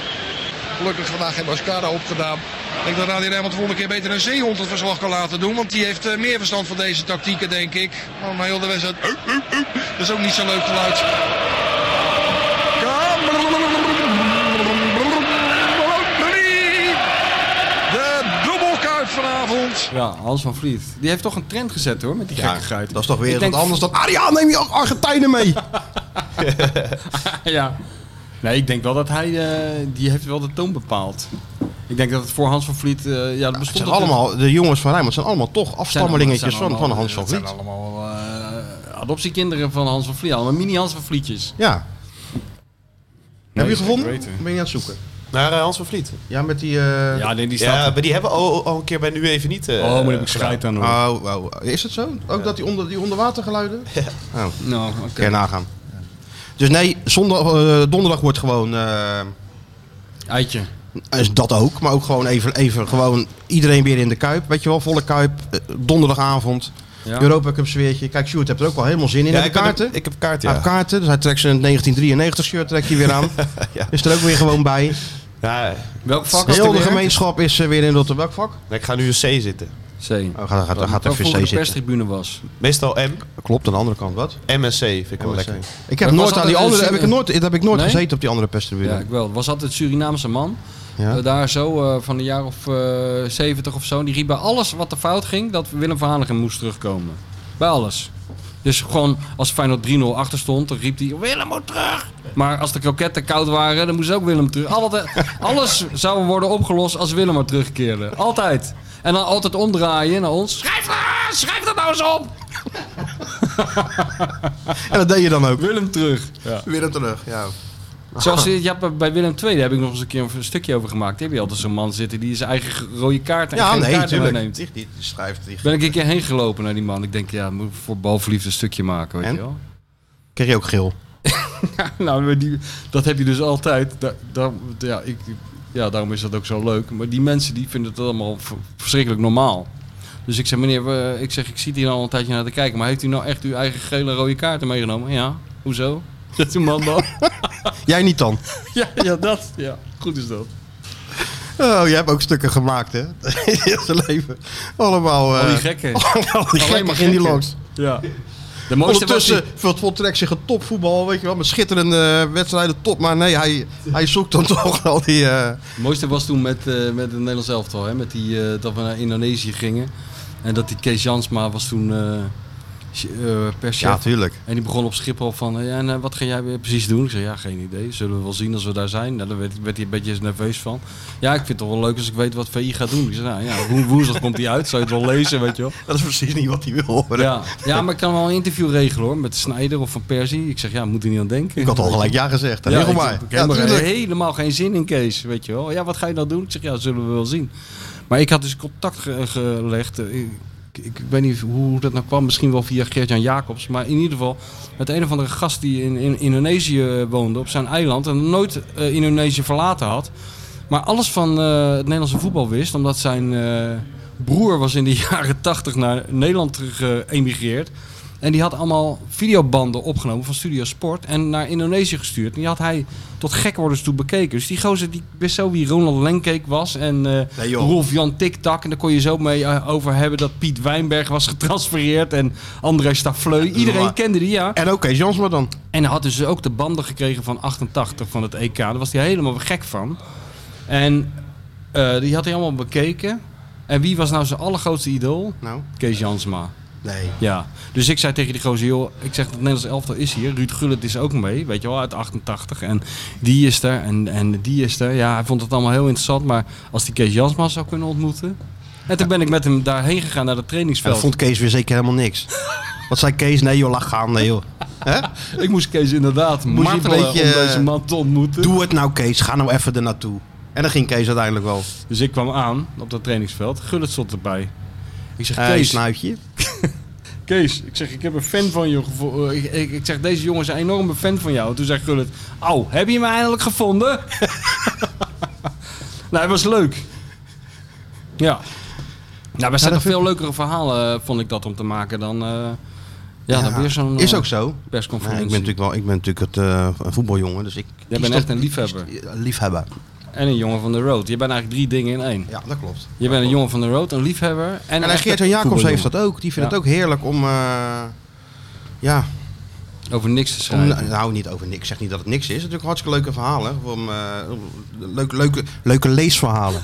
Gelukkig vandaag geen mascara opgedaan. Ik denk dat Radio Rijnmond de volgende keer beter een zeehond het verslag kan laten doen. Want die heeft eh, meer verstand van deze tactieken, denk ik. Dan heel de wedstrijd. Dat is ook niet zo'n leuk geluid. De dubbelkuip vanavond.
Ja, Hans van Vliet. Die heeft toch een trend gezet hoor, met die gekkigheid.
Nou, Dat is toch weer
Ik denk-
wat anders dan... Arja, neem je Argentijnen mee!
ja. Nee, ik denk wel dat hij, eh, die heeft wel de toon bepaald. Ik denk dat het voor Hans van Vliet, eh, ja, dat
Nou, Het
bestond
zijn
dat-
allemaal, de jongens van Rijnmond zijn allemaal toch
zijn
afstammelingetjes van,
allemaal- zijn
van
allemaal-
Hans van
Het
Vliet.
zijn allemaal eh, adoptiekinderen van Hans van Vliet. Allemaal mini Hans van Vlietjes.
Ja. Heb je gevonden?
weten.
Ben je aan het zoeken?
Naar eh, Hans van Vliet.
Ja, met die... eh,
Ja, nee, die staat...
Ja, maar die hebben we al, al een keer bij Nu Even Niet eh,
oh, maar daar heb ik
gedaan.
schijt aan hoor.
Oh, oh, is het zo? Ook dat die, onder, die onderwatergeluiden? Ja. Oh,
nou, oké.
kan je nagaan. Dus nee, zondag, eh, donderdag wordt gewoon... eh,
Eitje.
is dat ook, maar ook gewoon even, even gewoon iedereen weer in de Kuip. Weet je wel, volle Kuip, eh, donderdagavond,
Ja.
Europa Cup sfeertje. Kijk, Sjoerd hebt er ook wel helemaal zin in.
Ja,
Heb je
ik, ben-
kaarten?
ik heb kaarten,
Hij
ja.
heeft kaarten, dus hij trekt zijn 1993 shirt trekt hij weer aan.
Ja.
Is er ook weer gewoon bij.
Ja,
Welk vak was
Heel
er
de
weer?
gemeenschap is eh, weer in Rotterdam. Welk vak?
nee, ik ga nu een C zitten.
C.
Oh, gaat, gaat, gaat
Waar
even C
vroeger de
zitten.
perstribune was.
Meestal M.
Klopt, aan de andere kant wat?
M en C vind ik wel
MSC.
lekker.
Ik
was
heb nooit
dat
aan die
een
andere, heb
zin-
ik nooit, dat heb ik nooit
Nee?
gezeten op die andere perstribune.
Ja, ik wel. Was altijd een Surinaamse man.
Ja.
Eh, daar zo, eh, van een jaar of eh 70 of zo. Die riep bij alles wat er fout ging, dat Willem van Hanegem moest terugkomen. Bij alles. Dus gewoon als Feyenoord 3-0 achter stond, dan riep hij Willem moet terug. Maar als de kroketten koud waren, dan moest ook Willem terug. Altijd, alles zou worden opgelost als Willem maar terugkeerde. Altijd. En dan altijd omdraaien naar ons. Schrijf, dat- schrijf dat nou eens op!
En dat deed je dan ook.
Willem terug.
Weer hem terug, ja.
Zoals eh, je, je hebt bij Willem II, daar heb ik nog eens een keer een stukje over gemaakt. Daar heb je altijd zo'n man zitten die zijn eigen rode kaart en
Ja,
geen
nee,
kaart meer
natuurlijk.
neemt.
Die, die schrijft, die
Ben ik een keer heen gelopen naar die man. Ik denk, ja, moet voor balverliefd een stukje maken, weet
En?
je wel.
kreeg je ook geel.
nou, maar die, dat heb je dus altijd. Da- daar- ja, ik, ja, daarom is dat ook zo leuk. Maar die mensen die vinden het allemaal v- verschrikkelijk normaal. Dus ik zeg, meneer, we- ik zeg, ik zit hier al een tijdje naar te kijken. Maar heeft u nou echt uw eigen gele en rode kaarten meegenomen? Ja, hoezo? Zegt die man dan.
Jij niet dan?
ja, ja, dat. Ja, goed is dat.
Oh, jij hebt ook stukken gemaakt, hè? In zijn leven. Allemaal... eh,
Al die gekken.
allemaal die
Alleen maar
gekken in die
gekken.
langs.
Ja. De mooiste was die-
Ondertussen vult- voltrekt zich het topvoetbal, weet je wel, met schitterende eh, wedstrijden, top. Maar nee, hij, hij zoekt dan toch al die... eh,
Het mooiste was toen met, eh, met het Nederlands elftal, hè? Met die, eh, dat we naar Indonesië gingen. En dat die Kees Jansma was toen eh, ch- eh, perschef.
tuurlijk.
en die begon op Schiphol van, eh, ja, en eh, wat ga jij weer precies doen? Ik zei, ja, geen idee. Zullen we wel zien als we daar zijn? Nou, daar werd, werd hij een beetje nerveus van. Ja, ik vind het toch wel leuk als ik weet wat VI gaat doen. Ik zei, nou ja, wo- woensdag komt die uit. Zou je het wel lezen, weet je wel?
Dat is precies niet wat hij wil horen.
Ja. ja, maar ik kan wel een interview regelen, hoor. Met Snijder of Van Persie. Ik zeg, ja, moet er niet aan denken.
Ik had al gelijk ja gezegd. hè? Regel
ik-
maar.
Ik,
Ja,
heb er
tuurlijk.
helemaal geen zin in, Kees. Weet je wel. Ja, wat ga je nou doen? Ik zeg, ja, zullen we wel zien. Maar ik had dus contact ge- gelegd. eh, Ik, ik, ik weet niet hoe dat nou kwam. Misschien wel via Geert-Jan Jacobs. Maar in ieder geval met een of andere gast die in, in Indonesië woonde. Op zijn eiland. En nooit eh, Indonesië verlaten had. Maar alles van eh, het Nederlandse voetbal wist. Omdat zijn eh, broer was in de jaren tachtig naar Nederland geëmigreerd. En die had allemaal videobanden opgenomen van Studio Sport en naar Indonesië gestuurd. En die had hij tot gekwordens toe bekeken. Dus die gozer die wist zo wie Ronald Lenkeek was en eh
Nee, joh.
Rolf Jan Tiktak. En daar kon je zo mee eh, over hebben dat Piet Wijnberg was getransfereerd en André Stafleu. Iedereen
maar-
kende die, ja.
En oké, Jansma dan.
En hij had dus ook de banden gekregen van 88 van het EK. Daar was hij helemaal gek van. En eh, die had hij allemaal bekeken. En wie was nou zijn allergrootste idool?
Nou,
Kees Jansma.
Nee.
Ja. Dus ik zei tegen die gozer, joh, ik zeg, het Nederlands elftal is hier. Ruud Gullit is ook mee, weet je wel, uit 88. En die is er en, en die is er. Ja, hij vond het allemaal heel interessant. Maar als die Kees Jansma zou kunnen ontmoeten... En toen ben ik met hem daarheen gegaan, naar het
En dat
trainingsveld.
vond Kees weer zeker helemaal niks. Wat zei Kees? Nee joh, lach gaan. Nee joh. Hè?
Ik moest Kees inderdaad
Moest je een
martelen om
beetje,
deze man te ontmoeten.
Doe het nou Kees, ga nou even er naartoe. En dan ging Kees uiteindelijk wel.
Dus ik kwam aan op dat trainingsveld. Gullit stond erbij. Ik zeg,
Hey,
Kees,
eh, snuitje.
Kees, ik zeg, ik heb een fan van je gevonden. Ik, ik, ik zeg, deze jongen is een enorme fan van jou. Toen zei Gullit, au, heb je me eindelijk gevonden? nou, het was leuk. Ja. Nou, er zijn
dat
toch veel leukere verhalen, eh, vond ik dat, om te maken dan... eh, ja, dan weer zo'n eh,
Is ook zo. Nee,
persconferentie.
ik ben natuurlijk wel, ik ben natuurlijk het, eh, een voetbaljongen, dus ik.
Jij
kies
bent
toch-
echt een liefhebber.
Liefhebber.
En een jongen van de road. Je bent eigenlijk drie dingen in één.
Ja, dat klopt.
Je bent een jongen van de road, een liefhebber... En, een
En, en
echte
Geert en Jacobs
voetbaljongen.
heeft dat ook. Die vindt
Ja.
het ook heerlijk om, eh, ja,
Over niks te
om,
schrijven.
nou niet over niks. Ik zeg niet dat het niks is. Het is natuurlijk hartstikke leuke verhalen. Om, eh, leuk, leuke, leuke leesverhalen.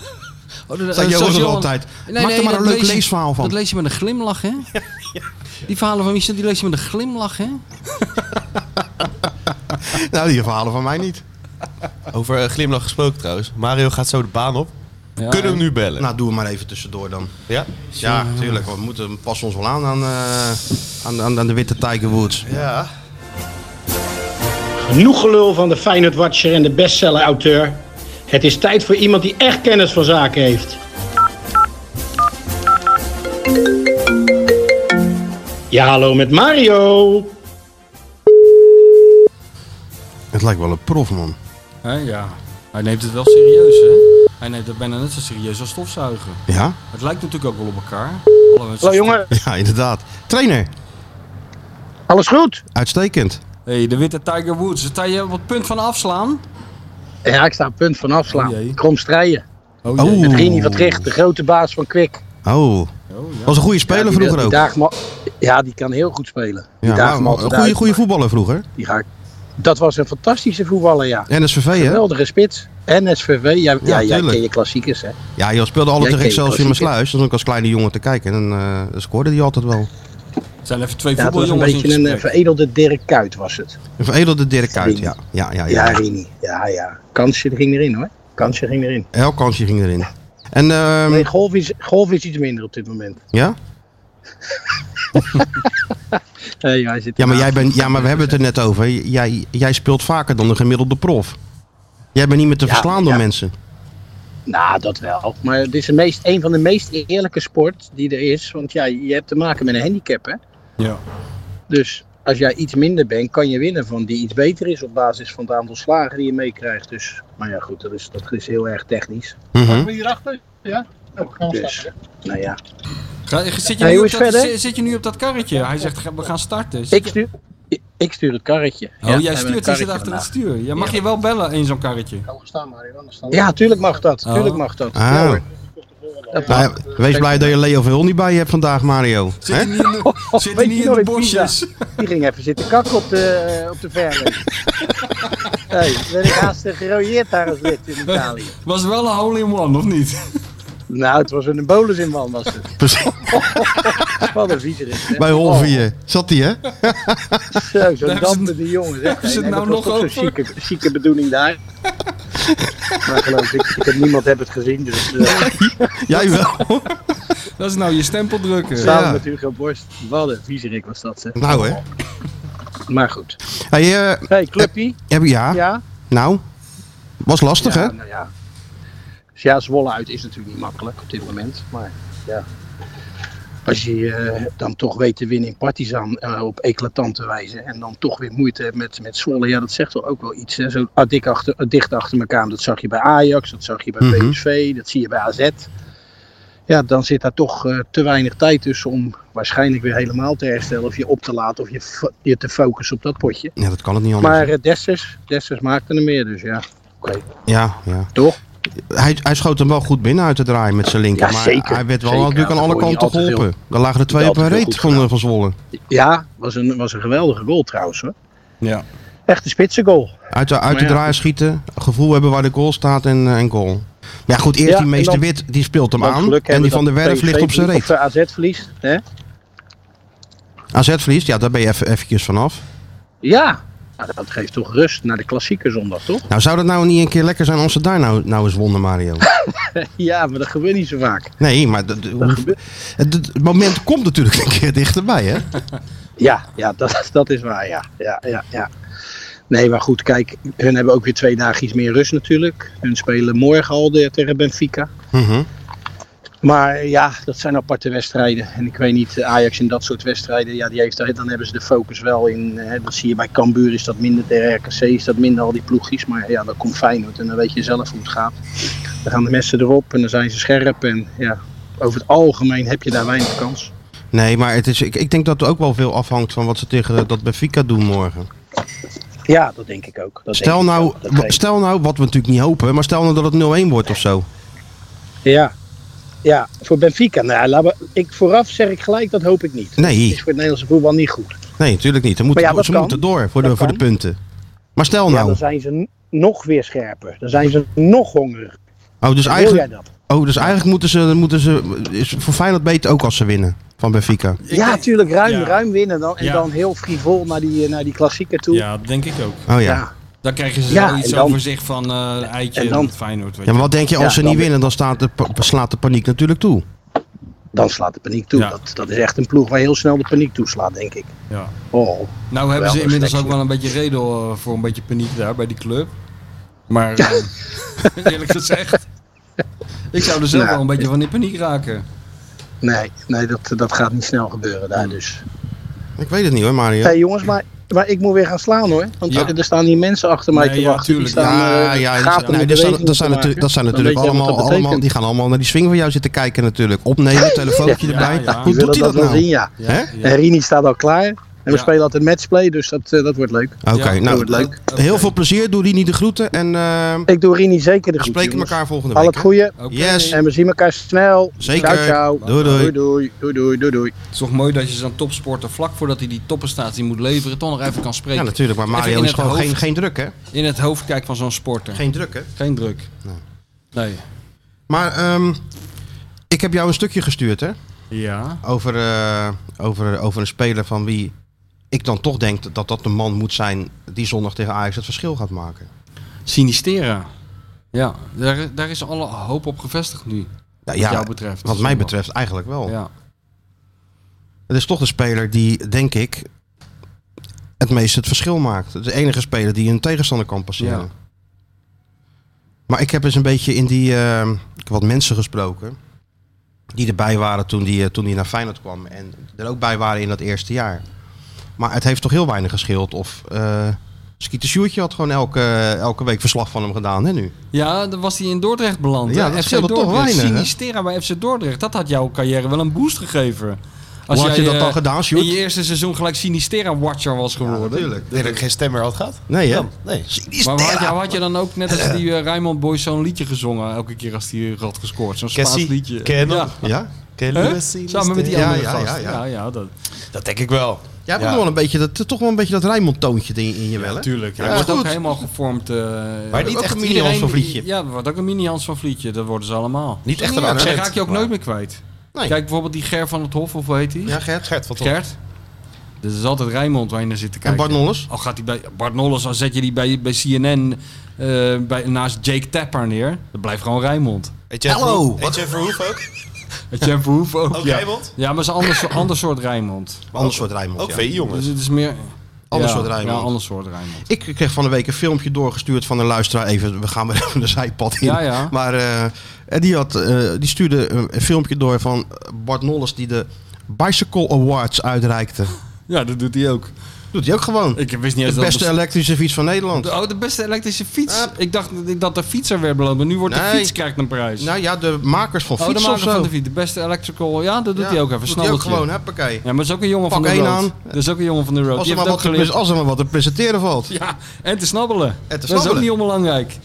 Oh, dat-
Zei
dat-
Johan
zoals
er
Johan-
altijd. Maak er maar
dat
een leuk
lees je-
leesverhaal van.
Dat lees je met een glimlach, hè? Die verhalen van Michel, die lees je met een glimlach, hè?
nou, die verhalen van mij niet.
Over eh, glimlach gesproken trouwens. Mario gaat zo de baan op. Kunnen we hem nu bellen?
Nou, doe hem maar even tussendoor dan.
ja?
Ja, tuurlijk. We moeten passen ons wel aan aan, eh, aan, aan, aan de witte Tiger Woods.
Ja.
Genoeg gelul van de Feyenoord Watcher en de bestseller-auteur. Het is tijd voor iemand die echt kennis van zaken heeft. Ja, hallo met Mario.
Het lijkt wel een prof, man.
Hè, ja. Hij neemt het wel serieus, hè? Hij neemt het bijna net zo serieus als stofzuigen.
Ja?
Het lijkt natuurlijk ook wel op elkaar.
Hallo jongen,
Ja, inderdaad. Trainer,
alles goed?
uitstekend.
Hé, hey, de witte Tiger Woods. Sta je op het punt van afslaan?
Ja, ik sta op punt van afslaan.
Oh, jee.
Krom strijden.
Oh,
jee.
Met
Oeh.
Rini van Tricht, de grote baas van Kwik.
Oh, was een goede speler
ja, die- eh,
vroeger
die
ook.
daag ma- ja, die kan heel goed spelen. Die
Ja,
daagt
maar
me
een
altijd
goede,
uit,
goede
maar
voetballer vroeger.
die ga ik- Dat was een fantastische voetballer, ja.
NSVV, hè?
Geweldige spits. NSVV, ja, ja, jij
tuurlijk.
ken je klassiekers, hè?
Ja, joh, speelde
Jij
altijd tegen
kent
Excelsior
klassieker.
Maasluis. Dan was ik als kleine jongen te kijken. En eh, dan scoorde hij altijd wel.
Er zijn even twee
Ja, het was een
voetbaljongens in
beetje een eh,
gesprek.
veredelde Dirk Kuyt was het.
Een veredelde Dirk Kuyt, ja.
Rini.
Ja, ja,
Ah, Ja,
ja.
Rini. Ja, ja. Kansje ging erin hoor. Kansje ging erin.
Elk kansje ging erin. En, ehm,
Nee, golf is, golf is iets minder op dit moment.
ja?
Nee, Eh, hij zit
Ja, maar jij
ernaast.
bent, ja, maar we hebben het er net over. Jij, jij speelt vaker dan de gemiddelde prof. Jij bent niet meer te
Ja,
verslaan door
ja.
mensen.
Nou, dat wel. Maar het is de meest, een van de meest eerlijke sport die er is. Want ja, je hebt te maken met een handicap hè.
Ja.
Dus als jij iets minder bent, kan je winnen van die iets beter is. Op basis van het aantal slagen die je meekrijgt. Dus, maar ja goed, dat is, dat is heel erg technisch.
Mhm.
hierachter? Ja?
Dus, nou ja.
Ga- Zit je,
Hey,
nu
hoe
op
is
dat,
verder?
zi- zit je nu op dat karretje? Hij zegt, ga- we gaan starten. Zit
Ik
je-
stuur, ik, ik stuur het karretje.
Oh, jij
Ja, we hebben een
stuurt, je zit
karretje
achter het
vandaag.
stuur. Ja, mag je wel bellen in zo'n karretje?
Ja, tuurlijk mag dat.
Oh.
Tuurlijk mag dat.
Ah.
Ja, hoor. Dat
Nou,
mag.
wees blij dat je Leo Verhul niet bij je hebt vandaag, Mario.
Zit hij
Hè?
niet in de, zit hij
weet
niet
je
in de
nooit,
bosjes?
Die ging even zitten kakken op de, eh, op de verre. hey, ben ik haast gerooieerd daar als lid in Italië.
Was wel een hole-in-one, of niet?
Nou, het was een bolus in man, was het.
Precies.
Wat een viezer is het, hè?
Bij
Oh,
Holvier. Zat hij, hè?
Zo, zo'n
Daar hebben ze het-
dampende jongen.
daar
Zeg.
hebben ze het nou
dat
nog
was toch Zo'n
over.
zieke, zieke bedoeling daar. maar geloof ik, ik heb, niemand heeft het gezien. Dus eh,
Jij wel.
Dat is nou je stempel drukken.
samen
Ja.
met Hugo Borst. Wat een viezerik was dat, zeg.
Nou, hè.
Maar goed.
Hey, eh,
Hey, Cluppie.
heb, ja,
Ah.
Ja?
nou. Was lastig,
ja,
hè?
Nou ja. Dus ja, Zwolle uit is natuurlijk niet makkelijk op dit moment. Maar ja. Als je eh, dan toch weet te winnen in Partizan eh, op eclatante wijze. En dan toch weer moeite hebt met, met Zwolle. Ja, dat zegt toch ook wel iets. Hè? Zo ah, dik achter, ah, dicht achter elkaar. Dat zag je bij Ajax. Dat zag je bij
Mhm.
PSV. Dat zie je bij AZ. Ja, dan zit daar toch eh, te weinig tijd tussen om waarschijnlijk weer helemaal te herstellen. Of je op te laten. Of je, fo- je te focussen op dat potje.
Ja, dat kan het niet anders.
Maar eh, Dessers, Dessers maakte er meer. Dus ja, oké.
Ja, ja.
Toch?
Hij, hij schoot hem wel goed binnen uit te draaien met zijn linker.
Ja,
maar
zeker.
hij werd wel
Zeker.
natuurlijk aan alle
Daar word je
kanten
al te veel-
geholpen. Er lagen er twee
al
op
te
een
veel
reet
goed
van,
gedaan.
van Zwolle.
Ja, was een, was een geweldige goal trouwens hoor.
Ja.
Echt een spitse goal.
Uit de, uit
Maar
de
ja,
draaier
goed.
schieten, gevoel hebben waar de goal staat en, eh, en goal. Maar ja, goed, eerst
Ja,
die
en
meester
dan-
Wit, die speelt hem
Dan
aan.
geluk
En
hebben
die van
dat
der Werf
PSV
ligt op zijn
eh, verliest,
reet.
Of eh, AZ verliest. Hè?
AZ verliest, ja, daar ben je even eventjes vanaf.
Ja, nou, dat geeft toch rust naar de klassieke zondag, toch?
Nou, zou dat nou niet een keer lekker zijn als ze daar nou, nou eens wonnen, Mario?
Ja, maar dat gebeurt niet zo vaak.
Nee, maar dat- hoe-
gebeurt-
het, het moment komt natuurlijk een keer dichterbij, hè?
Ja, ja dat, dat is waar, ja. ja, ja, ja. Nee, maar goed, kijk, hun hebben ook weer twee dagen iets meer rust natuurlijk. Hun spelen morgen al de, tegen Benfica.
Mhm.
Maar ja, dat zijn aparte wedstrijden. En ik weet niet, Ajax in dat soort wedstrijden, ja, die heeft, daar- dan hebben ze de focus wel in. Hè, dat zie je bij Cambuur is dat minder, tegen RKC is dat minder, al die ploegjes. Maar ja, dan komt Feyenoord en dan weet je zelf hoe het gaat. Dan gaan de mensen erop en dan zijn ze scherp. En ja, over het algemeen heb je daar weinig kans.
Nee, maar het is, ik, ik denk dat het ook wel veel afhangt van wat ze tegen eh, dat Benfica doen morgen.
Ja, dat denk ik ook. Dat
Stel
denk ik
nou,
wel. Dat
wa-
weet-
stel nou, wat we natuurlijk niet hopen, maar stel nou dat het 0-1 wordt of zo.
Ja. ja, voor Benfica. Nou, ja, laten we- ik, vooraf zeg ik gelijk, dat hoop ik niet. Dat is
Nee,
voor het Nederlandse voetbal niet goed.
nee, natuurlijk niet. Ze moeten,
Maar
door-
ja, dat
ze
kan.
moeten door voor de,
Dat
voor de
kan.
punten. Maar stel
Ja, dan
nou,
zijn ze n- nog weer scherper. Dan zijn ze nog hongeriger.
oh, dus
Wil jij
eigenlijk,
dat?
oh, dus eigenlijk moeten ze, moeten ze is voor Feyenoord beter ook als ze winnen van Benfica.
ja,
denk-
natuurlijk ruim,
Ja.
ruim winnen dan, en
Ja.
dan heel frivol naar die, eh, naar die klassieker toe.
Ja, dat denk ik ook.
Oh ja.
Ja.
Dan krijgen ze
Ja,
wel iets
en dan-
over zich van eh eitje
en dan-
dan, Feyenoord. Weet
Ja,
je.
maar wat denk je, als
Ja,
ze
dan
niet
weer-
winnen, dan staat de, pa- slaat de paniek natuurlijk toe.
dan slaat de paniek toe.
Ja.
Dat, dat is echt een ploeg waar heel snel de paniek toeslaat, denk ik.
Ja.
Oh,
Nou hebben
Wel,
ze
dat
inmiddels
is
ook wel een beetje reden eh, voor een beetje paniek daar bij die club. Maar eh, eerlijk gezegd, ik zou er zelf
Nou,
wel een beetje van in paniek raken.
nee, nee dat, dat gaat niet snel gebeuren
Mm.
daar dus.
Ik weet het niet hoor, Mario.
Hé hey, jongens, maar, maar ik moet weer gaan slaan hoor. Want
Ja.
er er staan hier mensen achter mij
Nee,
te
ja,
wachten. Die
tuurlijk.
staan,
ja,
eh,
ja,
gaten
dat, nee,
met
dat, zijn,
beweging
dat
te
zijn
maken.
natuurlijk, dat zijn
Dan
natuurlijk
weet jij
allemaal,
wat dat
allemaal,
betekent.
die gaan allemaal naar die swing van jou zitten kijken natuurlijk. Opnemen, telefoontje
Ja,
erbij.
ja.
Hoe
Die
doet
willen
hij
dat
dat,
wel
nou?
zien, ja.
Ja,
Hè?
En Rini staat al klaar. En we
Ja.
spelen altijd matchplay, dus dat, eh, dat wordt leuk.
Oké,
Ja,
nou,
wordt leuk.
Oké.
heel veel plezier. Doe die niet de groeten en eh
Ik doe Rini zeker de
we
groeten.
spreken
jongens.
elkaar volgende
Al
week.
het
hè?
goede.
Oké.
Yes.
En we zien elkaar snel.
Zeker.
Ciao, ciao.
Doei, doei.
Doei, doei, doei, doei, doei.
Het is toch mooi dat je zo'n topsporter vlak voordat hij die toppenstatie moet leveren, toch nog even kan
Ja,
spreken.
natuurlijk, maar
Even
Mario
in
is
het
gewoon
hoofd.
geen, geen druk, hè?
in het hoofd kijken van zo'n sporter.
Geen
Geen,
druk, hè?
druk.
Nee.
Nee.
Maar ehm, ik heb jou een stukje gestuurd, hè?
Ja.
Over, eh, over, over een speler van wie ik dan toch denk dat dat de man moet zijn die zondag tegen Ajax het verschil gaat maken.
Sinistera. Ja, daar, daar is alle hoop op gevestigd nu.
Nou,
Wat
ja,
jou betreft.
wat mij betreft eigenlijk wel.
Ja.
Het is toch de speler die, denk ik, het meest het verschil maakt. Het is De enige speler die een tegenstander kan passeren.
Ja.
Maar ik heb eens een beetje in die... eh, ik heb wat mensen gesproken die erbij waren toen die, eh, toen die naar Feyenoord kwam. En er ook bij waren in dat eerste jaar. Maar het heeft toch heel weinig gescheeld. Of eh Skeeter Sjoerdje had gewoon elke, elke week verslag van hem gedaan, hè, nu?
Ja, dan was hij in Dordrecht beland.
Ja,
hè?
dat
FC
scheelde toch
Dordrecht.
weinig, hè?
Sinistera bij FC Dordrecht. Dat had jouw carrière wel een boost gegeven.
Hoe had je dat
eh,
dan gedaan, Sjoerd?
In je eerste seizoen gelijk Sinistera-watcher was geworden.
Ik denk dat ik geen stem meer had gehad.
Nee, hè?
Nee.
maar had je, had je dan ook net als die eh, Raymond Boys zo'n liedje gezongen elke keer als hij had gescoord? Zo'n Spaans
Cassie,
liedje.
ken je
ja.
nog?
Ja?
Ken je
Hè?
Louis
Samen met die
Ja,
andere
ja,
gast.
ja, ja.
dat.
Dat denk ik wel.
Jij hebt ook
Ja.
nog wel een beetje dat, toch wel een beetje dat Rijnmond-toontje in, in je wel, hè?
Tuurlijk.
Hij
is
wordt ook
goed.
helemaal gevormd. eh,
Maar niet
Ook
echt
een mini
iedereen
Hans van
die-
Vlietje.
Ja, er wordt ook een mini-Hans van Vlietje. Dat worden ze allemaal.
Niet echt een
Ja,
Daar
accent.
raak je ook
maar-
nooit meer kwijt.
Nee.
Kijk bijvoorbeeld die Ger van het Hof, of hoe heet die?
Ja, Gert.
Gert, wat toch?
Gert. Dus is altijd Rijnmond waar je naar zit te
En
kijken.
Bart Nolles?
Al gaat hij bij Bart Nolles, al zet je die bij, bij CNN eh, bij, naast Jake Tapper neer. Dat blijft gewoon Rijnmond.
Heet jij
Hallo.
Verhoef- Heet jij Verhoef ook?
Het Jeff Verhoeven ook.
Ook
ja.
Rijnmond?
Ja, maar het is een ander, soort- ander soort Rijnmond.
Ander soort Rijnmond,
Ook
ja.
VI
Dus
jongens.
het is meer...
Ander
ja,
soort Rijnmond.
Ja, ander soort Rijnmond.
Ik kreeg van de week een filmpje doorgestuurd van een luisteraar. Even, we gaan weer even de zijpad in.
Ja, ja.
Maar eh, en die, had, eh, die stuurde een, een filmpje door van eh, Bart Nolles die de Bicycle Awards uitreikte.
Ja, dat doet hij ook.
Doet hij ook gewoon.
Ik wist niet
de
eens dat...
beste
best-
elektrische fiets van Nederland.
Oh, de beste elektrische fiets.
Ja.
Ik dacht dat- dat de fietser werd beloond, maar nu wordt
Nee.
de fiets krijgt een prijs.
Nou ja, de makers van
oh, de
fietsen
maker
of zo.
van de fiets. De beste electrical. Ja, dat doet hij ook even.
Doet hij ook
Snabeltje.
gewoon, huppakee.
Ja, maar dat is ook een jongen
Pak
van de
één
road.
aan.
Dat is ook een jongen van de road.
Als er,
Die
maar
heeft
wat
ook
te,
geleerd.
pres- als er maar wat te presenteren valt.
Ja, en te snabbelen.
En te
Dat is ook
snabbelen.
niet onbelangrijk.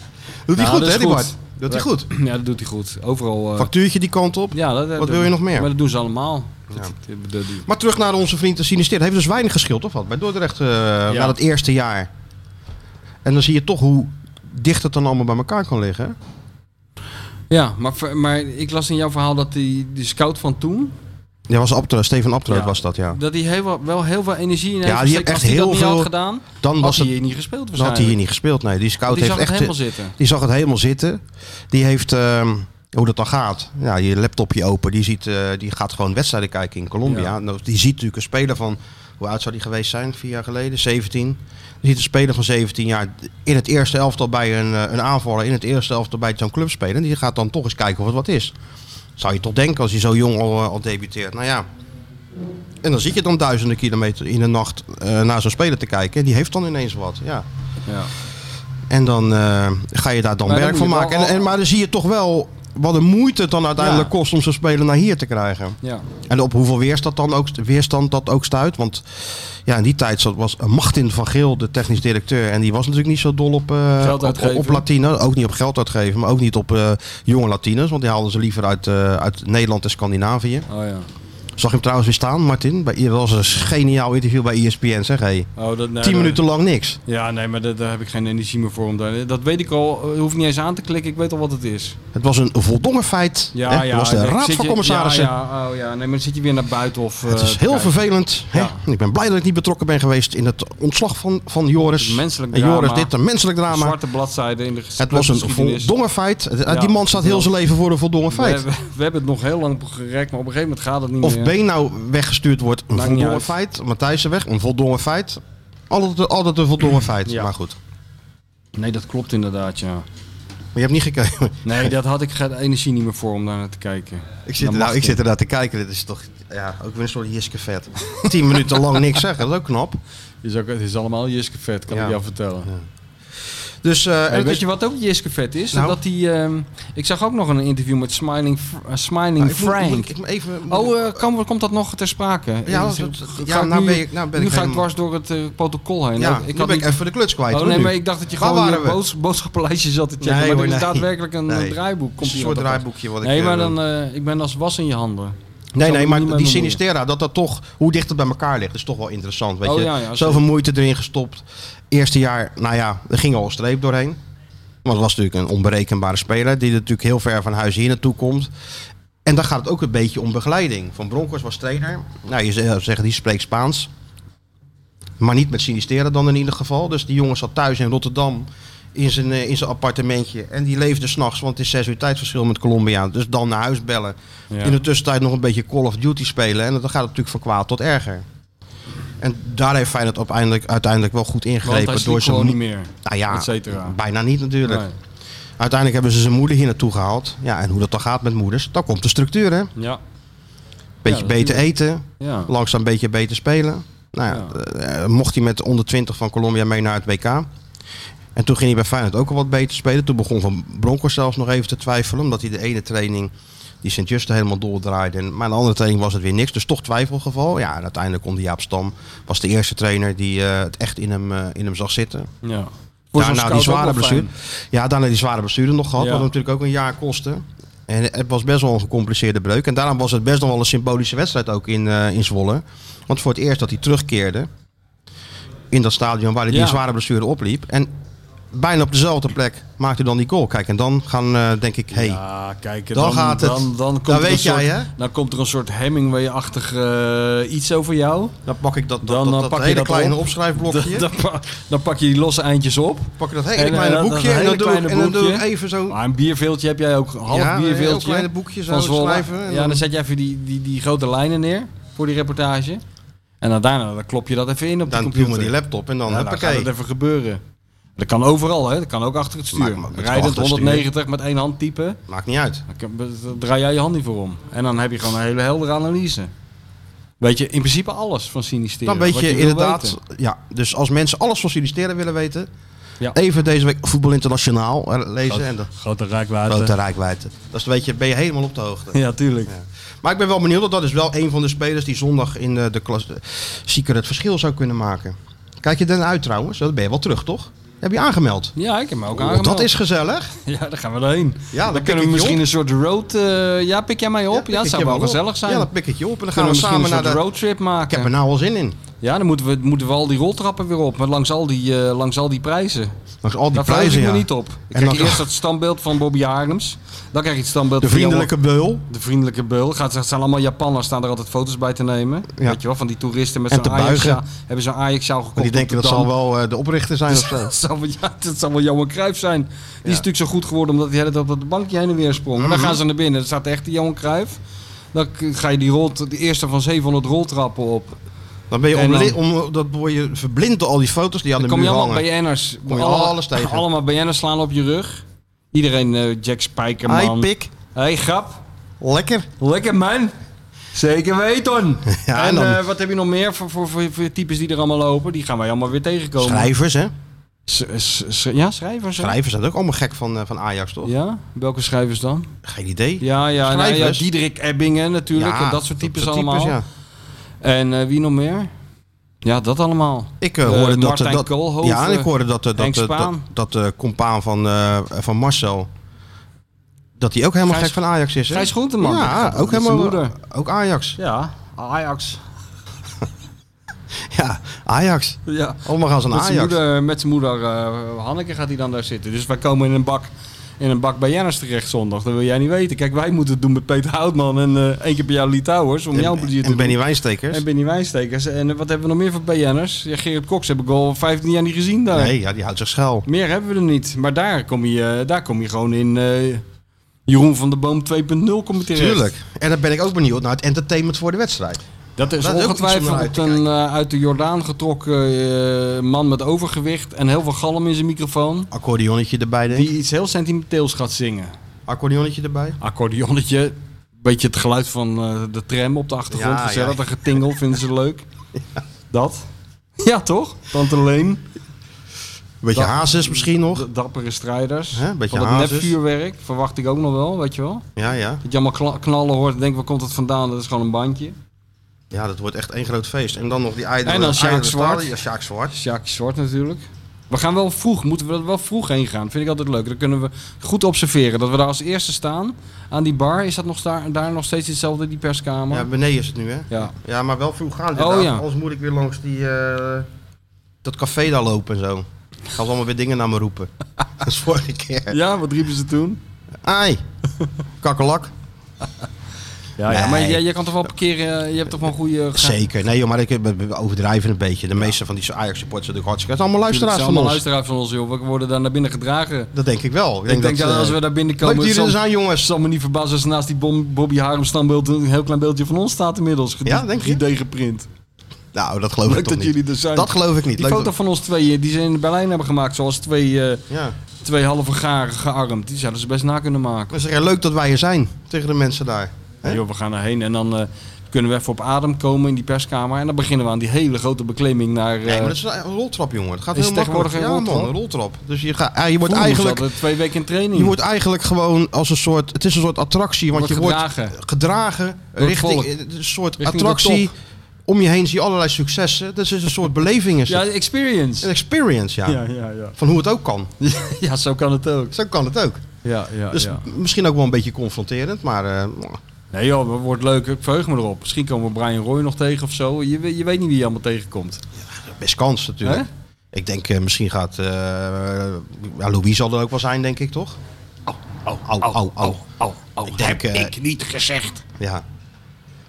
Doet hij
Ja,
goed,
Nou,
hè,
dat is
die
goed.
Bart? Doet hij goed.
Ja, dat doet hij goed. Overal. eh,
Factuurtje die kant op.
ja, dat, dat-
Wat wil je nog meer?
Maar dat doen ze allemaal. Dat-
Ja.
dat- dat- die-
Maar terug naar onze vriend de Sinister. Het heeft dus weinig geschild, of wat? Bij Dordrecht eh na dat eerste jaar. En dan zie je toch hoe dicht het dan allemaal bij elkaar kan liggen. hè?
Ja, maar, ver- maar ik las in jouw verhaal dat die, die scout van toen.
Ja, was Abtro, Steven Abtro
Ja.
was dat, ja.
Dat hij heel, wat- wel heel veel energie in heeft
die heeft
gesteekt.
echt
Als hij
heel
dat niet had
veel-
gedaan,
Dan
had
was
hij
het,
hier niet gespeeld
dan had hij hier niet gespeeld. Nee, die scout
Die
heeft
zag het
echt... eh,
helemaal zitten.
Die zag het helemaal zitten. Die heeft, ehm, hoe dat dan gaat, ja, je laptopje open. Die, ziet, eh, die gaat gewoon wedstrijden kijken in Colombia.
Ja.
Nou, die ziet natuurlijk een speler van, hoe oud zou die geweest zijn? Vier jaar geleden, 17. Die ziet een speler van 17 jaar in het eerste elftal bij een, eh, een aanvaller. In het eerste elftal bij zo'n club spelen. Die gaat dan toch eens kijken of het wat is. Zou je toch denken als hij zo jong al, eh, al debuteert. Nou ja. En dan zit je dan duizenden kilometer in de nacht eh, naar zo'n speler te kijken. En die heeft dan ineens wat. Ja.
Ja.
En dan eh, ga je daar dan
Maar dan
werk
moet
van
je
maken.
wel-
En, en, maar dan zie je toch wel wat een moeite het dan uiteindelijk
Ja.
kost om zo'n speler naar hier te krijgen.
Ja.
En op hoeveel weerstand, dan ook, weerstand dat ook stuit. Want ja, in die tijd zat- was Martin van Geel de technisch directeur. En die was natuurlijk niet zo dol op, eh,
Geld
op- op,
uitgeven.
op Latino. Ook niet op geld uitgeven, maar ook niet op eh, jonge Latinos. Want die haalden ze liever uit, eh, uit Nederland en Scandinavië.
Oh ja.
Zag je hem trouwens weer staan, Martin? Bij, dat was een geniaal interview bij E ESPN, zeg hé.
Oh, dat, nee,
Tien
dat-
minuten lang niks.
Ja, nee, maar dat- daar heb ik geen energie meer voor. Om daar, dat weet ik al. eh, hoef niet eens aan te klikken. Ik weet al wat het is.
Het was een voldongen feit.
Ja,
hè?
ja.
Het was de
nee,
raad
zit
van
je-
commissarissen.
Ja, ja, oh ja. Nee, maar dan zit je weer naar buiten of... eh,
Het is
te
heel
kijken.
vervelend. Hè?
Ja.
Ik ben blij dat ik niet betrokken ben geweest in het ontslag van, van Joris.
Het menselijk
en Joris
drama.
dit, een menselijk
Een
drama.
zwarte bladzijde in de
Het was een
geschiedenis.
voldongen feit. Eh,
Ja,
Die man staat heel
wel.
zijn leven voor een voldongen
We
feit.
hebben, we hebben het nog heel lang gerekt, maar op een gegeven moment gaat het niet
Of
meer.
Been nou weggestuurd wordt, een
Maakt niet
voldongen
uit.
feit. Matthijssen weg, een voldongen feit. Altijd, altijd een voldongen feit.
Ja.
Maar goed,
Nee, dat klopt inderdaad, ja.
maar je hebt niet gekeken.
Nee, dat had ik geen energie niet meer voor om daar naar te kijken.
Ik
Dan
zit, er
mag
nou, ik
je.
zit ernaar te kijken. Dit is toch ja, ook weer een soort Jiske vet. Tien minuten lang niks zeggen, dat is ook knap.
Is ook, het is allemaal Jiske vet, kan
Ja.
ik jou vertellen.
Dus, eh,
Hey,
het
weet
is-
je wat ook Jiske vet is?
Nou?
Dat die, ehm, ik zag ook nog een interview met Smiling, Fr- eh, Smiling
Nou, ik moet-
Frank.
moet ik- ik moet even,
Oh, eh, kan- komt dat nog ter sprake?
Ja,
Eh,
dat-
ga
ja,
ik
nou
nu,
ben ik- nou ben
nu
ik
ga ik
helemaal-
dwars door het eh, protocol heen.
ja,
Ook-
ik
ik
nu ben ik
niet-
even de kluts kwijt.
Oh
hoor,
nee,
nu.
maar ik dacht dat je
Waar
gewoon
waren
je
we?
boos, boodschappenlijstje zat te checken.
Nee,
maar
hoor,
dit is
nee.
daadwerkelijk een
Nee.
eh, draaiboek.
een
Komt hier
soort
altijd uit.
draaiboekje wat ik...
Nee,
eh,
maar dan, eh, ik ben als was in je handen.
nee,
zal
nee,
me
maar
niet mee
die
bemoeien.
Sinistera, dat dat toch, hoe dicht het bij elkaar ligt, is toch wel interessant. Weet
Oh,
je,
ja, ja,
zoveel moeite erin gestopt. Eerste jaar, nou ja, er ging al een streep doorheen. Want het was natuurlijk een onberekenbare speler, die er natuurlijk heel ver van huis hier naartoe komt. En dan gaat het ook een beetje om begeleiding. Van Bronckhorst was trainer. Nou, je zou zeggen, die spreekt Spaans. Maar niet met Sinistera dan in ieder geval. Dus die jongen zat thuis in Rotterdam in zijn, eh, in zijn appartementje. En die leefde s'nachts, want het is zes uur tijdverschil met Colombia. Dus dan naar huis bellen.
Ja.
In de tussentijd nog een beetje Call of Duty spelen. En dan gaat het natuurlijk van kwaad tot erger. En daar heeft Feyenoord uiteindelijk, uiteindelijk wel goed
Want
ingegrepen.
hij
zijn
sliep gewoon niet
mo-
meer.
Nou ja,
et cetera.
bijna niet natuurlijk.
Nee.
Uiteindelijk hebben ze zijn moeder hier naartoe gehaald. Ja, en hoe dat dan gaat met moeders, dan komt de structuur hè.
Ja.
Beetje
Ja,
beter eten,
Ja.
langzaam een beetje beter spelen. Nou ja, eh, mocht hij met de onder 20 van Colombia mee naar het WK. En toen ging hij bij Feyenoord ook al wat beter spelen. Toen begon Van Bronckhorst zelfs nog even te twijfelen. Omdat hij de ene training die Sint-Juste helemaal doordraaide. En, maar de andere training was het weer niks. Dus toch twijfelgeval. Ja, en uiteindelijk kon die Jaap Stam. Was de eerste trainer die eh, het echt in hem, eh, in hem zag zitten.
ja. Voor zo'n
Daarna
scout
nou, die
ook
zware
wel
blessure.
fijn.
Ja, daarna die zware blessure nog gehad.
Ja.
Wat hem natuurlijk ook een jaar kostte. En het was best wel een gecompliceerde breuk. En daarom was het best nog wel een symbolische wedstrijd ook in, eh, in Zwolle. Want voor het eerst dat hij terugkeerde in dat stadion waar hij
Ja.
die zware blessure opliep. En bijna op dezelfde plek maakte hij dan die goal. Kijk, en dan gaan eh, denk ik, hey,
Ja, kijk, dan,
Dan gaat het.
Dan, dan,
Dan
komt er
weet
een soort,
jij, hè?
Dan komt er een soort Hemingway-achtig eh, iets over jou.
dan pak ik dat, dat,
Dan,
dat,
dan
dat
pak je
hele
dat
kleine
op.
opschrijfblokje.
Dan, pa- dan pak je die losse eindjes op.
pak ik dat hele
En, eh,
kleine
dat- dat
boekje en
hele
dan, doe ik,
kleine
en dan doe ik
boekje.
even zo...
Maar een bierveeltje heb jij ook. Een half
Ja, een heel
bierveeltje.
kleine boekje zo
van Zwolle.
schrijven en
Ja, dan
dan-
zet je even die, die, die grote lijnen neer voor die reportage. En dan daarna dan klop je dat even in op de
Dan doen
computer.
we die laptop en dan,
Ja, dan
huppakee.
gaat het even gebeuren. Dat kan overal, hè? Dat kan ook achter het stuur.
Maar- maar- maar-
Rijdend
achter het stuur.
190 met één hand typen.
Maakt niet uit.
Dan kan- dan draai jij je hand niet voor om. En dan heb je gewoon een hele heldere analyse. Weet je, in principe alles van sinisteren.
Dan weet
wat
je,
wil
inderdaad.
weten.
Ja, dus als mensen alles van solliciteren willen weten.
Ja.
Even deze week Voetbal Internationaal eh, lezen. en de
Grote rijkwaarde.
grote rijkwijde. Dat is, weet je, ben je helemaal op de hoogte.
Ja, tuurlijk.
Maar ik ben wel benieuwd. want Dat is wel een van de spelers die zondag in eh, de klas eh, zieker het verschil zou kunnen maken. Kijk je dan uit trouwens? Dan ben je wel terug, toch? Heb je aangemeld?
Ja, ik heb me ook
Oh,
aangemeld.
dat is gezellig.
Ja, daar gaan we erheen.
Ja, dan
dan
pik
kunnen
ik
we
je
misschien
op.
een soort road... eh, ja, pik jij mij op? Ja,
pik
dat
ik
zou
je
wel
op.
gezellig zijn.
Ja, dan pik ik je op en dan
Kunnen
gaan we
misschien
samen
een
naar
soort
de...
roadtrip maken.
Ik heb er nou al zin in.
Ja, dan moeten we, moeten we al die roltrappen weer op. Maar langs al die, eh, langs al die prijzen.
Langs al die
Daar verheug
prijzen,
ik me
ja.
niet op. Ik
En
krijg
dan-
eerst dat standbeeld van Bobby Harms. Dan krijg je het standbeeld
De
van Johan-
vriendelijke beul.
de vriendelijke beul. Gaat, het zijn allemaal Japanners, staan er altijd foto's bij te nemen.
Ja.
Weet je wel, van die toeristen met
En
zo'n
te
ajax
buigen.
Hebben zo'n ajax gekocht.
Maar die denken
op
dat
de
ze
Dam.
wel eh, de oprichter zijn of zo.
Dat zal wel, ja, dat zal wel Johan Cruijff zijn. Die is natuurlijk zo goed geworden omdat hij de hele tijd op dat bankje heen en weer sprong.
Mhm.
En dan gaan ze naar binnen. Dan staat echt de Johan Cruijff. Dan k- ga je die rolt, de eerste van 700 roltrappen op.
Dan ben je,
En dan-
omli- om, dat word je verblind door al die foto's die aan
Dan
de
kom
muur
je allemaal
hangen.
BN'ers.
Kom je
Allemaal-
alles tegen.
Allemaal BN'ers slaan op je rug. Iedereen eh, Jack
Hi,
Spijkerman.
pik.
hey, grap.
Lekker.
Lekker man. Zeker weten.
Ja,
en
en dan-
eh, wat heb je nog meer voor, voor, voor, voor types die er allemaal lopen? Die gaan wij allemaal weer tegenkomen.
Schrijvers, hè?
S- s- s- ja, schrijvers. hè?
Schrijvers zijn ook allemaal gek van, eh, van Ajax, toch?
Ja, welke schrijvers dan?
Geen idee.
Ja, ja, nou, ja
Schrijvers.
Diederik Ebbingen natuurlijk. en dat soort types allemaal.
ja.
En eh, wie nog meer? Ja, dat allemaal.
Ik eh,
Eh,
hoorde dat...
Martijn
dat,
Koolhoven,
ja, en ik hoorde dat eh,
Henk
dat, eh, dat,
Spaan.
dat de compaan van, eh, van Marcel... Dat hij ook helemaal
Gijs-
gek van Ajax is, hè?
Gijs Groenteman.
Ja,
Dat gaat
ook
met zijn
helemaal...
moeder.
Ook Ajax.
Ja, Ajax.
Ja, Ajax.
Ja.
Allemaal gaan ze naar
Met zijn
Ajax.
moeder, met zijn moeder eh, Hanneke gaat hij dan daar zitten. Dus wij komen in een bak, in een bak bij Jenners terecht zondag. Dat wil jij niet weten. Kijk, wij moeten het doen met Peter Houtman en eh één keer bij jou Litouwers. Om jouw plezier te
en
doen.
Benny Wijnstekers.
En Benny Wijnstekers. En eh, wat hebben we nog meer van BN'ers? Ja, Gerrit Koks heb ik al 15 jaar niet gezien daar.
Nee, ja, die houdt zich schuil.
Meer hebben we er niet. Maar daar kom je, eh, daar kom je gewoon in eh, Jeroen van der Boom 2.0 kom je terecht.
Tuurlijk. En dan ben ik ook benieuwd naar het entertainment voor de wedstrijd.
Dat is
Dat is ook iets om naar uit
ongetwijfeld
te
een eh, uit de Jordaan getrokken eh, man met overgewicht en heel veel galm in zijn microfoon.
Accordeonnetje erbij, denk ik.
Die iets heel sentimenteels gaat zingen.
Accordeonnetje erbij.
Accordeonnetje. Beetje het geluid van eh, de tram op de achtergrond.
Ja,
gezellig,
ja.
dat getingel vinden ze leuk. Dat. Ja, toch? Tante Leen.
Beetje
Dat-
hazes misschien nog.
De dappere strijders.
Hè, beetje
van dat
hazes.
nepvuurwerk verwacht ik ook nog wel, weet je wel.
Ja, ja.
Dat je allemaal kla- knallen hoort en denkt, waar komt dat vandaan? Dat is gewoon een bandje.
Ja, dat wordt echt één groot feest. En dan nog die ijdele...
En dan Sjaak
ijdele
Zwart.
talen. Ja, Sjaak Zwart.
Sjaakje Zwart natuurlijk. We gaan wel vroeg, moeten we er wel vroeg heen gaan. Vind ik altijd leuk. Dan kunnen we goed observeren. Dat we daar als eerste staan aan die bar. Is dat nog daar, daar nog steeds hetzelfde, die perskamer?
Ja, beneden is het nu, hè?
ja.
Ja, maar wel vroeg gaan.
Oh,
Oh,
ja.
Anders moet ik weer langs die, eh, dat café daar lopen en zo. Gaan ze allemaal weer dingen naar me roepen. dat is vorige keer.
ja, wat riepen ze toen?
Ai, kakkelak.
Ja, ja,
Nee.
maar jij, jij kan toch wel parkeren, eh, je hebt toch wel een goede...
Zeker. Nee, joh, maar ik eh, we- we overdrijven een beetje. De meeste van die Ajax supporters zijn natuurlijk hartstikke... Het is allemaal
Tuurlijk,
luisteraars
het
van
zijn allemaal
ons.
luisteraars van ons, joh. We worden daar naar binnen gedragen.
Dat denk ik wel.
Ik denk dat,
eh,
als we daar binnenkomen...
Leuk dat jullie dus
zal-
er zijn, jongens.
Het zal me niet verbazen als naast die bom, Bobby Harum standbeeld een heel klein beeldje van ons staat inmiddels. Ged-
Ja, denk je?
3D geprint.
Nou, dat geloof
Leuk
ik toch
dat
niet.
jullie er zijn.
Dat geloof ik niet.
Die
Leuk
foto
dat-
van ons tweeën, die ze in Berlijn hebben gemaakt, zoals twee, eh,
Ja.
twee halve garen gearmd. Die zouden ze best na kunnen maken.
Maar zeg, ja, leuk dat wij er zijn. Tegen de mensen daar. Hè?
Joh, we gaan erheen en dan eh, kunnen we even op adem komen in die perskamer. En dan beginnen we aan die hele grote beklimming naar... eh,
Nee, maar dat is een roltrap, jongen. Dat gaat
Is
heel
het tegenwoordig
makkelijk. Ja,
een roltrap?
man, een roltrap. Dus je, gaat, ja, je wordt
vroeger moest
eigenlijk...
dat, eh, twee weken in training.
Je wordt eigenlijk gewoon als een soort... Het is een soort attractie, want
Wordt
je wordt
gedragen.
gedragen
het
richting...
volk.
eh, Een soort
Richting de
attractie.
top.
Om je heen zie je allerlei successen. Dus het is een soort beleving. Is
Ja,
het. Een
experience.
experience, ja.
ja, ja.
Van hoe het ook kan.
Ja, zo kan het ook.
Zo kan het ook.
Ja, ja,
Dus
ja.
misschien ook wel een beetje confronterend, maar... eh,
Nee joh, het wordt leuk. Ik verheug me erop. Misschien komen we Brian Roy nog tegen of zo. Je, we- je weet niet wie je allemaal tegenkomt.
Best kans natuurlijk.
Hè?
Ik denk eh, misschien gaat... eh ja, Louis zal er ook wel zijn, denk ik, toch? Oh, oh, oh, oh. ik denk, eh,
niet gezegd.
Ja.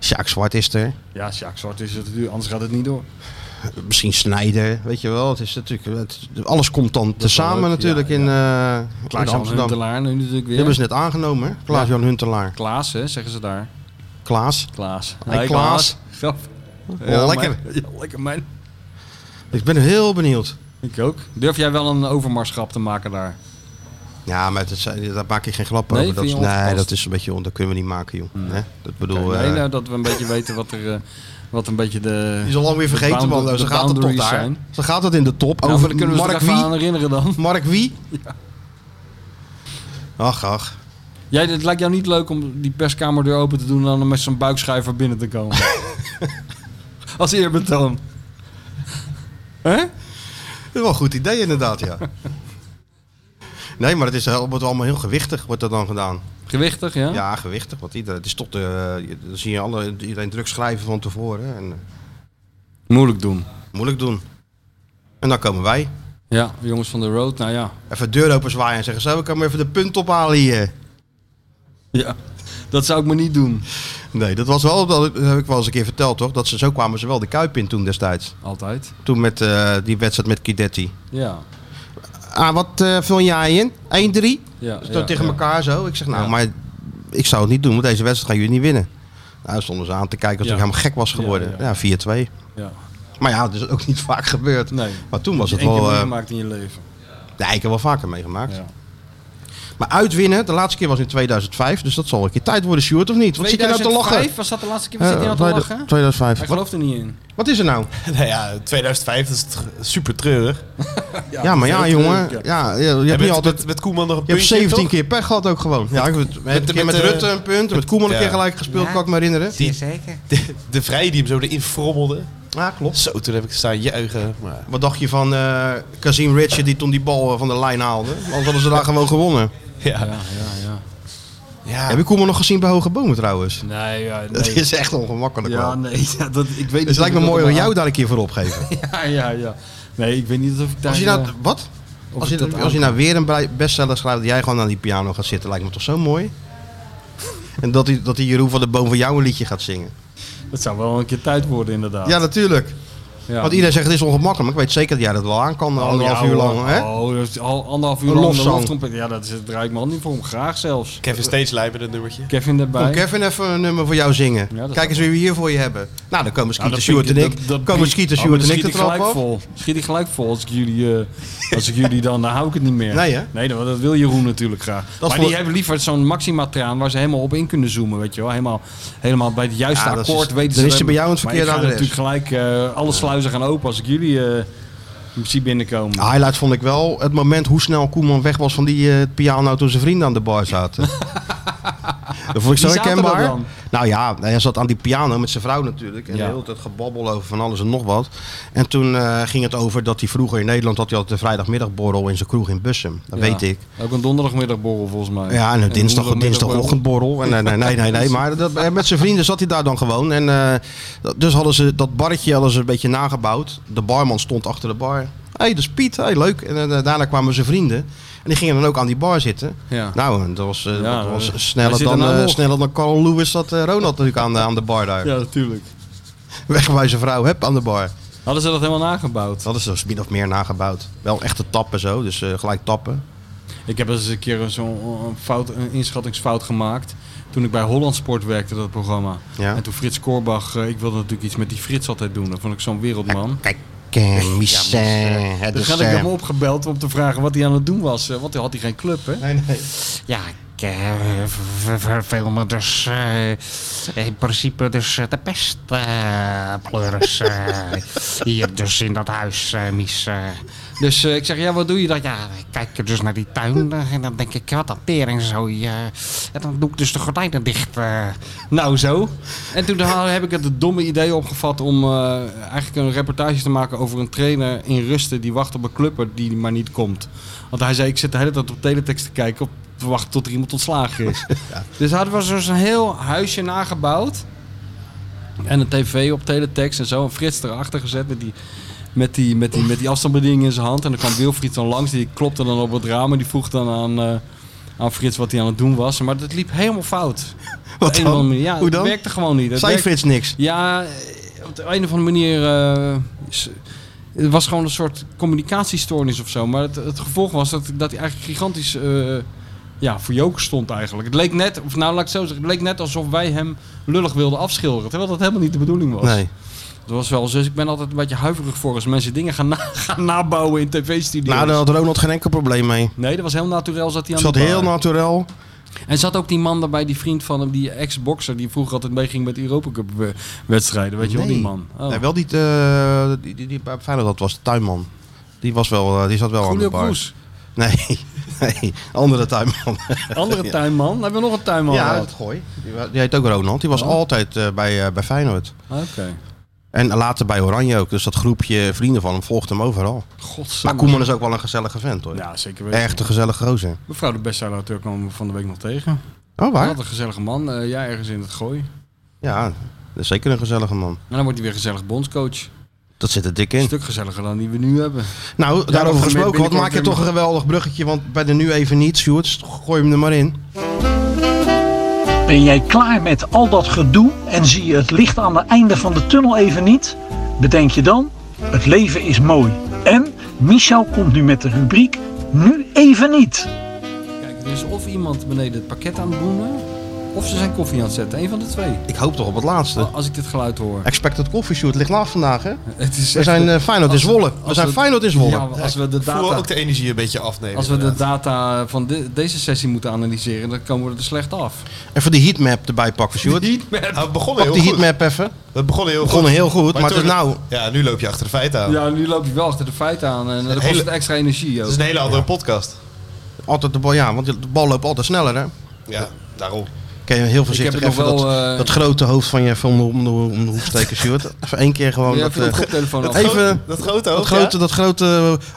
Sjaak Zwart is er.
Ja, Sjaak Zwart is het natuurlijk. Anders gaat het niet door.
Misschien Snijder, weet je wel. Het is natuurlijk, het- alles komt dan tezamen
leuk,
natuurlijk
ja,
in, eh, in
Klaas-Jan
Amsterdam. Die
Huntelaar nu natuurlijk weer.
hebben ze net aangenomen, hè? Klaas-Jan Huntelaar.
Klaas, hè, zeggen ze daar.
Klaas.
Klaas.
Hey, Klaas.
Ja,
Ja, lekker.
man. Ja, lekker man.
Ik ben heel benieuwd.
Ik ook. Durf jij wel een overmarsgrap te maken daar?
Ja, maar dat, zijn- daar maak ik geen grap
Nee,
over. Dat,
vind
is-
je
nee,
ongepast?
dat is een beetje... on- Dat kunnen we niet maken, joh. Hè? Dat bedoel...
Kijk,
eh,
nee, nou, dat we een beetje weten wat er... eh, wat een beetje de...
die is al lang weer
de
vergeten,
bound-
man. Nou,
de
Zo gaat het toch
boundaries
daar.
zijn.
Zo gaat het in de top.
Nou,
over
dan kunnen we ze er
Mark
even aan
Wie.
herinneren dan.
Mark Wie. Ach, ach.
Jij, het lijkt jou niet leuk om die perskamerdeur open te doen en dan met zo'n buikschuiver binnen te komen. Als eerbetoon. Hè?
Dat is wel een goed idee inderdaad, ja. Nee, maar het is heel, wordt allemaal heel gewichtig, wordt dat dan gedaan.
Gewichtig, ja?
Ja, gewichtig, want iedereen, het is toch de, je- dan zie je alle, iedereen druk schrijven van tevoren. En, eh,
Moeilijk doen.
Moeilijk doen. En dan komen wij.
Ja, jongens van de road, nou ja.
Even deur open zwaaien en zeggen: Zo, we komen even de punt ophalen hier.
ja. Dat zou ik maar niet doen.
Nee, dat was wel, dat heb ik wel eens een keer verteld toch? Dat ze, zo kwamen ze wel de Kuip in toen destijds.
Altijd.
Toen met eh, die wedstrijd met Kidetti.
Ja.
Ah, wat eh vul jij in? 1-3?
ja
Dus
ja,
dan tegen
ja.
elkaar zo. Ik zeg, nou,
Ja.
maar ik zou het niet doen, want deze wedstrijd gaan jullie niet winnen. Nou, stonden ze aan te kijken of
Ja.
ik helemaal gek was geworden.
Ja, ja.
Ja, 4-2.
Ja.
Maar ja, dat is ook niet vaak gebeurd.
Nee.
Maar toen was het
Eén keer
wel... eh
meegemaakt in je leven.
nee, ik heb wel vaker meegemaakt.
Ja.
Maar uitwinnen, de laatste keer was in 2005. Dus dat zal een keer tijd worden, Sjoerd, of niet? Wat zit je nou te lachen?
2005 was dat de laatste keer? Wat zit je nou te
Eh,
lachen?
2005.
Hij
Wat,
gelooft er niet in.
wat is er nou?
Nou ja, 2005 dat is tr- super treurig.
Ja, maar ja, jongen. Ja, je, je hebt
met,
niet altijd...
met, met Koeman nog een
Je hebt
puntje,
17
toch?
keer pech gehad ook gewoon. Ja, ik heb het- een keer met,
met, eh,
Rutte een punt, met Koeman een
ja.
keer gelijk gespeeld,
Ja.
kan ik me herinneren.
Zeer zeker.
De, de Vrij die hem zo erin frommelde.
Ja, klopt.
Zo, toen heb ik staan juichen. Maar
Wat dacht je van eh Kazim Ritchie die toen die bal eh, van de lijn haalde? Anders hadden ze daar gewoon gewonnen.
ja,
Ja, ja, ja.
ja.
Heb je Koeman nog gezien bij Hoge Bomen trouwens?
Nee, ja,
Dat
nee.
is echt ongemakkelijk.
Ja,
man.
nee. ja, dat, ik weet niet
Dus het lijkt me
of ik dat
mooi om
allemaal
jou daar een keer voor opgeven.
Ja, ja, ja. Nee, ik weet niet of ik daar...
Als je
eh,
nou, wat?
of
Als je,
ik dat
dat- als je nou weer een brei- bestseller schrijft dat jij gewoon aan die piano gaat zitten, lijkt me toch zo mooi? En dat die, dat die Jeroen van de Boom voor jou een liedje gaat zingen.
aan- Dat zou wel een keer tijd worden, inderdaad.
Ja, natuurlijk.
Ja.
Want iedereen zegt het is ongemakkelijk, maar ik weet zeker dat jij dat wel aan kan, anderhalf
Oh, ja,
uur
hoor.
lang. Hè?
Oh, dat is al anderhalf uur
Een
lang.
lofzang.
de loftrompet. Ja, dat is, daar draai ik mijn hand niet voor om. Graag zelfs.
Kevin Stage lijkt met dat nummertje.
Kevin erbij.
Kom Kevin even een nummer voor jou zingen.
Ja, dat
Kijk eens
zou
wie we hier voor je hebben. Nou, dan komen Skeeter,
dat
Sjoerd en
vind
ik.
dat- dat
komen
vind-
Skeeter,
Oh, maar
Sjoerd en
dan
ik de
schiet
trap
gelijk
af.
vol. Schiet ik gelijk vol als ik jullie, eh als ik jullie dan, dan hou ik het niet meer.
Nee, hè?
Nee, dat, dat wil Jeroen natuurlijk graag. maar
voor-
die hebben liever zo'n maxima traan waar ze helemaal op in kunnen zoomen, weet je wel. Helemaal, helemaal bij het juiste
Ja, dat is-
akkoord weten
dan
ze.
is ze bij jou
aan
aan het verkeerde
Maar ik ga
adres.
natuurlijk gelijk eh alle sluizen gaan open als ik jullie eh, ik zie binnenkomen.
De highlight vond ik wel het moment hoe snel Koeman weg was van die eh, piano toen zijn vrienden aan de bar zaten. dat vond ik zo
Wie zaten daar
herkenbaar.
dan?
Nou ja, hij zat aan die piano met zijn vrouw natuurlijk. En
Ja.
de hele tijd gebabbel over van alles en nog wat. En toen eh, ging het over dat hij vroeger in Nederland had hij altijd de vrijdagmiddagborrel in zijn kroeg in Bussum. Dat
Ja.
weet ik.
Ook een donderdagmiddagborrel volgens mij.
Ja, en een dinsdag,
donderdagmiddag-
dinsdagochtendborrel. En, eh, nee, nee, nee, nee, nee. Maar dat, eh, met zijn vrienden zat hij daar dan gewoon. En, eh, dat- dus hadden ze dat barretje hadden ze een beetje nagebouwd. De barman stond achter de bar. Hé, hey, dat is Piet. Hé, leuk. En eh, daarna kwamen zijn vrienden. En die gingen dan ook aan die bar zitten.
Ja.
Nou, en dat was, eh,
Ja,
dat
eh,
was
hij
sneller,
zit er
dan,
nou
eh,
nog.
sneller dan Carl Lewis zat eh, Ronald natuurlijk aan de, aan de bar daar.
Ja, natuurlijk.
Weg bij zijn vrouw, heb aan de bar.
Hadden ze dat helemaal nagebouwd?
Dat is dus min of meer nagebouwd. Wel echte tappen zo, dus eh, gelijk tappen.
Ik heb eens een keer zo'n eh, een fout, een inschattingsfout gemaakt. Toen ik bij Holland Sport werkte, dat programma.
Ja.
En toen Frits Korbach, eh, ik wilde natuurlijk iets met die Frits altijd doen. Dat vond ik zo'n wereldman.
Kijk, eh, misère, het
Dus
is,
had ik
eh,
hem opgebeld om te vragen wat hij aan het doen was. eh, Want hij had hij geen club, hè?
Nee, nee.
Ja, ik eh, ver- verveel me dus eh, in principe dus eh, de pest eh, pleuris eh, hier dus in dat huis, eh, mis. eh. Nou
Dus eh, ik zeg, ja, wat doe je dat?
Ja, ik kijk dus naar die tuin eh, en dan denk ik, wat dat tering zo. en dan doe ik dus de gordijnen dicht. eh.
Nou, zo. En toen ha- heb ik het het domme idee opgevat om eh, eigenlijk een reportage te maken over een trainer in Rusten die wacht op een clubber die maar niet komt. Want hij zei, ik zit de hele tijd op teletext te kijken, op, te wachten tot er iemand ontslagen is. Dus hadden we dus een heel huisje nagebouwd. En een tv op teletext en zo. En Frits erachter gezet met die, met die, met die, met die afstandsbediening in zijn hand. En dan kwam Wilfried dan langs. Die klopte dan op het raam en die vroeg dan aan, eh, aan Frits wat hij aan het doen was. Maar dat liep helemaal fout. Op
Wat
de een of
dan?
andere manier. Ja,
Hoe
dat
dan?
werkte gewoon niet. Dat
Zei
werkte-
Frits niks.
Ja, eh, op de een of andere manier... eh, is- het was gewoon een soort communicatiestoornis of zo. Maar het, het gevolg was dat, dat hij eigenlijk gigantisch... eh, ja, voor joker stond eigenlijk. Het leek net, of nou laat ik het zo zeggen, het leek net alsof wij hem lullig wilden afschilderen. Terwijl dat helemaal niet de bedoeling was.
Nee.
Dat was wel zo. Dus ik ben altijd een beetje huiverig voor als mensen dingen gaan, na- gaan nabouwen in tv-studio's.
Nou, daar had Ronald geen enkel probleem mee.
Nee, dat was heel natuurlijk. Zat hij
Het zat
aan de bar.
heel naturel.
En zat ook die man daarbij, die vriend van hem, die ex-boxer, die vroeger altijd meeging met Europa Cup eh, wedstrijden. Weet je wel, die
Nee.
man. Oh.
Nee, wel die, eh die, die, die bij Feyenoord had, was de tuinman. Die, was wel, eh, die zat wel aan
Julio
de bar.
Cruz.
Nee, nee, andere tuinman.
Andere tuinman. Dan hebben we nog een tuinman
ja,
gehad.
het gooi. Die, wa- die heet ook Ronald. Die was
Oh.
altijd eh, bij, eh, bij Feyenoord.
Oké.
En later bij Oranje ook. Dus dat groepje vrienden van hem volgt hem overal. Maar
Godzijdank.
Koeman is ook wel een gezellige vent hoor.
Ja, zeker weten.
Echt een gezellige gozer.
Mevrouw de bestseller-auteur kwam we van de week nog tegen.
Oh, Eh. waar?
Wat een gezellige man. eh, ja, ergens in het gooi.
Ja, dat is zeker een gezellige man.
En dan wordt hij weer gezellig bondscoach.
Dat zit er dik in.
stuk gezelliger dan die we nu hebben.
Nou, daarover
Daarover
gesproken, wat
binnenkort
maak je
weer-
toch een geweldig bruggetje? Want bij de nu even niet, Sjoerd, gooi hem er maar in.
Ben jij klaar met al dat gedoe en zie je het licht aan het einde van de tunnel even niet? Bedenk je dan, het leven is mooi. En Michel komt nu met de rubriek Nu even niet.
Kijk, er is of iemand beneden het pakket aan het boenen, of ze zijn koffie aan het zetten. Eén van de twee.
Ik hoop toch op het laatste.
Als ik dit geluid hoor.
Expected Coffee Sjoerd ligt laag vandaag, hè?
Het is
We zijn eh Feyenoord in
als we-
Zwolle. We
als
zijn
we-
Feyenoord in Zwolle.
Ja, als we de
Voel
data,
ook de energie een beetje afnemen.
als we de
inderdaad.
data van de- deze sessie moeten analyseren, dan komen we er slecht af.
Even die heatmap erbij pakken, Sjoerd.
Nou, we begonnen
Pak
heel
die
goed.
heatmap even.
We begonnen heel
We begonnen heel goed, maar het is
toen-
nou-
Ja, nu loop je achter de feiten aan.
Ja, nu loop je wel achter de feiten aan en dan kost
hele-
het extra energie
Het
ook.
is een hele andere podcast.
Altijd de bal, ja, want de bal loopt altijd sneller, hè?
Ja, daarom.
Kun je heel
Ik heb
voorzichtig
het nog
even
wel...
dat,
eh,
dat grote hoofd van je van om de, om de hoek steken, Sjoerd. Even één keer gewoon
ja,
dat,
even de
eh,
koptelefoon
dat
af.
even-
Groot- dat grote
dat,
hoofd,
grote, dat grote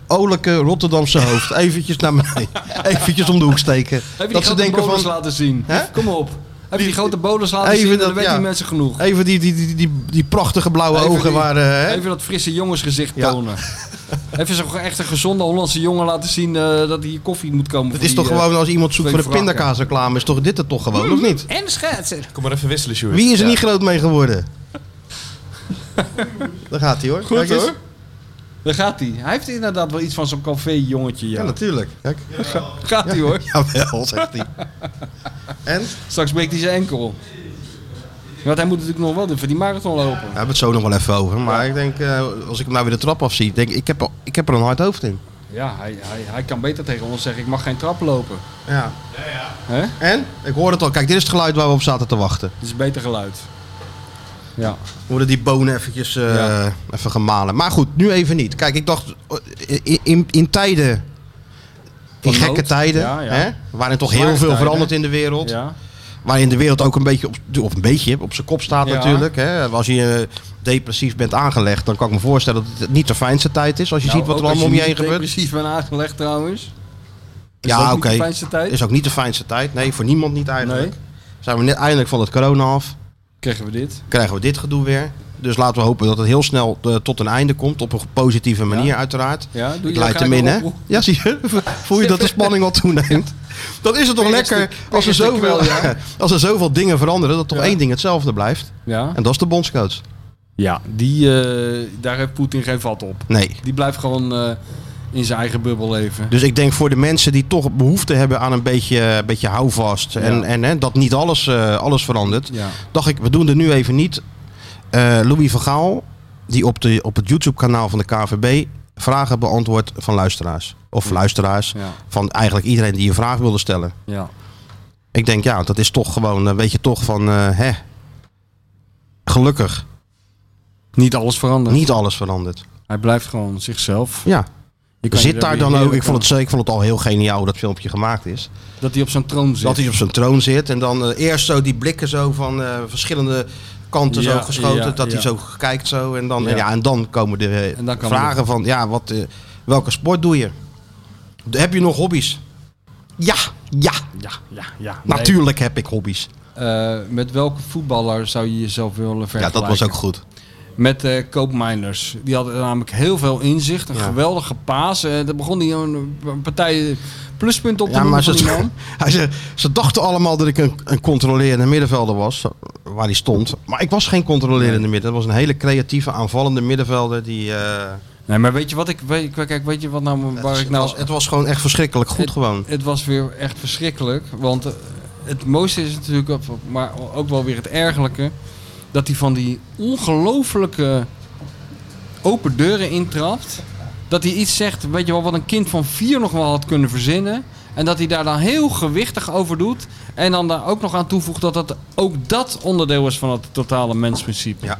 eh, olijke Rotterdamse hoofd. Eventjes naar beneden. Eventjes om de hoek steken.
Heb je die
dat ze
grote
denken
bolus
van...
laten zien?
Hè?
Kom op. Heb je die grote bolus laten
Even
zien, dan
dat-
weten
ja.
die mensen genoeg.
Even die, die, die, die, die prachtige blauwe
Even
ogen
die-
waren. Hè?
Even dat frisse jongensgezicht
Ja.
tonen. Even zo'n echt een gezonde Hollandse jongen laten zien eh, dat hij hier koffie moet komen.
Het
voor
is
die,
toch
eh,
gewoon als iemand zoekt
twee Hmm.
voor de
wrakken.
pindakaas reclame, is toch dit het toch gewoon, of niet?
En schetsen.
Kom maar even wisselen, Sjoerd.
Wie is er
Ja.
niet groot mee geworden? Daar gaat hij hoor.
Goed,
Kijk eens.
hoor. Daar gaat hij. Hij heeft inderdaad wel iets van zo'n café-jongetje. Ja.
Ja, natuurlijk. Kijk.
gaat hij hoor.
Jawel, zegt hij. En?
Straks breekt hij zijn enkel. Want hij moet natuurlijk nog wel doen voor die marathon lopen.
We hebben het zo nog wel even over. Maar ik denk, eh, als ik hem nou weer de trap af zie, denk ik, ik heb, ik heb er een hard hoofd in.
Ja, hij, hij, hij kan beter tegen ons zeggen: ik mag geen trap lopen.
Ja.
Hè?
En? Ik hoor het al. Kijk, dit is het geluid waar we op zaten te wachten.
Dat is beter geluid. Ja.
worden die bonen eventjes eh,
Ja.
even gemalen. Maar goed, nu even niet. Kijk, ik dacht eh, in, in, in tijden, in
Van
gekke
nood.
tijden,
Ja, ja.
Hè, waarin toch
Zware
heel veel
tijden.
verandert in de wereld,
ja.
waarin de wereld ook een beetje op, of een beetje op zijn kop staat
Ja.
natuurlijk. Hè. Als je eh, depressief bent aangelegd, dan kan ik me voorstellen dat het niet de fijnste tijd is
Nou,
als je ziet wat er allemaal om je heen gebeurt.
Precies van aangelegd trouwens. Is dat ook
Ja,
niet
oké.
de fijnste tijd?
Is ook niet de fijnste tijd. Nee, voor niemand niet eigenlijk.
Nee.
Zijn we net eindelijk van het corona af.
Kregen we dit?
krijgen we dit gedoe weer. Dus laten we hopen dat het heel snel eh, tot een einde komt. Op een positieve manier uiteraard.
Ja, doe je
ik leid
daar
hem in, hè?
graag op?
Ja, zie je? Voel je dat de spanning al toeneemt? Dan is het toch
Weer een
lekker
stuk-
als er,
weer een stuk
zoveel,
wel, ja.
als er zoveel dingen veranderen... dat toch
Ja.
één ding hetzelfde blijft.
Ja.
En dat is de bondscoach.
Ja, die, eh, daar heeft Poetin geen vat op.
Nee.
Die blijft gewoon eh, in zijn eigen bubbel leven.
Dus ik denk voor de mensen die toch behoefte hebben aan een beetje, een beetje houvast... en,
Ja.
en hè, dat niet alles, eh, alles verandert...
Ja.
dacht ik, we doen er nu even niet. Eh, Louis van Gaal, die op, de, op het YouTube-kanaal van de KVB vragen beantwoordt van luisteraars. Of luisteraars,
Ja.
van eigenlijk iedereen die een vraag wilde stellen.
ja.
Ik denk, ja, dat is toch gewoon, eh, weet je toch van, eh, hè, gelukkig,
Niet alles verandert.
niet alles veranderd.
Hij blijft gewoon zichzelf.
Ja,
Je kan je
zit daar
weer
dan ook,
heerlijk
ik vond, het, ik vond het al heel geniaal hoe dat filmpje gemaakt is.
aan- Dat hij op zijn troon zit.
Dat hij op zijn troon zit en dan eh, eerst zo die blikken zo van eh, verschillende kanten
Ja,
zo geschoten.
ja,
dat hij
ja.
zo kijkt zo. En dan, ja.
Ja.
en dan komen de eh,
En dan komen
vragen van, ja, wat, eh, welke sport doe je? Heb je nog hobby's? Ja, ja,
Ja, ja, ja.
natuurlijk heb ik hobby's.
Eh, met welke voetballer zou je jezelf willen
Ja,
vergelijken?
dat was ook goed.
Met eh Koop Meiners. Die had namelijk heel veel inzicht. Een
Ja.
geweldige paas. Eh, daar begon hij een een partij pluspunt op te
Ja,
noemen
maar
van die
ze,
man.
hij ze, ze dachten allemaal dat ik een, een controlerende middenvelder was, waar hij stond. Maar ik was geen controlerende middenvelder. Ik was een hele creatieve, aanvallende middenvelder. Die, eh,
Nee, maar weet je wat ik... Weet, kijk, weet je wat nou... Waar ik
het,
nou
was, het was gewoon echt verschrikkelijk goed gewoon.
Het was weer echt verschrikkelijk. Want eh, het mooiste is natuurlijk, ook- maar ook wel weer het ergerlijke. Dat hij van die ongelofelijke open deuren intrapt. Dat hij iets zegt, weet je wel, wat een kind van vier nog wel had kunnen verzinnen. En dat hij daar dan heel gewichtig over doet. En dan daar ook nog aan toevoegt dat, dat ook dat onderdeel is van het totale mensprincipe.
Ja.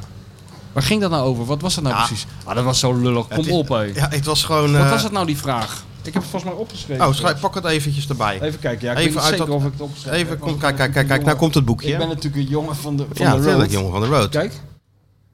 Waar ging dat nou over? Wat was dat nou
Ja.
precies? Ah, dat was zo lullig. Kom
Het is-
op, hé.
Ja, het was gewoon.
Wat
eh,
was het nou, die vraag? Ik heb het volgens mij opgeschreven.
Oh, schrijf, pak het eventjes erbij.
Even kijken, ja.
Even
Ik weet niet
uit
zeker
dat-
of ik het opgeschreven
Even,
heb,
kom,
want
kijk,
ik
kijk,
ben
kijk, kijk, nou
natuurlijk
komt het
een jongen- Ik ben
boekje.
natuurlijk een jongen van de, van
Ja,
de
natuurlijk,
road.
jongen van de road.
Kijk,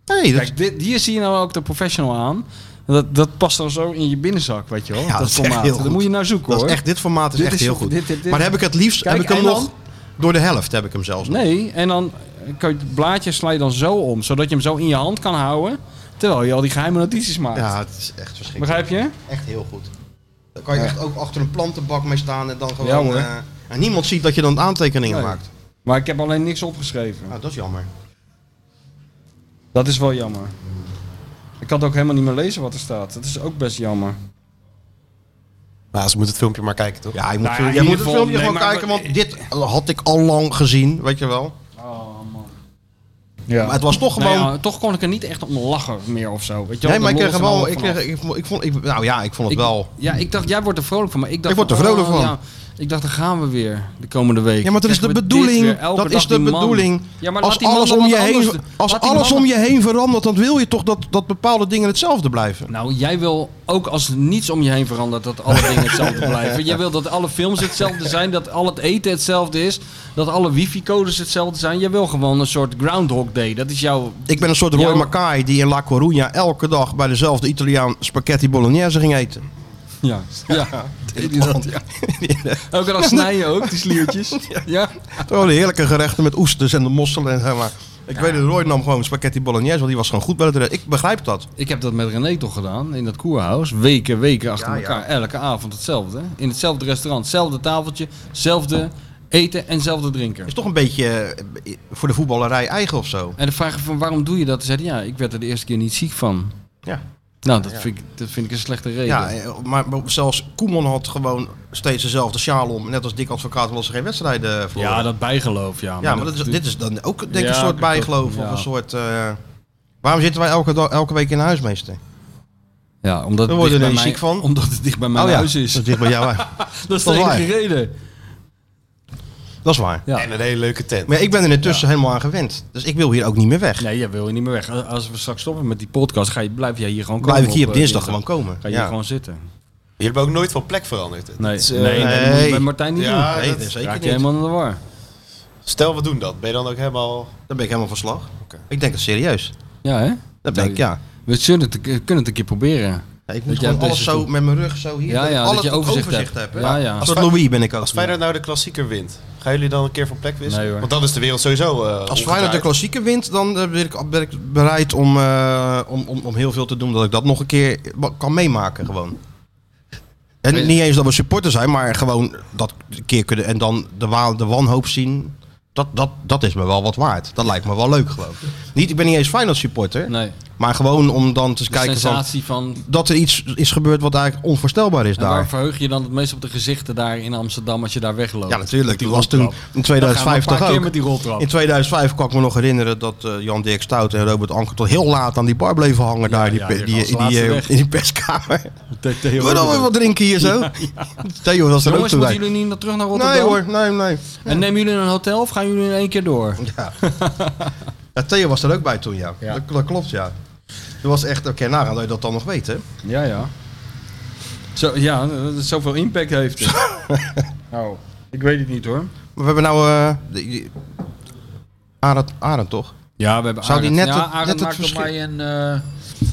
Nee, dat,
kijk dit, hier zie je nou ook de professional aan. Dat, dat past dan zo in je binnenzak, weet je wel.
Ja, dat
dat
is echt
formaat.
heel
Dat
goed.
moet je nou zoeken,
dat
hoor.
is echt, dit formaat is
Dit
echt
is
heel
zo-
goed.
dit- dit- dit-
Maar heb ik het liefst,
Kijk,
heb ik hem
en dan?
nog door de helft, heb ik hem zelfs nog.
Nee, en dan kun je het blaadje sla je dan zo om, zodat je hem zo in je hand kan houden, terwijl je al die geheime notities maakt.
Ja, het is echt verschrikkelijk.
Begrijp je?
Echt heel goed. Dan kan je echt ook achter een plantenbak mee staan en dan gewoon...
Ja, hoor.
eh, en niemand ziet dat je dan aantekeningen
Nee.
maakt.
Maar ik heb alleen niks opgeschreven.
Nou, dat is jammer.
Dat is wel jammer. Ik kan het ook helemaal niet meer lezen wat er staat. Dat is ook best jammer.
Nou, ze moeten het filmpje maar kijken, toch?
Ja, je moet,
Nou ja, in
je moet
ieder
het
geval-
filmpje
nee,
gewoon
maar-
kijken, want dit had ik al lang gezien, weet je wel.
Ja.
Maar het was toch
Nou
gewoon...
ja, toch kon ik er niet echt om lachen meer of zo. Weet je wel,
nee, maar
de
ik kreeg er
lol is er
wel...
allemaal
Ik kreeg,
vanaf.
ik, vond- ik vond, ik, nou ja, ik vond het
Ik-
wel...
Ja, ik dacht, jij wordt er vrolijk van. Maar ik, dacht,
Ik word er
van,
vrolijk
oh,
van.
ja. ik dacht, daar gaan we weer de komende week.
Ja, maar dat is de
Krijgen we dit weer,
bedoeling.
elke
Dat
dag
is de
die man.
bedoeling.
Ja, maar
Als
laat die man
alles
dan
om
wat
je
anders
heen,
doen.
als
Laat die
alles
man
om
dan-
je heen verandert, dan wil je toch dat, dat bepaalde dingen hetzelfde blijven.
Nou, jij wil ook als niets om je heen verandert dat alle dingen hetzelfde blijven. Jij wil dat alle films hetzelfde zijn, dat al het eten hetzelfde is, dat alle wifi-codes hetzelfde zijn. Jij wil gewoon een soort Groundhog Day. Dat is jouw...
Ik ben een soort Roy
Ja.
Mackay die in La Coruña elke dag bij dezelfde Italiaan spaghetti bolognese ging eten.
Ja. ja. Nou, Deed hij dat? Elke dag snij je ook, die sliertjes. Ja.
Terwijl de heerlijke gerechten met oesters en de mosselen en zeg maar. Ik weet het, Roy nam gewoon spaghetti bolognese, want die was gewoon goed bij het re- Ik begrijp dat.
Ik heb dat met René toch gedaan, in dat koerhuis. Weken, weken achter
Ja, ja.
elkaar. Elke avond hetzelfde. In hetzelfde restaurant, hetzelfde tafeltje, hetzelfde eten en hetzelfde drinken.
Is toch een beetje eh, voor de voetballerij eigen of zo.
En de vraag van waarom doe je dat? Zeiden ja, ik werd er de eerste keer niet ziek van.
Ja.
Nou, dat, Vind, ik, dat vind ik een slechte reden.
Ja, eh, maar maar zelfs Koeman had gewoon steeds dezelfde sjaal om. Net als Dick Advocaat, omdat ze geen wedstrijden voor.
Ja, dat bijgeloof, ja.
Ja, maar dat is, dit is dan ook denk ik
Ja,
een soort
dat-
bijgeloof
ja.
of een soort... eh, waarom zitten wij elke, dag- elke week in de huismeester?
Ja, omdat
We
het
worden
dicht bij
er
mij-
ziek van.
Omdat het dicht bij mijn
Oh ja,
huis is.
Dat ligt bij jou.
Dat is
dat
de
is waar.
enige reden.
Dat is waar.
Ja.
En een hele leuke tent.
Maar ik ben er intussen helemaal aan gewend. Dus ik wil hier ook niet meer weg.
Nee, jij wil je niet meer weg. Als we straks stoppen met die podcast, ga je, blijf jij hier gewoon komen.
Blijf ik hier op
eh,
dinsdag gewoon komen.
Ga je hier
Ja.
gewoon zitten.
Jullie hebben ook nooit van plek veranderd.
Nee,
Het is, eh,
nee, nee, dat moet je bij Martijn niet
Ja,
doen.
Nee,
dat-
dat is
Raak je
zeker niet.
helemaal in de war.
Stel, we doen dat. Ben je dan ook helemaal...
Dan ben ik helemaal verslag.
Oké.
Ik denk dat serieus.
Ja, hè?
Dat ben ik, ja.
We zullen het, kunnen het een keer proberen.
Ja, Ik
Dat
moet
jij
gewoon alles
deze
zo
doet.
met mijn rug zo hier.
Ja,
dat ik
ja,
alles
dat je
tot
overzicht hebt.
heb. hè?
Ja, ja.
Een soort Louis ben ik ook.
Als Feyenoord nou de klassieker wint, gaan jullie dan een keer van plek wisselen?
Nee, hoor.
Want dan is de wereld sowieso eh,
Als
omgedraaid.
Feyenoord de klassieke wint, dan eh, ben ik, ben ik bereid om, eh, om, om, om heel veel te doen. Dat ik dat nog een keer ba- kan meemaken gewoon. En
Nee.
niet eens dat we supporter zijn, maar gewoon dat een keer kunnen. En dan de, wa- de wanhoop zien. Dat, dat, dat is me wel wat waard. Dat lijkt me wel leuk gewoon. Niet, ik ben niet eens Feyenoord supporter.
Nee,
Maar gewoon om dan te
de
kijken van,
sensatie van... en
dat er iets is gebeurd wat eigenlijk onvoorstelbaar is daar.
waar verheug je dan het meest op de gezichten daar in Amsterdam als je daar wegloopt?
Ja, natuurlijk. Die
Oh, Die
was toen
roltrap.
in
Dan gaan we een
2005
paar
toch
keer
ook.
met die roltrap.
In 2005 kan ik me nog herinneren dat eh, Jan Dirk Stout en Robert Anker tot heel laat aan die bar bleven hangen daar die,
ja,
pe-
die
die,
als
in, die,
laatste
eh,
weg.
in die perskamer.
Theo
We
Robert.
willen wel wat drinken hier zo. Theo was er ook
Jongens,
toen
moeten
bij.
jullie niet naar- terug naar Rotterdam?
Nee hoor, nee, nee.
En nemen jullie een hotel of gaan jullie in één keer door?
Ja. Ja, Theo was er ook bij toen, ja.
Ja.
Dat, dat klopt, ja. Dat was echt, oké, nagaan dat je dat dan nog weet, hè.
Ja, ja. Zo, ja, dat het zoveel impact heeft dus. het. nou, ik weet het niet hoor.
Maar we hebben nou... eh de- die- Arend, Arend, toch?
Ja, we hebben
Zou
Arend.
die net
ja,
het-
Arend
net het
maakt op
verschil-
mij een... eh,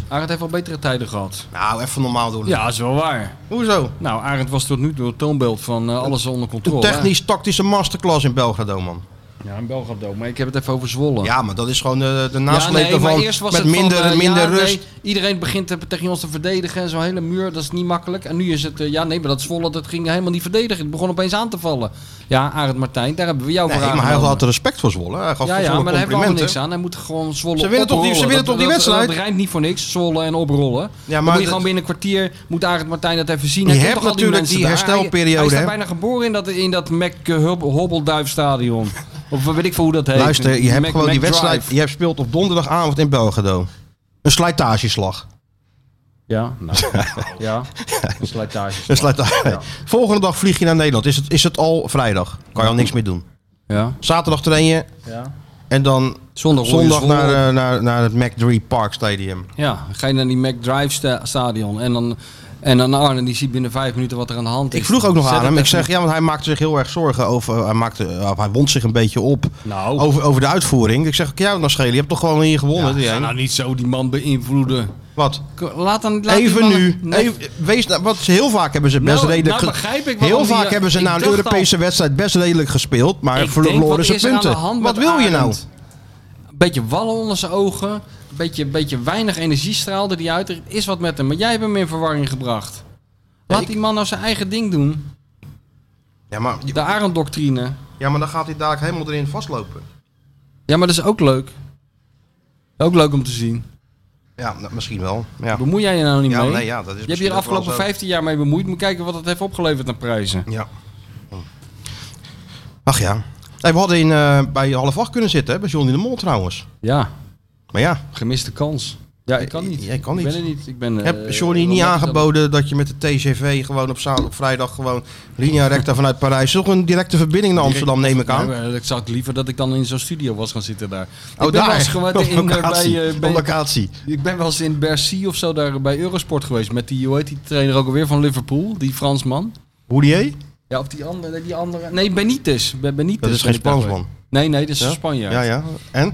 Arend heeft al betere tijden gehad.
Nou, even normaal doen.
Ja, dat is wel waar.
Hoezo?
Nou, Arend was tot nu toe het toonbeeld van eh, alles onder
Een
controle.
technisch-tactische masterclass in Belgrado, man.
hè? Ja, in Belgrado. ook, Maar ik heb het even over Zwolle.
Ja, maar dat is gewoon de, de
Ja,
nasleep
maar
ervan.
eerst was
met
het van,
minder,
eh,
minder
ja, nee,
rust.
iedereen begint te- tegen ons te verdedigen. en Zo'n hele muur, dat is niet makkelijk. En nu is het, eh, ja nee, maar dat Zwolle, dat ging helemaal niet verdedigen. Het begon opeens aan te vallen. Ja, Arend Martijn, daar hebben we jou
Nee,
voor
maar hij
aangenomen.
had respect voor Zwolle. Hij gaf
Ja,
voor
ja,
Zwolle
maar daar hebben we allemaal niks
complimenten.
aan. Hij moet gewoon Zwolle
Ze winnen toch die- ze
oprollen.
winnen toch die
Dat- dat-
wedstrijd?
Dat, rijmt niet voor niks, Zwolle en oprollen. Ja, maar
maar
moet je gewoon
dat-
binnen een kwartier, moet Arend Martijn dat even zien.
Je
Hij kent
hebt
toch al
natuurlijk die
mensen daar.
herstelperiode,
Hij, hij is daar
hè?
bijna geboren in dat, in dat Mac eh, Hub- Hobbelduifstadion. Of weet ik veel hoe dat heet.
Luister, je hebt
Mac-
gewoon
Mac
die wedstrijd.
Drive.
Je hebt speelt op donderdagavond in Belgrado. Een slijtageslag.
Ja, nou, ja. Een slijtage.
Een slijtage. Volgende dag vlieg je naar Nederland. Is het, is het al vrijdag? Kan je al niks meer doen.
Ja,
Zaterdag trainen
ja.
en dan
Zondag, hoor je
zondag
Zwolle.
naar, eh, naar, naar het McDree Park Stadium.
Ja, ga je naar die McDrive sta- stadion en dan, en dan Arne die ziet binnen vijf minuten wat er aan de hand is.
Ik vroeg ook nog
Zet
aan
het
hem. Ik
even-
zeg, ja, want hij maakte zich heel erg zorgen over. Hij, maakte, of hij wond zich een beetje op
Nou.
over, over de uitvoering. Ik zeg, ja, dan schelen. Je hebt toch gewoon hier gewonnen. die
Ja, ga
een.
nou niet zo die man beïnvloeden.
Wat?
K- eh, Laat dan, laat die
Even
mannen-
nu.
Nee.
Even, wees, nou- want ze heel vaak hebben ze best
Nou,
redelijk.
nou
ge-
begrijp ik waarom
heel
die-
vaak hebben ze
ik
na een
dacht
Europese wedstrijd best redelijk gespeeld. Maar
Ik denk,
verloren
wat
ze
is er aan de
punten.
hand
Wat
met
wil je nou?
Arend? beetje wallen onder zijn ogen. Beetje, beetje weinig energie straalde die uit. Er is wat met hem. Maar jij hebt hem in verwarring gebracht. Laat die man nou zijn eigen ding doen.
Ja maar,
De Arend-doctrine.
ja, maar dan gaat hij dadelijk helemaal erin vastlopen.
Ja, maar dat is ook leuk. Ook leuk om te zien.
Ja, nou, misschien wel. Ja.
Bemoei jij je nou niet
Ja,
mee?
nee, ja, dat is
je hebt
misschien
hier de
ook wel
afgelopen
zo.
15 jaar mee bemoeid. Moet kijken wat dat heeft opgeleverd aan prijzen.
Ja. Ach ja. Hey, we hadden in, eh, bij half acht kunnen zitten, hè, bij Johnny de Mol trouwens.
Ja,
Maar ja,
gemiste kans. Ja, ik kan niet.
Eh, Jij kan
Ik
niet.
ben er niet. Ik ben, eh,
heb Johnny niet aangeboden dat je met de TGV gewoon op, zaterdag, op vrijdag gewoon linea recta vanuit Parijs. Toch een directe verbinding naar Amsterdam, neem ik aan.
ik zou het liever dat ik dan in zo'n studio was gaan zitten
Oh,
daar. ik ben wel
daar.
eens gewoon
Op
in, eh, bij,
locatie.
eh,
Op
bij,
locatie.
ik ben wel eens in Bercy of zo daar bij Eurosport geweest. Met die, hoe heet die trainer ook alweer van Liverpool? Die Fransman.
Hoedier?
Ja, of die andere, die andere. Nee, Benitez. Ben- Benitez
Dat is
ben
geen
ik daar
Spansman.
geweest. Nee, nee, dat is een Spanjaard.
Ja, ja. En?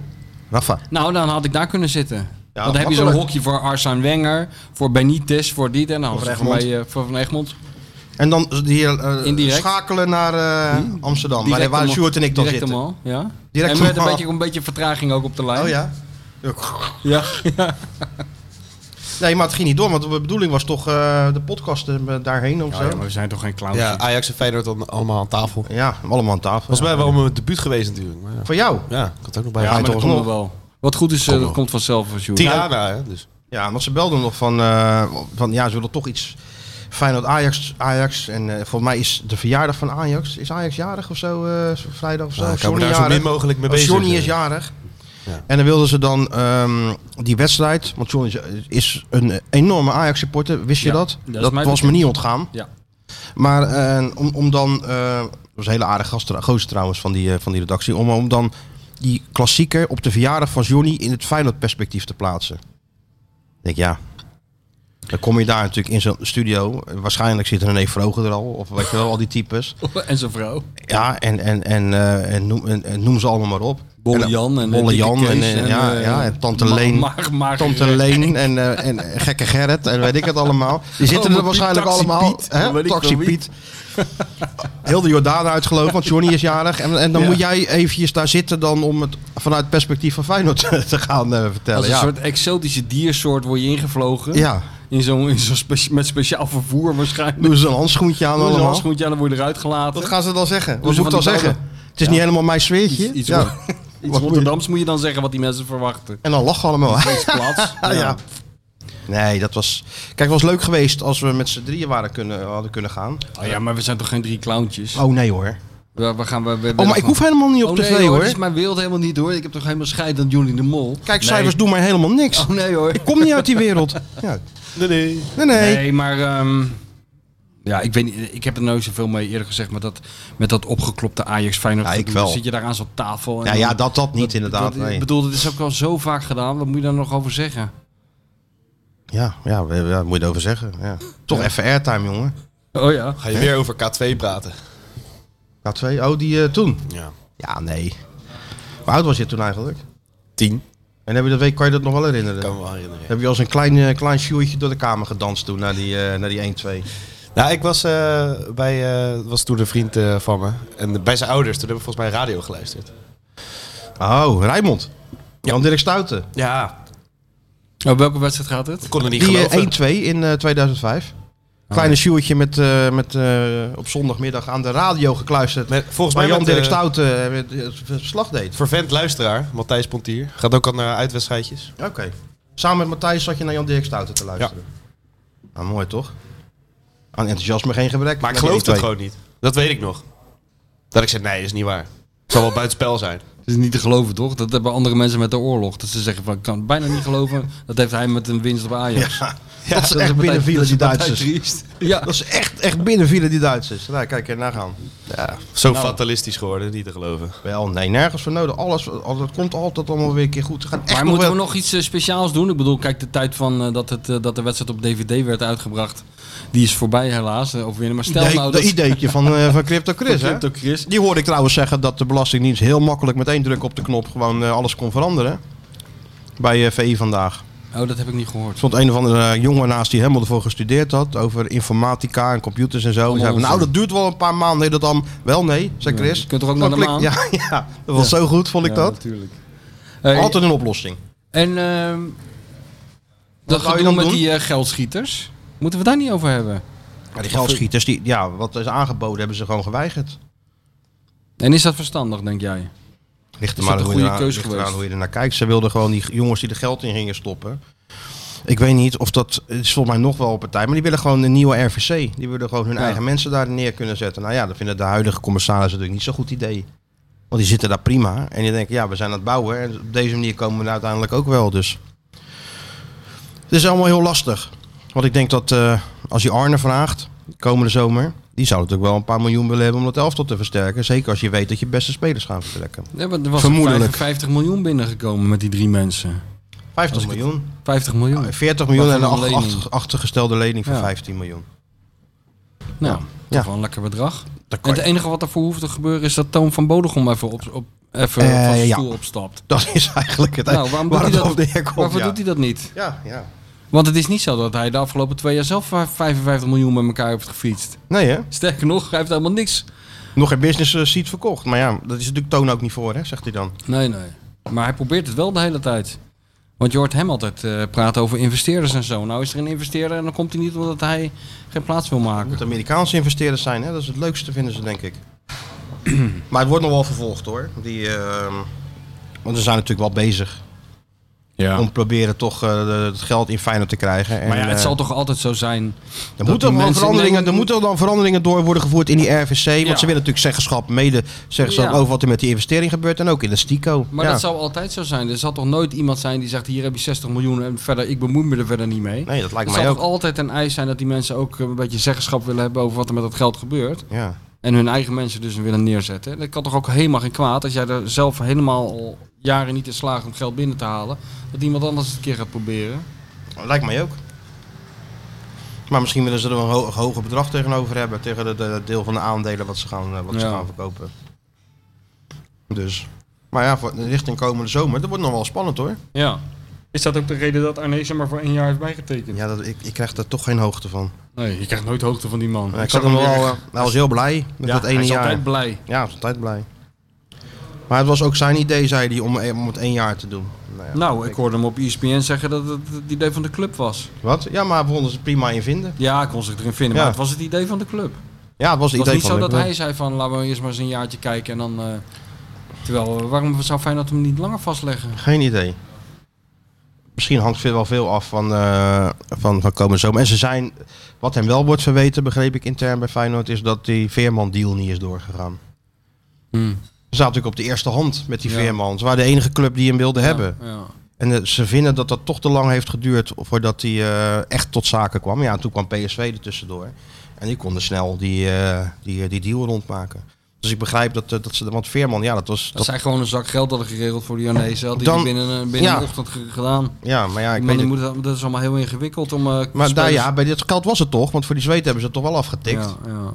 Rafa.
Nou, dan had ik daar kunnen zitten. Want dan heb je zo'n
makkelijk.
hokje voor Arsène Wenger, voor Benitez, voor dit en dan
Of
voor,
Egmond.
mij, eh, voor Van Egmond.
En dan hier, eh,
Indirect.
schakelen naar eh,
Hmm.
Amsterdam, waar,
Direct
waar
allemaal-
Sjoerd en ik dan
direct
zitten.
allemaal, ja.
Direct
en met een
allemaal.
beetje, een beetje vertraging ook op de lijn.
Oh ja.
ja.
Nee, maar het ging niet door, want de bedoeling was toch eh, de podcast eh, daarheen of zo. Ja,
we zijn toch geen clown.
Ja, Ajax en Feyenoord dan allemaal aan tafel.
allemaal aan tafel.
Volgens mij wel mijn debuut geweest natuurlijk. Maar ja.
Voor jou?
ja, ik had ook nog bij
Ja,
Ga
maar
je
dat
toch nog?
komt wel. Wat goed is, eh, dat komt vanzelf. als Sjoerd.
Tirana, hè, dus.
Ja, want ze belden nog van, eh, van ja, ze willen toch iets Feyenoord Ajax. Ajax. En eh, volgens mij is de verjaardag van Ajax. Is Ajax jarig of zo? eh, vrijdag of zo?
Ja, ik hou
Johnny
me daar zo min
jarig.
mogelijk mee
Oh,
bezig. eh.
Johnny is jarig.
Ja.
En dan wilden ze dan ehm, die wedstrijd. Want Johnny is- is een enorme Ajax-supporter. Wist je
Ja,
dat?
dat is
Dat
mij
was me
bekend.
niet ontgaan.
Ja.
Maar eh, om, om dan. eh, dat was een hele aardige gast, gozer trouwens van die, eh, van die redactie. Om, om dan die klassieker op de verjaardag van Johnny in het Feyenoord-perspectief te plaatsen. Ik denk ja. Dan kom je daar natuurlijk in zo'n studio. Waarschijnlijk zit René Vroger er al. Of weet je wel, al die types.
En zijn vrouw.
Ja, en, en, en, eh, en, noem, en, en noem ze allemaal maar op.
Bolle
En-
Jan en, eh,
Bolle
Dikke
Jan en,
Kees
eh, ja,
eh,
ja, en Tante
Ma-
Leen.
Maag- Maag-
Tante Leen en, eh, en eh, gekke Gerrit en weet ik het allemaal. Die zitten
Oh,
er
maar Piet,
waarschijnlijk
Taxi
allemaal.
Piet,
hè?
dan weet ik
Taxi
wel wie.
Piet. Heel de Jordaan uitgelopen, want Johnny is jarig. En, en dan moet jij eventjes daar zitten dan om het vanuit het perspectief van Feyenoord te gaan eh,
Als
vertellen.
een
Ja.
soort exotische diersoort word je ingevlogen.
ja,
In zo'n, in zo'n specia- met speciaal vervoer waarschijnlijk.
doen ze een handschoentje aan
Doe ze
allemaal.
als goed, ja, dan word je eruit gelaten.
Wat gaan ze dan zeggen?
Doen
Wat
ze
moet ik
van
dan
die
zeggen?
ballen.
Het is niet helemaal mijn sfeertje.
Iets, iets,
ja.
Ro- iets
moet je-
Rotterdams moet je dan zeggen wat die mensen verwachten.
En dan lachen allemaal.
Deze plaats.
Ja. Nee, dat was. Kijk, het was leuk geweest als we met z'n drieën waren kunnen, hadden kunnen gaan.
Oh ja, maar we zijn toch geen drie clowntjes?
Oh nee hoor.
We, we gaan, we, we
Oh, maar ik hoef helemaal niet op
oh,
tv
nee,
hoor.
Dat is mijn wereld helemaal niet hoor. Ik heb toch helemaal scheid aan Johnny de Mol.
Kijk, cijfers doen mij helemaal niks.
Oh nee hoor.
Ik kom niet uit die wereld. Ja.
Nee, nee.
Nee, nee.
Nee, maar ehm, ja, ik weet niet, ik heb er nooit zoveel mee eerder gezegd, maar dat, met dat opgeklopte Ajax Feyenoord.
Ja, ik
gedoe,
wel.
dan Zit je daar aan zo'n tafel? En
Ja, ja,
dan-
dat, dat niet
dat-
inderdaad.
Ik
Nee.
bedoel, dat is ook al zo vaak gedaan. Wat moet je daar nog over zeggen?
Ja, ja, we- ja, daar moet je het over zeggen. Ja. Toch even airtime, jongen.
Oh ja.
Ga je weer over K2 praten?
K2, oh, die eh, toen.
Ja.
Ja, nee. Hoe oud was je toen eigenlijk?
Tien.
En heb je dat week, kan je dat nog wel herinneren?
Kan me wel herinneren.
Heb je als een klein, eh, klein sjoertje door de kamer gedanst toen, naar die, eh, naar die 1-2?
Nou, ik was eh, bij, eh, was toen een vriend eh, van me. En bij zijn ouders, toen heb ik volgens mij radio geluisterd.
Oh, Rijmond. Jan-Dirk Stouten.
Ja.
Op Oh, welke wedstrijd gaat het?
Ik kon er niet
Die
geloven.
eh, 1-2 in eh, 2005.
Oh.
Kleine sjoertje met, eh, met, eh, op zondagmiddag aan de radio gekluisterd.
Met- volgens
Waar
mij met,
Jan-Dirk
eh,
Stouten eh, het- het verslag deed.
Vervent luisteraar, Matthijs Pontier. Gaat ook al naar uitwedstrijdjes.
Oké. Samen met Matthijs zat je naar Jan-Dirk Stouten te luisteren. Nou, mooi toch? Aan enthousiasme geen gebrek.
Maar
Met
ik
die
geloofde het
1-2.
gewoon niet. Dat weet ik nog. Dat ik zei, nee, dat is niet waar. Het zal wel buitenspel zijn.
Het is niet te geloven, toch? Dat hebben andere mensen met de oorlog. Dat ze zeggen van, ik kan het bijna niet geloven. Dat heeft hij met een winst op Ajax. Ja,
dat ze echt binnenvielen, die Duitsers.
triest. Ja.
Dat is echt, echt binnenvielen, die Duitsers. Nou, kijk, en daar gaan.
Zo fatalistisch geworden, niet te geloven.
Wel, nee, nergens voor nodig. Alles, al- dat komt altijd allemaal weer een keer goed. Het gaat echt
Maar
nog
moeten we
wel-
nog iets eh, speciaals doen? Ik bedoel, kijk, de tijd van eh, dat, het, eh, dat de wedstrijd op DVD werd uitgebracht, die is voorbij helaas. eh, of weer. Maar stel
Nee,
nou
dat
dat...
ideetje van, eh, van Crypto Chris, hè?
Crypto Chris.
Die hoorde ik trouwens zeggen dat de Belastingdienst heel makkelijk met één druk op de knop gewoon eh, alles kon veranderen. Bij eh, VI vandaag.
Oh, dat heb ik niet gehoord.
Er stond een of andere eh, jongen naast die helemaal ervoor gestudeerd had. Over informatica en computers en zo. Die zei,
onzin.
nou, dat duurt wel een paar maanden. Nee, dat dan wel nee, zei Chris.
je kunt toch ook naar de
Gewoon klik- Ja, ja, dat was zo goed, vond ik dat.
natuurlijk. Hey,
Altijd een oplossing.
En ehm dat
ga je
gedoe
dan
met
doen?
die eh, geldschieters, moeten we daar niet over hebben?
Maar die geldschieters, die, ja, wat is aangeboden, hebben ze gewoon geweigerd.
En is dat verstandig, denk jij?
Ligt er
Is
maar
dat een
hoe je
goede
eraan-
keuze
ligt eraan
geweest?
hoe je ernaar kijkt. Ze wilden gewoon die jongens die er geld in gingen stoppen. Ik weet niet of dat, het is volgens mij nog wel een partij, maar die willen gewoon een nieuwe RVC. Die willen gewoon hun
Ja.
eigen mensen daar neer kunnen zetten. Nou ja, dat vinden de huidige commissarissen natuurlijk niet zo'n goed idee. Want die zitten daar prima. En die denken, ja, we zijn aan het bouwen. En op deze manier komen we uiteindelijk ook wel. Dus het is allemaal heel lastig. Want ik denk dat eh, als je Arne vraagt, komende zomer, die zou natuurlijk wel een paar miljoen willen hebben om dat elftal te versterken. Zeker als je weet dat je beste spelers gaan vertrekken.
Ja, want er was
Vermoedelijk.
55 miljoen binnengekomen met die drie mensen.
50
ik het-
miljoen.
50 miljoen.
40 miljoen
Wat
en een
voor een
ach-
lening?
achter- achtergestelde lening van
Ja.
15 miljoen.
nou,
Ja.
toch wel een lekker bedrag.
Dat
En
kan
het enige wat ervoor hoeft te gebeuren is dat Toon van Bodegom even, op, op, even
Eh,
van zijn
ja.
stoel opstapt.
Dat is eigenlijk het
Nou, waarom doet
waar
hij
het
dat?
op neerkomt,
Waarvoor
ja.
doet hij dat niet?
Ja, ja.
Want het is niet zo dat hij de afgelopen twee jaar zelf 55 miljoen met elkaar heeft gefietst.
Nee hè?
Sterker nog, hij heeft helemaal niks.
Nog geen business eh, seat verkocht. Maar ja, dat is natuurlijk Toon ook niet voor hè, zegt hij dan.
Nee, nee. Maar hij probeert het wel de hele tijd. Want je hoort hem altijd eh, praten over investeerders en zo. Nou is er een investeerder en dan komt hij niet omdat hij geen plaats wil maken.
Het moet Amerikaanse investeerders zijn hè, dat is het leukste vinden ze denk ik. maar het wordt nog wel vervolgd hoor. Die, ehm, want ze zijn natuurlijk wel bezig
Ja.
om proberen toch eh, de- het geld in Feyenoord te krijgen. En,
maar ja, het
eh,
zal toch altijd zo zijn.
Er
dat
moeten
die
wel
mensen-
veranderingen,
Nee,
er moeten dan veranderingen door worden gevoerd in die RVC. Want
Ja.
ze willen natuurlijk zeggenschap mede zeggen ze dan
Ja.
over wat er met die investering gebeurt. En ook in de STICO.
Maar
Ja.
dat zou altijd zo zijn. Er zal toch nooit iemand zijn die zegt: hier heb je 60 miljoen en verder, ik bemoei me er verder niet mee.
Nee, dat lijkt
Het
mij
zal toch
ook.
altijd een eis zijn dat die mensen ook een beetje zeggenschap willen hebben over wat er met dat geld gebeurt.
Ja.
En hun eigen mensen dus willen neerzetten. Dat kan toch ook helemaal geen kwaad als jij er zelf helemaal al jaren niet in slaagt om geld binnen te halen. Dat iemand anders het een keer gaat proberen.
Nou, Lijkt mij ook. Maar misschien willen ze er wel een, ho- een hoger bedrag tegenover hebben. Tegen het de, deel van de aandelen wat ze gaan, eh, wat ze
Ja.
gaan verkopen. Dus. Maar ja, voor, richting komende zomer. Dat wordt nog wel spannend hoor.
Ja. Is dat ook de reden dat Arnezen maar voor één jaar heeft bijgetekend?
Ja, dat, ik, ik krijg daar toch geen hoogte van.
Nee, je krijgt nooit hoogte van die man.
ik zat hem wel, eh, hij was heel blij met dat ene
hij is
jaar.
altijd blij.
Ja, hij is altijd blij. Maar het was ook zijn idee, zei hij, om, eh, om het één jaar te doen. Nou, ja.
Nou, ik hoorde hem op ESPN zeggen dat het het idee van de club was.
Wat? Ja, maar we konden ze prima in vinden.
Ja, ik kon zich erin vinden,
Ja.
maar het was het idee van de club.
Ja, het was het
Het was
idee
niet
van
zo dat
Luc.
hij zei van laten we eerst maar eens een jaartje kijken en dan... eh, terwijl, eh, waarom zou Feyenoord hem niet langer vastleggen?
Geen idee. Misschien hangt veel wel veel af van, eh van, van komende zomer. En ze zijn, wat hem wel wordt verweten, begreep ik intern bij Feyenoord, is dat die Veerman-deal niet is doorgegaan. Ze zaten natuurlijk op de eerste hand met die
Ja.
Veerman. Ze waren de enige club die hem wilde hebben.
Ja, ja.
En eh, ze vinden dat dat toch te lang heeft geduurd voordat hij eh, echt tot zaken kwam. Ja, en toen kwam PSV er tussendoor. En die konden snel die, eh, die, die deal rondmaken. Dus ik begrijp dat, eh, dat ze... Want Veerman, ja, dat was...
Dat
Dat,
zij gewoon een zak geld hadden geregeld voor de Janezen. Had hij
Dan-
die binnen, een- binnen
ja.
een ochtend ge- gedaan.
ja, maar ja, ik
Ik
weet het.
moet, dat dat is allemaal heel ingewikkeld om... eh,
Maar daar,
spelers-
ja, bij dit geld was het toch. Want voor die zweet hebben ze het toch wel afgetikt.
Ja, ja.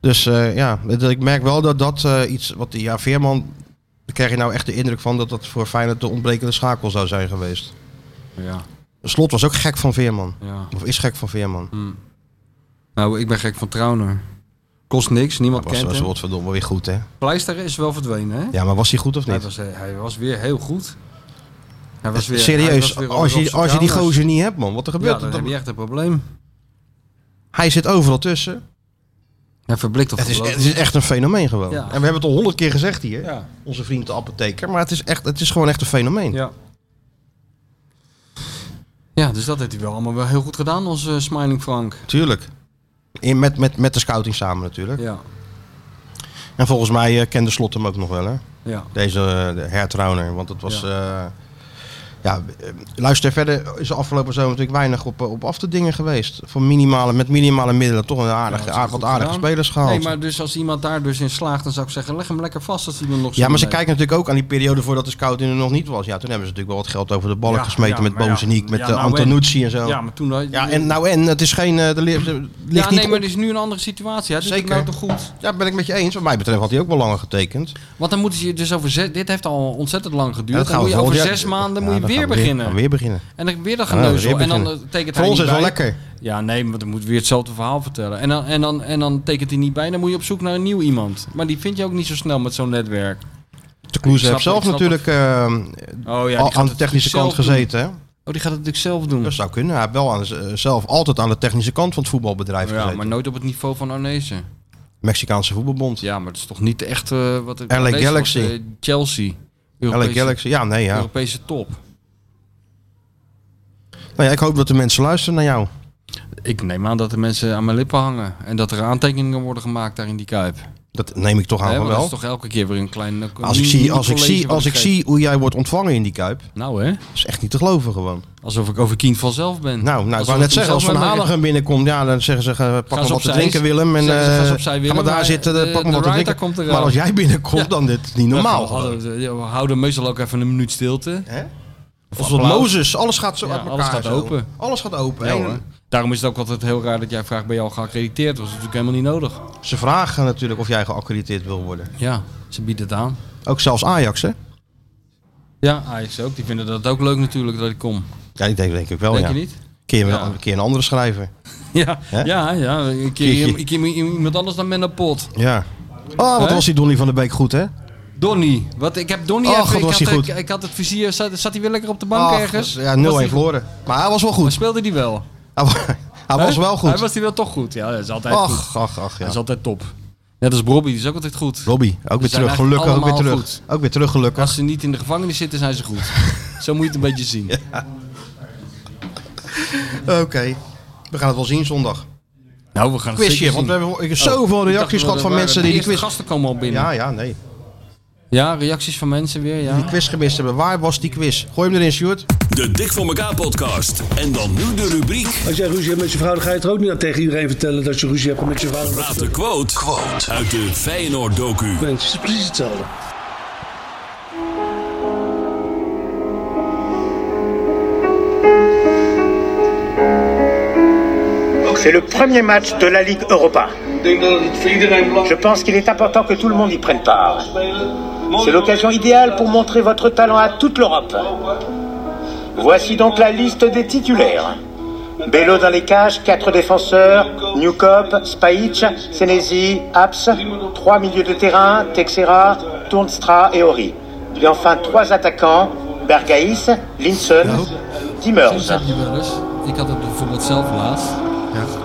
Dus eh, ja, dat- ik merk wel dat dat eh, iets... Wat, die- ja, Veerman... Daar krijg je nou echt de indruk van dat dat voor Feyenoord de ontbrekende schakel zou zijn geweest.
ja,
Slot was ook gek van Veerman.
ja. Hm.
Of is gek van Veerman.
Nou, ik ben gek van Trauner. Kost niks, niemand
Was,
kent
was
hem.
godverdomme weer goed, hè?
Pleister is wel verdwenen, hè?
Ja, maar was hij goed of
Hij
niet? Eh,
was, eh, hij was weer heel goed. Hij was weer, hij was
Serieus,
weer
als je,
Robson
als je die
Trauners.
gozer niet hebt, man, wat er
Ja,
gebeurt
dan
er?
heb je echt een probleem.
Hij zit overal tussen.
Hij verblikt op
Het is,
geloof.
het is echt een fenomeen gewoon.
Ja.
En we hebben het al honderd keer gezegd hier,
Ja.
onze vriend de apotheker. Maar het is, echt, het is gewoon echt een fenomeen.
Ja. Ja, dus dat heeft hij wel allemaal wel heel goed gedaan, onze eh, Smiling Frank.
Tuurlijk. In, met, met, met de scouting samen natuurlijk.
Ja,
En volgens mij eh, kende Slot hem ook nog wel, hè?
ja.
Deze eh, de hertrouwner. Want het was... Ja. ja, eh, luister verder. Is de afgelopen zomer natuurlijk weinig op, eh, op af te dingen geweest. Voor minimale, met minimale middelen toch een aardige,
Ja, dat is
aardig,
goed
wat aardige
gedaan.
spelers gehaald.
Nee, maar dus als iemand daar dus in slaagt, dan zou ik zeggen, leg hem lekker vast als hij hem nog
Ja, maar ze
zo-
kijken natuurlijk ook aan die periode voordat de scouting er nog niet was. Ja, toen hebben ze natuurlijk wel wat geld over de ballen
Ja,
gesmeten
ja,
met
maar ja.
Bozeniek, met
Ja,
eh,
nou en.
Antonucci en zo.
Ja,
Ja,
maar toen... had-
en nou en, het is geen... eh, Er li- er ligt
ja
niet
nee,
op-
maar dit is nu een andere situatie. Hij doet
Zeker.
Zeker. nou toch goed.
Ja, ben ik met je eens. Wat mij betreft had hij ook wel langer getekend.
Want dan moeten ze je dus over... zes- Dit heeft al ontzettend lang
En
geduurd. Dan moet je over
volgend jaar-
zes maanden
Ja,
moet je
dan
weer
gaan we
beginnen.
gaan we weer beginnen.
En dan weer dat
Ja, dan
geneuzel.
weer
en dan
beginnen.
eh, tekent
Voor
hij
ons is
niet
wel
bij.
lekker.
Ja, nee, want dan moet weer hetzelfde verhaal vertellen. En dan, en, dan, en dan tekent hij niet bij, dan moet je op zoek naar een nieuw iemand. Maar die vind je ook niet zo snel met zo'n netwerk.
de Kloeze
Ik
heeft
snap-
zelf
ik snap
natuurlijk eh,
Oh ja,
al
die gaat
aan de
het
technische kant
natuurlijk zelf doen.
gezeten. hè?
Oh, die gaat het natuurlijk zelf doen.
Dat zou kunnen. Hij heeft wel aan, z- eh, zelf altijd aan de technische kant van het voetbalbedrijf
ja,
gezeten.
maar nooit op het niveau van Arnezen.
Mexicaanse voetbalbond.
Ja, maar dat is toch niet echt eh, wat het
LA
Arnezen was,
Galaxy.
eh, Chelsea.
LA
Europese-
Galaxy. Ja, nee, ja.
Europese top.
Nou ja. Ik hoop dat de mensen luisteren naar jou.
Ik neem aan dat de mensen aan mijn lippen hangen. En dat er aantekeningen worden gemaakt daar in die Kuip.
Dat neem ik toch aan
Hè,
van
want dat is
wel.
toch elke keer weer een klein... eh, een
Als ik,
mini-
zie,
mini
als, ik
college
zie,
wat
als ik
geef.
zie hoe jij wordt ontvangen in die Kuip,
Nou hè,
dat is echt niet te geloven gewoon.
alsof ik over kind vanzelf ben.
Nou, nou ik
Alsof
wou
hem
net zeggen, als
zelf
Van
met mij-
Hanegem binnenkomt, ja, dan zeggen ze, eh, pak
eens
hem wat te
opzij,
drinken Willem. En,
zeggen ze,
eh,
ga eens opzij,
ga
Willem,
maar daar
maar
zitten, eh,
de-
pak
de
hem wat te
writer
drinken.
komt eraan.
maar als jij binnenkomt,
Ja.
dan dit niet
We
normaal.
hadden- we houden meestal ook even een minuut stilte.
Als wat
applaus.
Mozes, alles gaat zo
Ja,
uit elkaar.
alles gaat
zo.
open.
Alles gaat open.
Ja,
En
hoor. Daarom is het ook altijd heel raar dat jij vraagt, ben je al geaccrediteerd? Dat was natuurlijk helemaal niet nodig.
Ze vragen natuurlijk of jij geaccrediteerd wil worden.
Ja, ze bieden het aan.
Ook zelfs Ajax, hè?
Ja, Ajax ook. Die vinden dat ook leuk natuurlijk dat ik kom.
Ja, ik denk, denk ik wel,
Denk
Oh, ja.
je niet?
Keer, een-
Ja.
een keer een andere schrijver.
Ja, ja, ja. Een keer,
Keertje.
een keer iemand anders dan Menno Pot.
Ja. Oh, wat
Hè?
was die Donny van de Beek goed, hè?
Donny. Wat, ik heb Donny
Och,
even...
wat
Ik
Oh, was
had,
hij
ik-
goed.
Ik, had het vizier... Zat, zat hij weer lekker op de bank
Ach,
ergens?
Ja, 0-1
Was hij-
verloren. Maar hij was wel
Maar
goed.
speelde die wel?
Hij wa- hij was
Hè?
wel
Hij
goed.
was die wel toch goed. Ja, dat is altijd goed.
Ach, ach, ach,
Dat
ja.
is altijd top. Net als Bobby, die is ook altijd goed.
Robbie, ook weer
zijn
terug.
eigenlijk
Gelukkig, ook weer
allemaal
terug.
goed.
Ook weer terug, gelukkig.
Als ze niet in de gevangenis zitten, zijn ze goed. Zo moet je het een beetje zien.
Oké. We gaan het wel zien zondag.
Nou, we gaan het
Quizje,
zeker
want we
zien.
hebben ik heb zoveel
Ik dacht
reacties
wel,
gehad
er
van
waren-
mensen
de
die die
eerste
quiz...
gasten komen al binnen.
Ja,
Ja.
ja, nee.
reacties van mensen weer,
Die
ja.
quiz gemist hebben. Waar was die quiz? Gooi hem erin, Stuart.
De Dik voor elkaar podcast. En dan nu de rubriek
Als jij ruzie hebt met je vrouw, dan ga je het er ook niet aan tegen iedereen vertellen dat je ruzie hebt met je vrouw.
Raad de quote, quote uit de Feyenoord docu.
Het is precies hetzelfde.
C'est le premier match de la Ligue Europa.
Ik denk dat het voor iedereen
Je
belangrijk
pense qu'il est important que tout le monde y prenne part.
is.
C'est l'occasion idéale pour montrer votre talent à toute l'Europe. Voici donc la liste des titulaires. Bello dans les cages, quatre défenseurs, Newcop, Spajic, Senesi, Abs, trois milieux de terrain, Texera, Tournstra et Ori. Puis enfin trois attaquants, Bergaïs, Linson,
Soms
Timmers.
heb je wel eens. Ik had het bijvoorbeeld zelf laatst.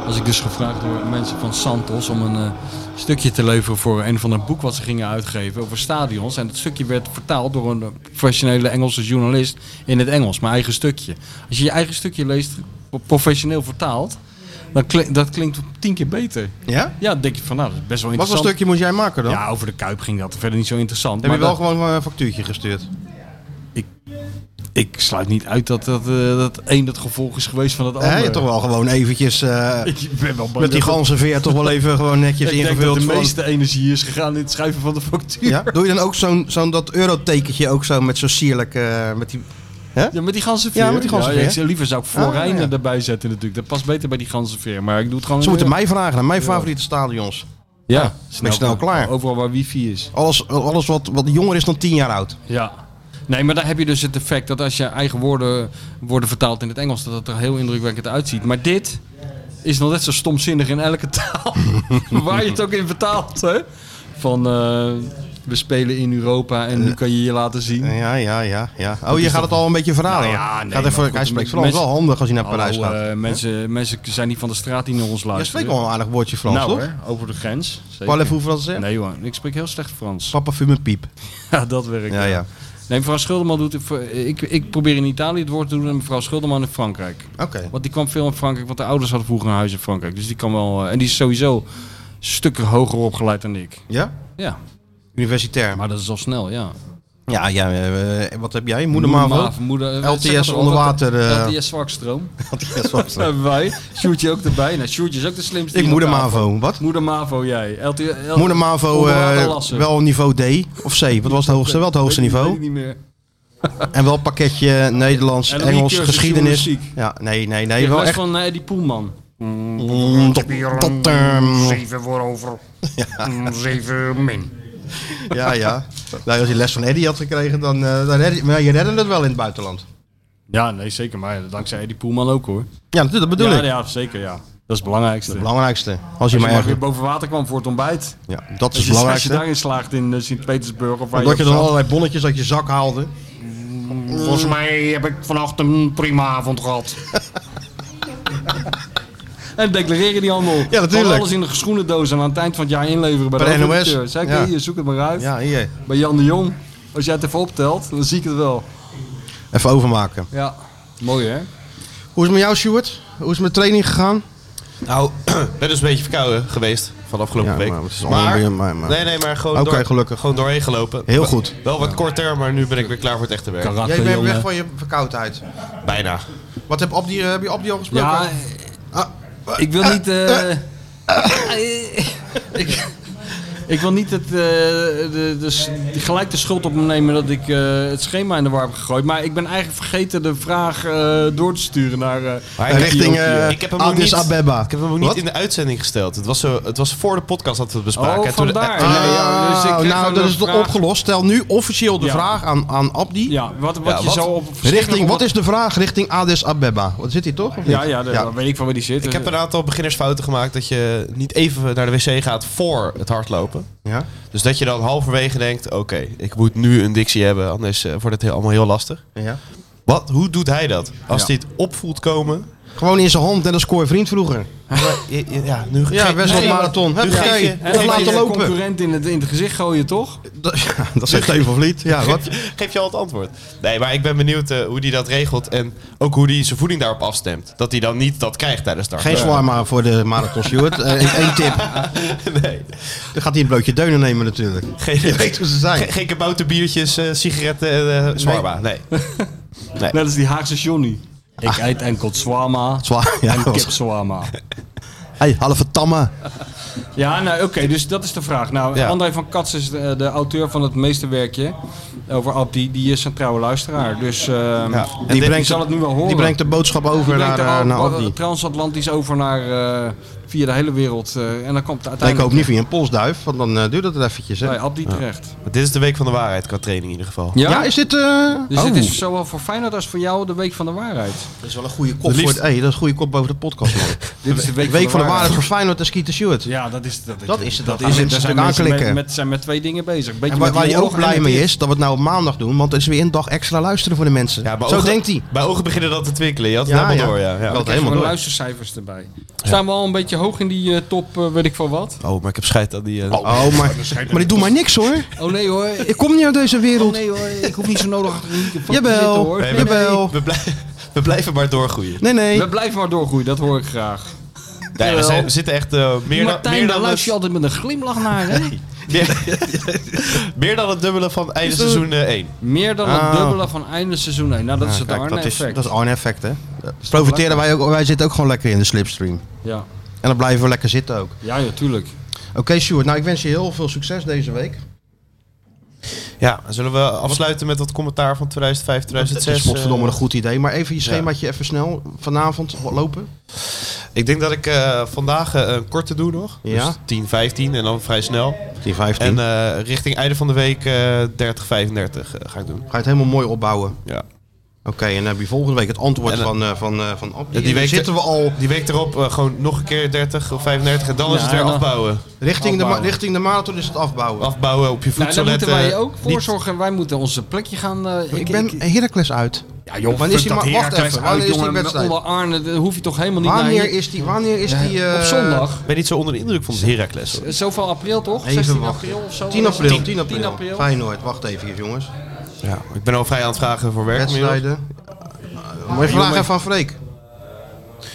Als ik dus gevraagd door mensen van Santos om een eh, stukje te leveren voor een van een boek wat ze gingen uitgeven over stadions. En dat stukje werd vertaald door een eh, professionele Engelse journalist in het Engels, mijn eigen stukje. Als je je eigen stukje leest, professioneel vertaald, dan kli- dat klinkt tien keer beter.
Ja?
Ja, dan denk je van nou, dat is best wel
Wat voor
interessant.
stukje moest jij maken dan?
Ja, over de Kuip ging dat verder niet zo interessant.
Heb je
maar
wel
dat-
gewoon eh, een factuurtje gestuurd?
Ik sluit niet uit dat dat, eh, dat een het gevolg is geweest van het
Hè,
andere.
je hebt toch wel gewoon eventjes eh,
Ik ben wel bang
met die
dat-
ganzenveer toch wel even gewoon netjes
Ik denk
ingevuld.
dat de
voor-
meeste energie is gegaan in het schrijven van de factuur.
Ja? Doe je dan ook zo'n zo'n dat eurotekentje ook zo met zo'n sierlijk... eh, met die...
Ja, met die ganzenveer.
Ja, met die ganzenveer.
ik zou- liever zou ik
Ah,
Florijnen
ja.
erbij zetten natuurlijk. Dat past beter bij die ganzenveer. Maar ik doe het gewoon...
Ze
in
moeten
de-
mij vragen naar mijn favoriete stadions.
Ja,
ben snel klaar.
Overal waar wifi is.
Alles, alles wat, wat jonger is dan 10 jaar oud.
Ja. Nee, maar daar heb je dus het effect dat als je eigen woorden worden vertaald in het Engels, dat het er heel indrukwekkend uitziet. Maar dit is nog net zo stomzinnig in elke taal. waar je het ook in vertaalt, hè? Van eh, we spelen in Europa en nu kan je je laten zien.
Ja, ja, ja. ja. Oh, je gaat het al een beetje verhalen.
Nou ja,
hoor.
nee,
gaat even,
maar goed,
hij spreekt
mensen-
Frans wel handig als hij naar Parijs
Hallo,
gaat.
eh, mensen, mensen zijn niet van de straat die naar ons
je
luisteren.
spreekt wel een aardig woordje Frans,
nou,
toch?
hoor, over de grens. Zeker.
Parlez-vous français?
Nee hoor, ik spreek heel slecht Frans.
Papa fume piep.
Ja, dat werkt.
Ja, ja.
Nee, mevrouw Schulderman doet... het voor- Ik, ik probeer in Italië het woord te doen en mevrouw Schulderman in Frankrijk.
Oké.
Want die kwam veel in Frankrijk, want de ouders hadden vroeger een huis in Frankrijk. Dus die kan wel... eh, En die is sowieso stukken hoger opgeleid dan ik.
Ja?
Ja,
Universitair.
maar dat is al snel, ja.
Ja, ja. eh, wat heb jij? Moedermavo?
moeder, eh,
LTS onder water, eh.
LTS zwakstroom.
Yes,
Dat hebben wij. Sjoerdje ook erbij. Nou, Sjoerdje is ook de slimste.
ik
hier aan tafel.
moedermavo. Wat?
Moeder Mavo, jij. LT, L-
Moeder Mavo,
Onder
eh,
water lassen.
wel niveau D of C. Wat was het hoogste? Wel het hoogste
Weet ik- weet
niveau.
ik niet meer.
En wel pakketje Nederlands,
En dan die
Engels,
cursus
geschiedenis.
journalistiek.
Ja, nee, nee,
Ik
nee. Wel
was
echt
van eh, die Poelman.
mm, tot,
heb hier
tot,
een
ehm,
zeven voor over. Een Zeven min.
Ja, ja. Nou, als je les van Eddie had gekregen, dan, eh, dan red je, maar je redde het wel in het buitenland.
Ja, nee, zeker. Maar dankzij die Poelman ook hoor.
Ja, natuurlijk, dat bedoel
ja,
ik.
ja, zeker, ja. is het belangrijkste.
Het belangrijkste. Als je,
Als je
maar
maar,
ergens-
weer boven water kwam voor het ontbijt.
Ja, dat is het
Als je- Als
belangrijkste.
je daarin slaagt in eh, Sint-Petersburg of waar
Omdat je
ook
dan
zat.
allerlei bonnetjes uit je zak haalde.
Volgens mij heb ik vannacht een prima avond gehad.
En declareren die handel. Ja,
natuurlijk.
Alles in de geschoenendoos en aan het eind van het jaar inleveren bij,
Bij de NOS.
hoofdredacteur. Zeg ik,
Ja.
hier, zoek het maar uit.
Ja, hier.
Bij Jan de Jong. Als jij het even optelt, dan zie ik het wel.
Even overmaken.
Ja, mooi hè?
Hoe is het met jou, Stuart? Hoe is het met training gegaan?
Nou, ik ben dus een beetje verkouden geweest van afgelopen
Ja,
week.
maar het is allemaal weer- maar- maar-
Nee, nee, maar gewoon,
Oké,
door-
gelukkig.
gewoon doorheen gelopen.
Heel
Wel-
goed.
Wel wat korter, maar nu ben ik weer klaar voor het echte werk.
Karate,
Jij bent
jongen.
weg van je verkoudheid.
Bijna.
Wat heb, Abdi, heb je Abdi al gesproken?
Ja, eh,
Ah,
ik wil niet. eh,
eh,
ik, ik wil niet het, eh, de, de, s- gelijk de schuld op me nemen dat ik eh, het schema in de war heb gegooid. Maar ik ben eigenlijk vergeten de vraag eh, door te sturen naar. eh,
Maar
Richting
heb-
eh,
ik heb hem ook
Addis
niet-
Abeba.
Ik heb hem ook
Wat?
niet in de uitzending gesteld. Het was, zo, het was voor de podcast dat we het bespraken.
Oh,
En toen- eh,
vandaar.
en-
Ja, ja, dus ik
Ah,
kreeg
nou,
gewoon
dat
een
is toch
vraag.
opgelost. Stel nu officieel de
Ja.
vraag aan, aan Abdi.
ja, wat, wat
Ja,
je
wat?
zo op.
Richting, Ah, wat is de vraag? Richting Addis Abeba. Wat zit hier toch? of
Ja,
niet?
ja, de- daar weet ik van waar die zit. Eh,
ik heb een aantal beginnersfouten gemaakt dat je niet even naar de wc gaat voor het hardlopen.
Ja?
Dus dat je dan halverwege denkt, oké, ik moet nu een dictie hebben, anders eh, wordt het heel, allemaal heel lastig.
Ja.
Wat, hoe doet hij dat? Als dit opvoelt komen...
Gewoon in zijn hand, net als Kooi Vriend vroeger.
Je- je- Ja, nu ge-
Ja,
geef-
best wel
nee, maar-
marathon. Heb
nu geef je-
je
nu
Of
geef je
laten
de
lopen.
eh, concurrent in het, in het gezicht gooien, toch?
Dat, ja, dat zegt Theo van Vliet. Ja, wat?
Geef je al het antwoord. Nee, maar ik ben benieuwd eh, hoe die dat regelt en ook hoe die zijn voeding daarop afstemt. Dat hij dan niet dat krijgt tijdens de
Geen
hardloop.
shawarma voor de marathon, Stuart. Eén tip.
Nee,
Dan gaat hij een blootje deunen nemen natuurlijk.
geen,
Je weet hoe ze zijn.
geen, geen kabouterbiertjes, eh, sigaretten en eh shawarma. Nee.
Eh.
Net als die Haagse Johnny. Ik eet enkel zwama.
Zwaar. Ah. Ja,
En
dat was-
kipswama.
hey, halve tamme.
Ja, nou oké, dus dat is de vraag. Nou,
Ja.
André van Kats is de, de auteur van het meesterwerkje over Abdi. Die is een trouwe luisteraar. Dus ehm, en
Die
die,
brengt-
zal het nu wel horen.
Die brengt de boodschap
Die
over
brengt
naar,
de-
eh, naar
wa-
Abdi.
transatlantisch over naar, eh, via de hele wereld. eh, en dan komt het
Ik hoop
uiteindelijk
niet via een polsduif, want dan eh, duurt het eventjes. Hè?
bij Abdi terecht.
Maar Oh dit is de week van de waarheid qua training in ieder geval.
Ja? is dit... eh
Dus
oh,
dit is zowel voor Feyenoord als voor jou de week van de waarheid.
dat is wel een goede kop.
Het
Voor
liefst-
het, hey, dat is een goede kop boven de podcast, man.
Dit is de
Week, van de waarheid voor Feyenoord en Skeeter Stewart.
Ja, dat is dat,
Dat is het, dat
Daar
is het. Dat
Daar zijn
is
mensen met,
aanklikken.
met, zijn met twee dingen bezig. Beetje
En waar,
met
waar
die
hij ook
oorlog en
blij
met
mee
dit.
is, dat we het nou op maandag doen, want er is weer een dag extra luisteren voor de mensen.
Ja, mijn
Zo
ogen-
denkt hij.
Mijn ogen beginnen dat te twinkelen. Je had het
Ja,
helemaal
ja.
door, ja. ja.
Ik had het
Helemaal
helemaal door.
luistercijfers erbij. Staan we al een beetje hoog in die eh, top, eh, weet ik van wat?
Oh, maar ik heb scheid aan die... eh,
Oh, maar, maar die doen maar niks hoor.
Oh nee hoor. Oh,
Ik kom niet uit deze wereld.
nee hoor, ik hoef niet zo nodig achter een microfoon
Jawel.
te zitten hoor.
Nee,
Nee,
we,
nee.
Jawel.
we, blij- we blijven maar doorgroeien.
Nee, nee.
We blijven maar doorgroeien, dat hoor ik graag.
Ja, ja, we, zijn- we zitten echt eh, meer, dan,
Martijn,
meer,
daar
dan
luister je
het,
altijd met een glimlach naar hè?
meer, meer dan het dubbele van einde
het-
seizoen eh, 1.
Meer dan
Ah.
het dubbele van einde seizoen 1. Nou, dat is het
Kijk, dat is,
Arne-effect.
dat is Arne effect, hè. Profiteren wij ook, wij zitten ook gewoon lekker in de slipstream.
Ja.
En dan blijven we lekker zitten ook.
ja, ja, tuurlijk.
Oké, Stuart, nou ik wens je heel veel succes deze week.
Ja, zullen we afsluiten met dat commentaar van 2005,
Het is
2006?
godverdomme een
eh,
goed idee, maar even je schemaatje even snel vanavond lopen.
ik denk dat ik eh, vandaag eh, een korte doe nog.
Ja.
Dus 10, 15 en dan vrij snel.
10, 15.
En eh, richting einde van de week eh 30, 35 eh, ga ik doen.
Ga je het helemaal mooi opbouwen.
Ja.
Oké, en dan heb je volgende week het antwoord
En dan-
van, eh van, eh, van Ab.
die week-
zitten we al
Die week erop eh, gewoon nog een keer 30 of 35 en dan is het
Ja,
weer
dan-
afbouwen.
richting de, ma-
Afbouwen.
richting de marathon is het afbouwen.
Afbouwen op je
Nou, daar
voedselletten.
moeten wij ook
Niet-
voor zorgen. Wij moeten onze plekje gaan... eh,
eh, ik ben Heracles uit.
Ja, joh,
Wanneer is die
dat
ma- wacht
Heracles
even, wanneer
uit,
is die
jongen,
wedstrijd?
Onder Arne, daar hoef je toch helemaal niet
Wanneer
naar...
is die? Wanneer is die? eh,
Op zondag.
Ik ben niet zo onder de indruk van het Heracles. hoor.
Eh, Zoveel april toch?
Even
16
wachten.
april of zo?
10 april. 10 april.
10 april.
Feyenoord, wacht even hier jongens.
Ja, ik ben al vrij aan het vragen voor werk. inmiddels.
Wedstrijden. Eh, Mooie vraag even aan Freek.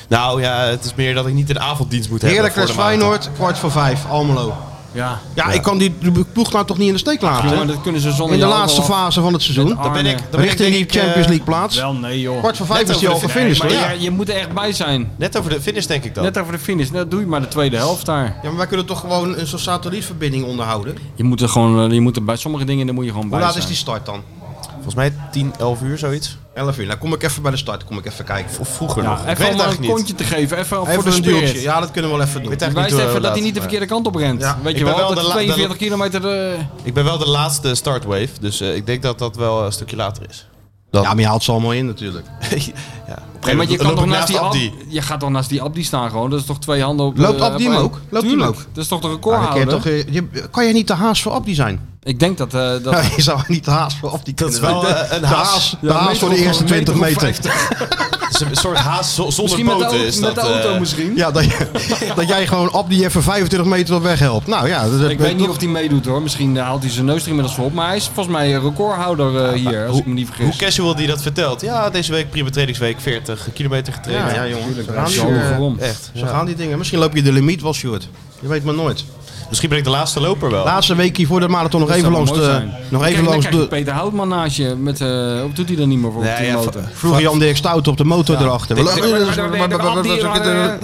Nou ja, het is meer dat ik niet een avonddienst moet hebben.
Heracles,
voor de maandag.
Feyenoord, kwart voor vijf, Almelo.
Ja.
Ja, ik kan die die ploeg nou toch niet in de steek laten.
Ja,
hè?
maar dat kunnen ze zonder
in de
jou Ah,
laatste
wel.
fase van het seizoen.
Arne.
Dan ben ik, dan ben ik
Richting die
denk ik, eh,
Champions League plaats.
Wel nee joh.
Kwart voor vijf
net
is die al
over de finish,
gefinished
Maar
hoor.
ja,
Ja.
je moet er echt bij zijn.
Net over de finish denk ik dan.
Net over de finish. Nou, doe je maar de tweede helft daar.
maar wij kunnen toch gewoon een soort satellietverbinding onderhouden.
Je moet er gewoon, eh, je moet er bij sommige dingen daar moet je gewoon
Hoe
bij
laat
zijn.
is die start dan?
Volgens mij 10, 11 uur zoiets.
11 uur. Nou kom ik even bij de start, kom ik even kijken.
Of vroeger
Ja,
nog. Ik
even
weet
om
het
een
eigenlijk niet.
kontje te geven. Even, voor
Even
de
een duwtje.
spirit.
Ja, dat kunnen we wel even doen.
Ik weet eigenlijk
Wijst
niet hoe
even dat hij niet de
laat,
verkeerde kant op rent.
Ja.
Weet
Ik
je
ben
wel,
wel
dat
de la-
42
dat-
kilometer... eh,
maar Ik ben wel de laatste startwave, dus eh, ik denk dat dat wel een stukje later is.
Ja, maar je haalt ze allemaal in natuurlijk.
ja, op een gegeven
Nee, want je,
loop
kan toch
ik
naast die
naast
Abdi.
Abdi.
je gaat dan naast die Abdi staan gewoon. Dat is toch twee handen op...
Loopt
eh,
Abdi
op
hem
één?
ook? Loopt hij hem
Tuurlijk.
ook?
Dat is toch de
Maar dan
recordhouder?
kun je toch, eh, je- kan je niet de haas voor Abdi zijn?
Ik denk dat... eh, dat...
je zou niet de haas voor Abdi kunnen
wel,
zijn.
eh, een
De
haas.
haas, de
Ja,
haas voor de
meter
eerste
of-
20
meter of
meter.
Het is Een soort haas zo- zonder
Misschien met de,
poten
au-
is
met
dat.
de auto
eh,
misschien.
Ja, dat, je- dat jij gewoon Abdi even 25 meter op weg helpt. Nou ja, dat,
Ik weet niet of hij meedoet hoor. Misschien eh, haalt hij zijn neus er inmiddels voor op. Maar hij is volgens mij een recordhouder eh, hier, als ik me niet
Hoe
vergis.
casual die dat vertelt. Ja, deze week prima trainingsweek, 40 kilometer getraind.
Ja, ja jongen. Zo gaan,
Zo
die, eh,
gewoon.
Echt.
zo gaan die dingen. Misschien loop je de limiet wel, Sjoerd. Je weet maar nooit.
Misschien ben ik de laatste loper wel.
Laatste weekje voor de marathon nog
Dat
even
zou
langs
mooi
de...
zijn.
Nog
Kijk,
even
dan
langs
krijg je
de...
Peter Houtman naast je. Met, eh, wat doet hij dan niet meer voor op die motor?
Vroeg Jan-Dirk Stout op de motor erachter.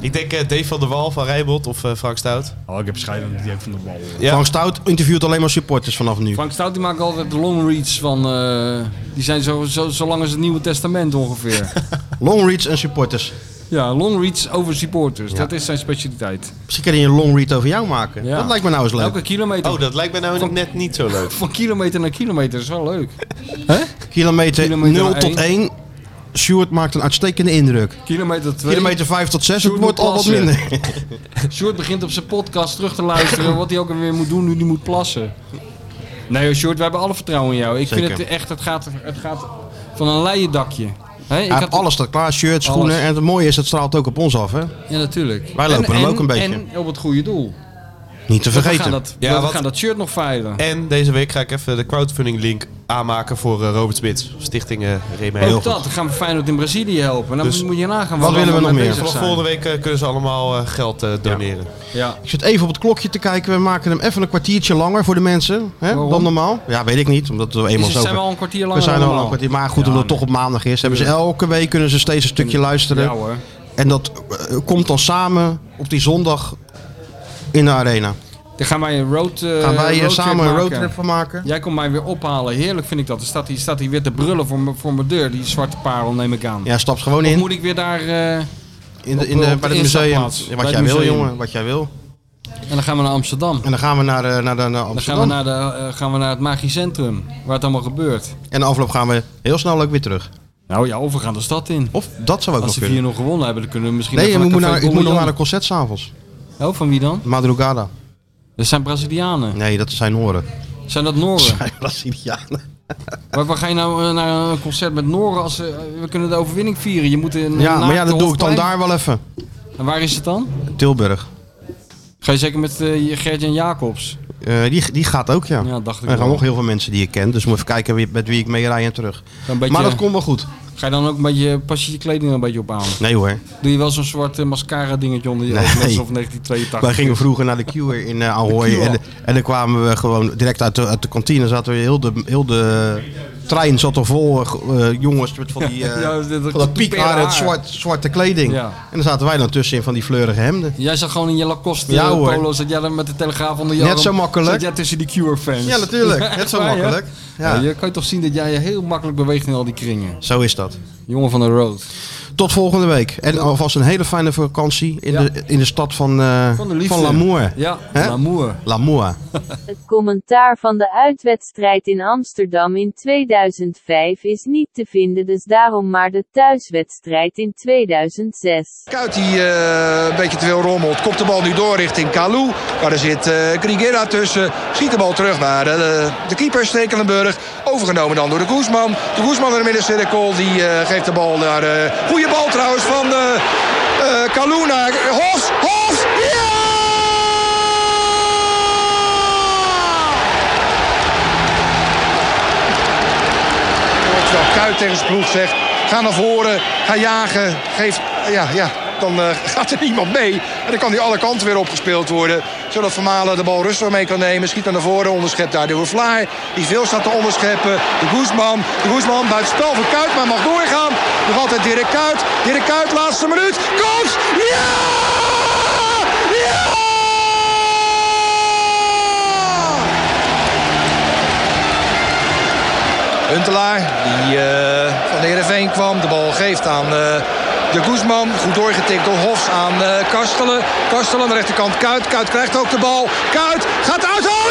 Ik denk eh, Dave van der Wal van Rijbold of eh, Frank Stout.
Oh, ik heb schijnen dat die ook van de bal.
Ja.
Frank Stout interviewt alleen maar supporters vanaf nu.
Frank Stout die maakt altijd de long reads van... eh, die zijn zo, zo, zo lang als het Nieuwe Testament ongeveer.
Longreads en supporters.
ja, long reads over supporters. Dat is zijn specialiteit.
Misschien kan je een longread over jou maken.
Ja.
Dat lijkt me nou eens leuk.
Elke kilometer.
Oh, dat lijkt me nou net niet zo leuk.
Van kilometer naar kilometer is wel leuk.
Kilometer,
Kilometer
0 tot
één.
1. Sjoerd maakt een uitstekende indruk.
Kilometer 2.
Kilometer 5 tot 6, het
Sjoerd
wordt
moet
al wat
plassen.
minder.
Sjoerd begint op zijn podcast terug te luisteren wat hij ook alweer moet doen nu hij moet plassen. Nee, joh, Sjoerd, we hebben alle vertrouwen in jou. Ik
Zeker.
vind het echt, het gaat, het gaat van een leien dakje. Hè, ik
Hij
had-
heeft alles staat klaar, shirts,
Alles.
schoenen. En het mooie is, dat straalt ook op ons af. Hè?
Ja, natuurlijk.
Wij lopen
En-
hem
en-
ook een beetje.
En op het goede doel.
Niet te
We gaan
vergeten.
dat,
Ja,
we
wat-
gaan dat shirt nog veilen.
En deze week ga ik even de crowdfunding link aanmaken voor eh, Robert Smits, Stichting eh Rema
Ook
Heel
dat, dan gaan we Feyenoord in Brazilië helpen. Dan
Dus
moet je nagaan
wat
waar
willen we
allemaal
nog meer?
mee bezig
Vanaf
zijn.
volgende week eh, kunnen ze allemaal eh, geld eh, doneren.
Ja.
Ik zit even op het klokje te kijken. We maken hem even een kwartiertje langer voor de mensen. Hè,
Waarom?
dan normaal. Ja, weet ik niet. Omdat we eenmaal
Dus
zo...
we zijn wel een kwartier
We
langer
zijn
dan
al een
normaal.
kwartier. Maar goed, omdat het toch op maandag is. Hebben ze elke week kunnen ze steeds een stukje luisteren.
Ja hoor.
En dat eh, komt dan samen op die zondag in de arena.
Dan gaan wij een road, eh,
Gaan wij eh,
roadtrip
samen een
maken.
roadtrip van maken?
Jij komt mij weer ophalen. Heerlijk vind ik dat. Er staat hier, staat hier weer te brullen voor, me- voor mijn deur. Die zwarte parel neem ik aan.
Ja, stap gewoon
Of
in.
moet ik weer daar... eh,
in, de,
op-
in de-
op de
bij het museum.
instapplaats.
Ja,
Bij
Wat
het
jij wil,
museum.
jongen. Wat jij wil.
En dan gaan we naar Amsterdam.
En dan gaan we naar, eh, naar, de- naar
Dan gaan we
Amsterdam.
naar, de, eh, gaan we naar het Magisch Centrum. Waar het allemaal gebeurt.
En de afloop gaan we heel snel ook weer terug.
Nou ja, of we gaan de stad in.
Of Oh, dat zou ook
Als
nog
ze 4-0
kunnen.
gewonnen hebben, dan kunnen we misschien...
Nee,
even
ik moet,
naar
naar,
Café
ik moet nog
Bommejong.
naar een concert s'avonds.
Oh, van wie dan?
Madrugada.
Dat zijn Brazilianen.
Nee, dat zijn Noren.
Zijn dat Noren?
Zijn Brazilianen.
Waar, waar ga je nou eh, naar een concert met Noren als ze- eh, we kunnen de overwinning vieren? Je moet in
Ja, maar ja,
naakte
dat doe ik dan
Hofplein.
daar wel even.
En waar is het dan?
Tilburg.
Ga je zeker met eh Gertje en Jacobs?
Eh, die, die gaat ook, ja.
Ja, dacht ik
er gaan
wel.
nog heel veel mensen die ik ken. Dus moet even kijken wie, met wie ik mee rij en terug.
Een beetje,
Maar dat komt wel goed.
Ga je dan ook een beetje, pas je je kleding er een beetje op aan?
Nee hoor.
Doe je wel zo'n zwart eh, mascara dingetje onder je
Nee.
ogen, net alsof 1982.
Wij gingen vroeger naar de Cure in eh Ahoy. En, en dan kwamen we gewoon direct uit de, uit de kantine. Zaten we heel de, heel de trein zat er vol eh, g- eh, jongens met van die eh,
Ja, dat- dat
van dat piekhaar en
haar.
het zwart, zwarte kleding.
Ja.
En dan zaten wij dan tussenin van die fleurige hemden.
Jij zat gewoon in je Lacoste
Ja,
eh,
hoor.
polo, zat jij dan met de telegraaf onder je
Net
arm,
zo makkelijk.
Zat jij tussen die Cure-fans.
Ja, natuurlijk. Net zo
waar, hè?
makkelijk.
Ja.
Ja.
je kan je toch zien dat jij je heel makkelijk beweegt in al die kringen.
Zo is dat.
Jongen van de road.
Tot volgende week. En alvast een hele fijne vakantie in,
Ja.
de, in de stad van, eh
Van de liefde.
van Lamour.
Ja,
Hè?
l'amour.
Lamour.
Het commentaar van de uitwedstrijd in Amsterdam in 2005 is niet te vinden, dus daarom maar de thuiswedstrijd in 2006.
Kuit die eh, een beetje te veel rommelt. Komt de bal nu door richting Kalou. Maar er zit eh Grigera tussen. Schiet de bal terug naar de, de keeper Stekelenburg. Overgenomen dan door de Guzman. De Guzman in de middencirkel. Die eh, geeft de bal naar... eh goede bal trouwens van eh eh, Kalou naar Hofs. Hofs! Ja! Terwijl Kuit tegen zijn ploeg zegt, ga naar voren, ga jagen, geef... Ja, ja, dan eh, gaat er niemand mee. En dan kan die alle kanten weer opgespeeld worden. Zodat Vermalen de bal rustig mee kan nemen. Schiet dan naar voren, onderschept daar door Vlaar. Die veel staat te onderscheppen. De Guzman, de Guzman buiten spel voor Kuit, maar mag doorgaan. Nog altijd Dirk Kuit. Dirk Kuit, laatste minuut. Kans! Ja! Ja! Huntelaar, die eh, van de Heerenveen kwam. De bal geeft aan eh, de Guzman. Goed doorgetikt door Hofs aan eh Kastelen. Kastelen aan de rechterkant Kuit. Kuit krijgt ook de bal. Kuit gaat uit. Oh!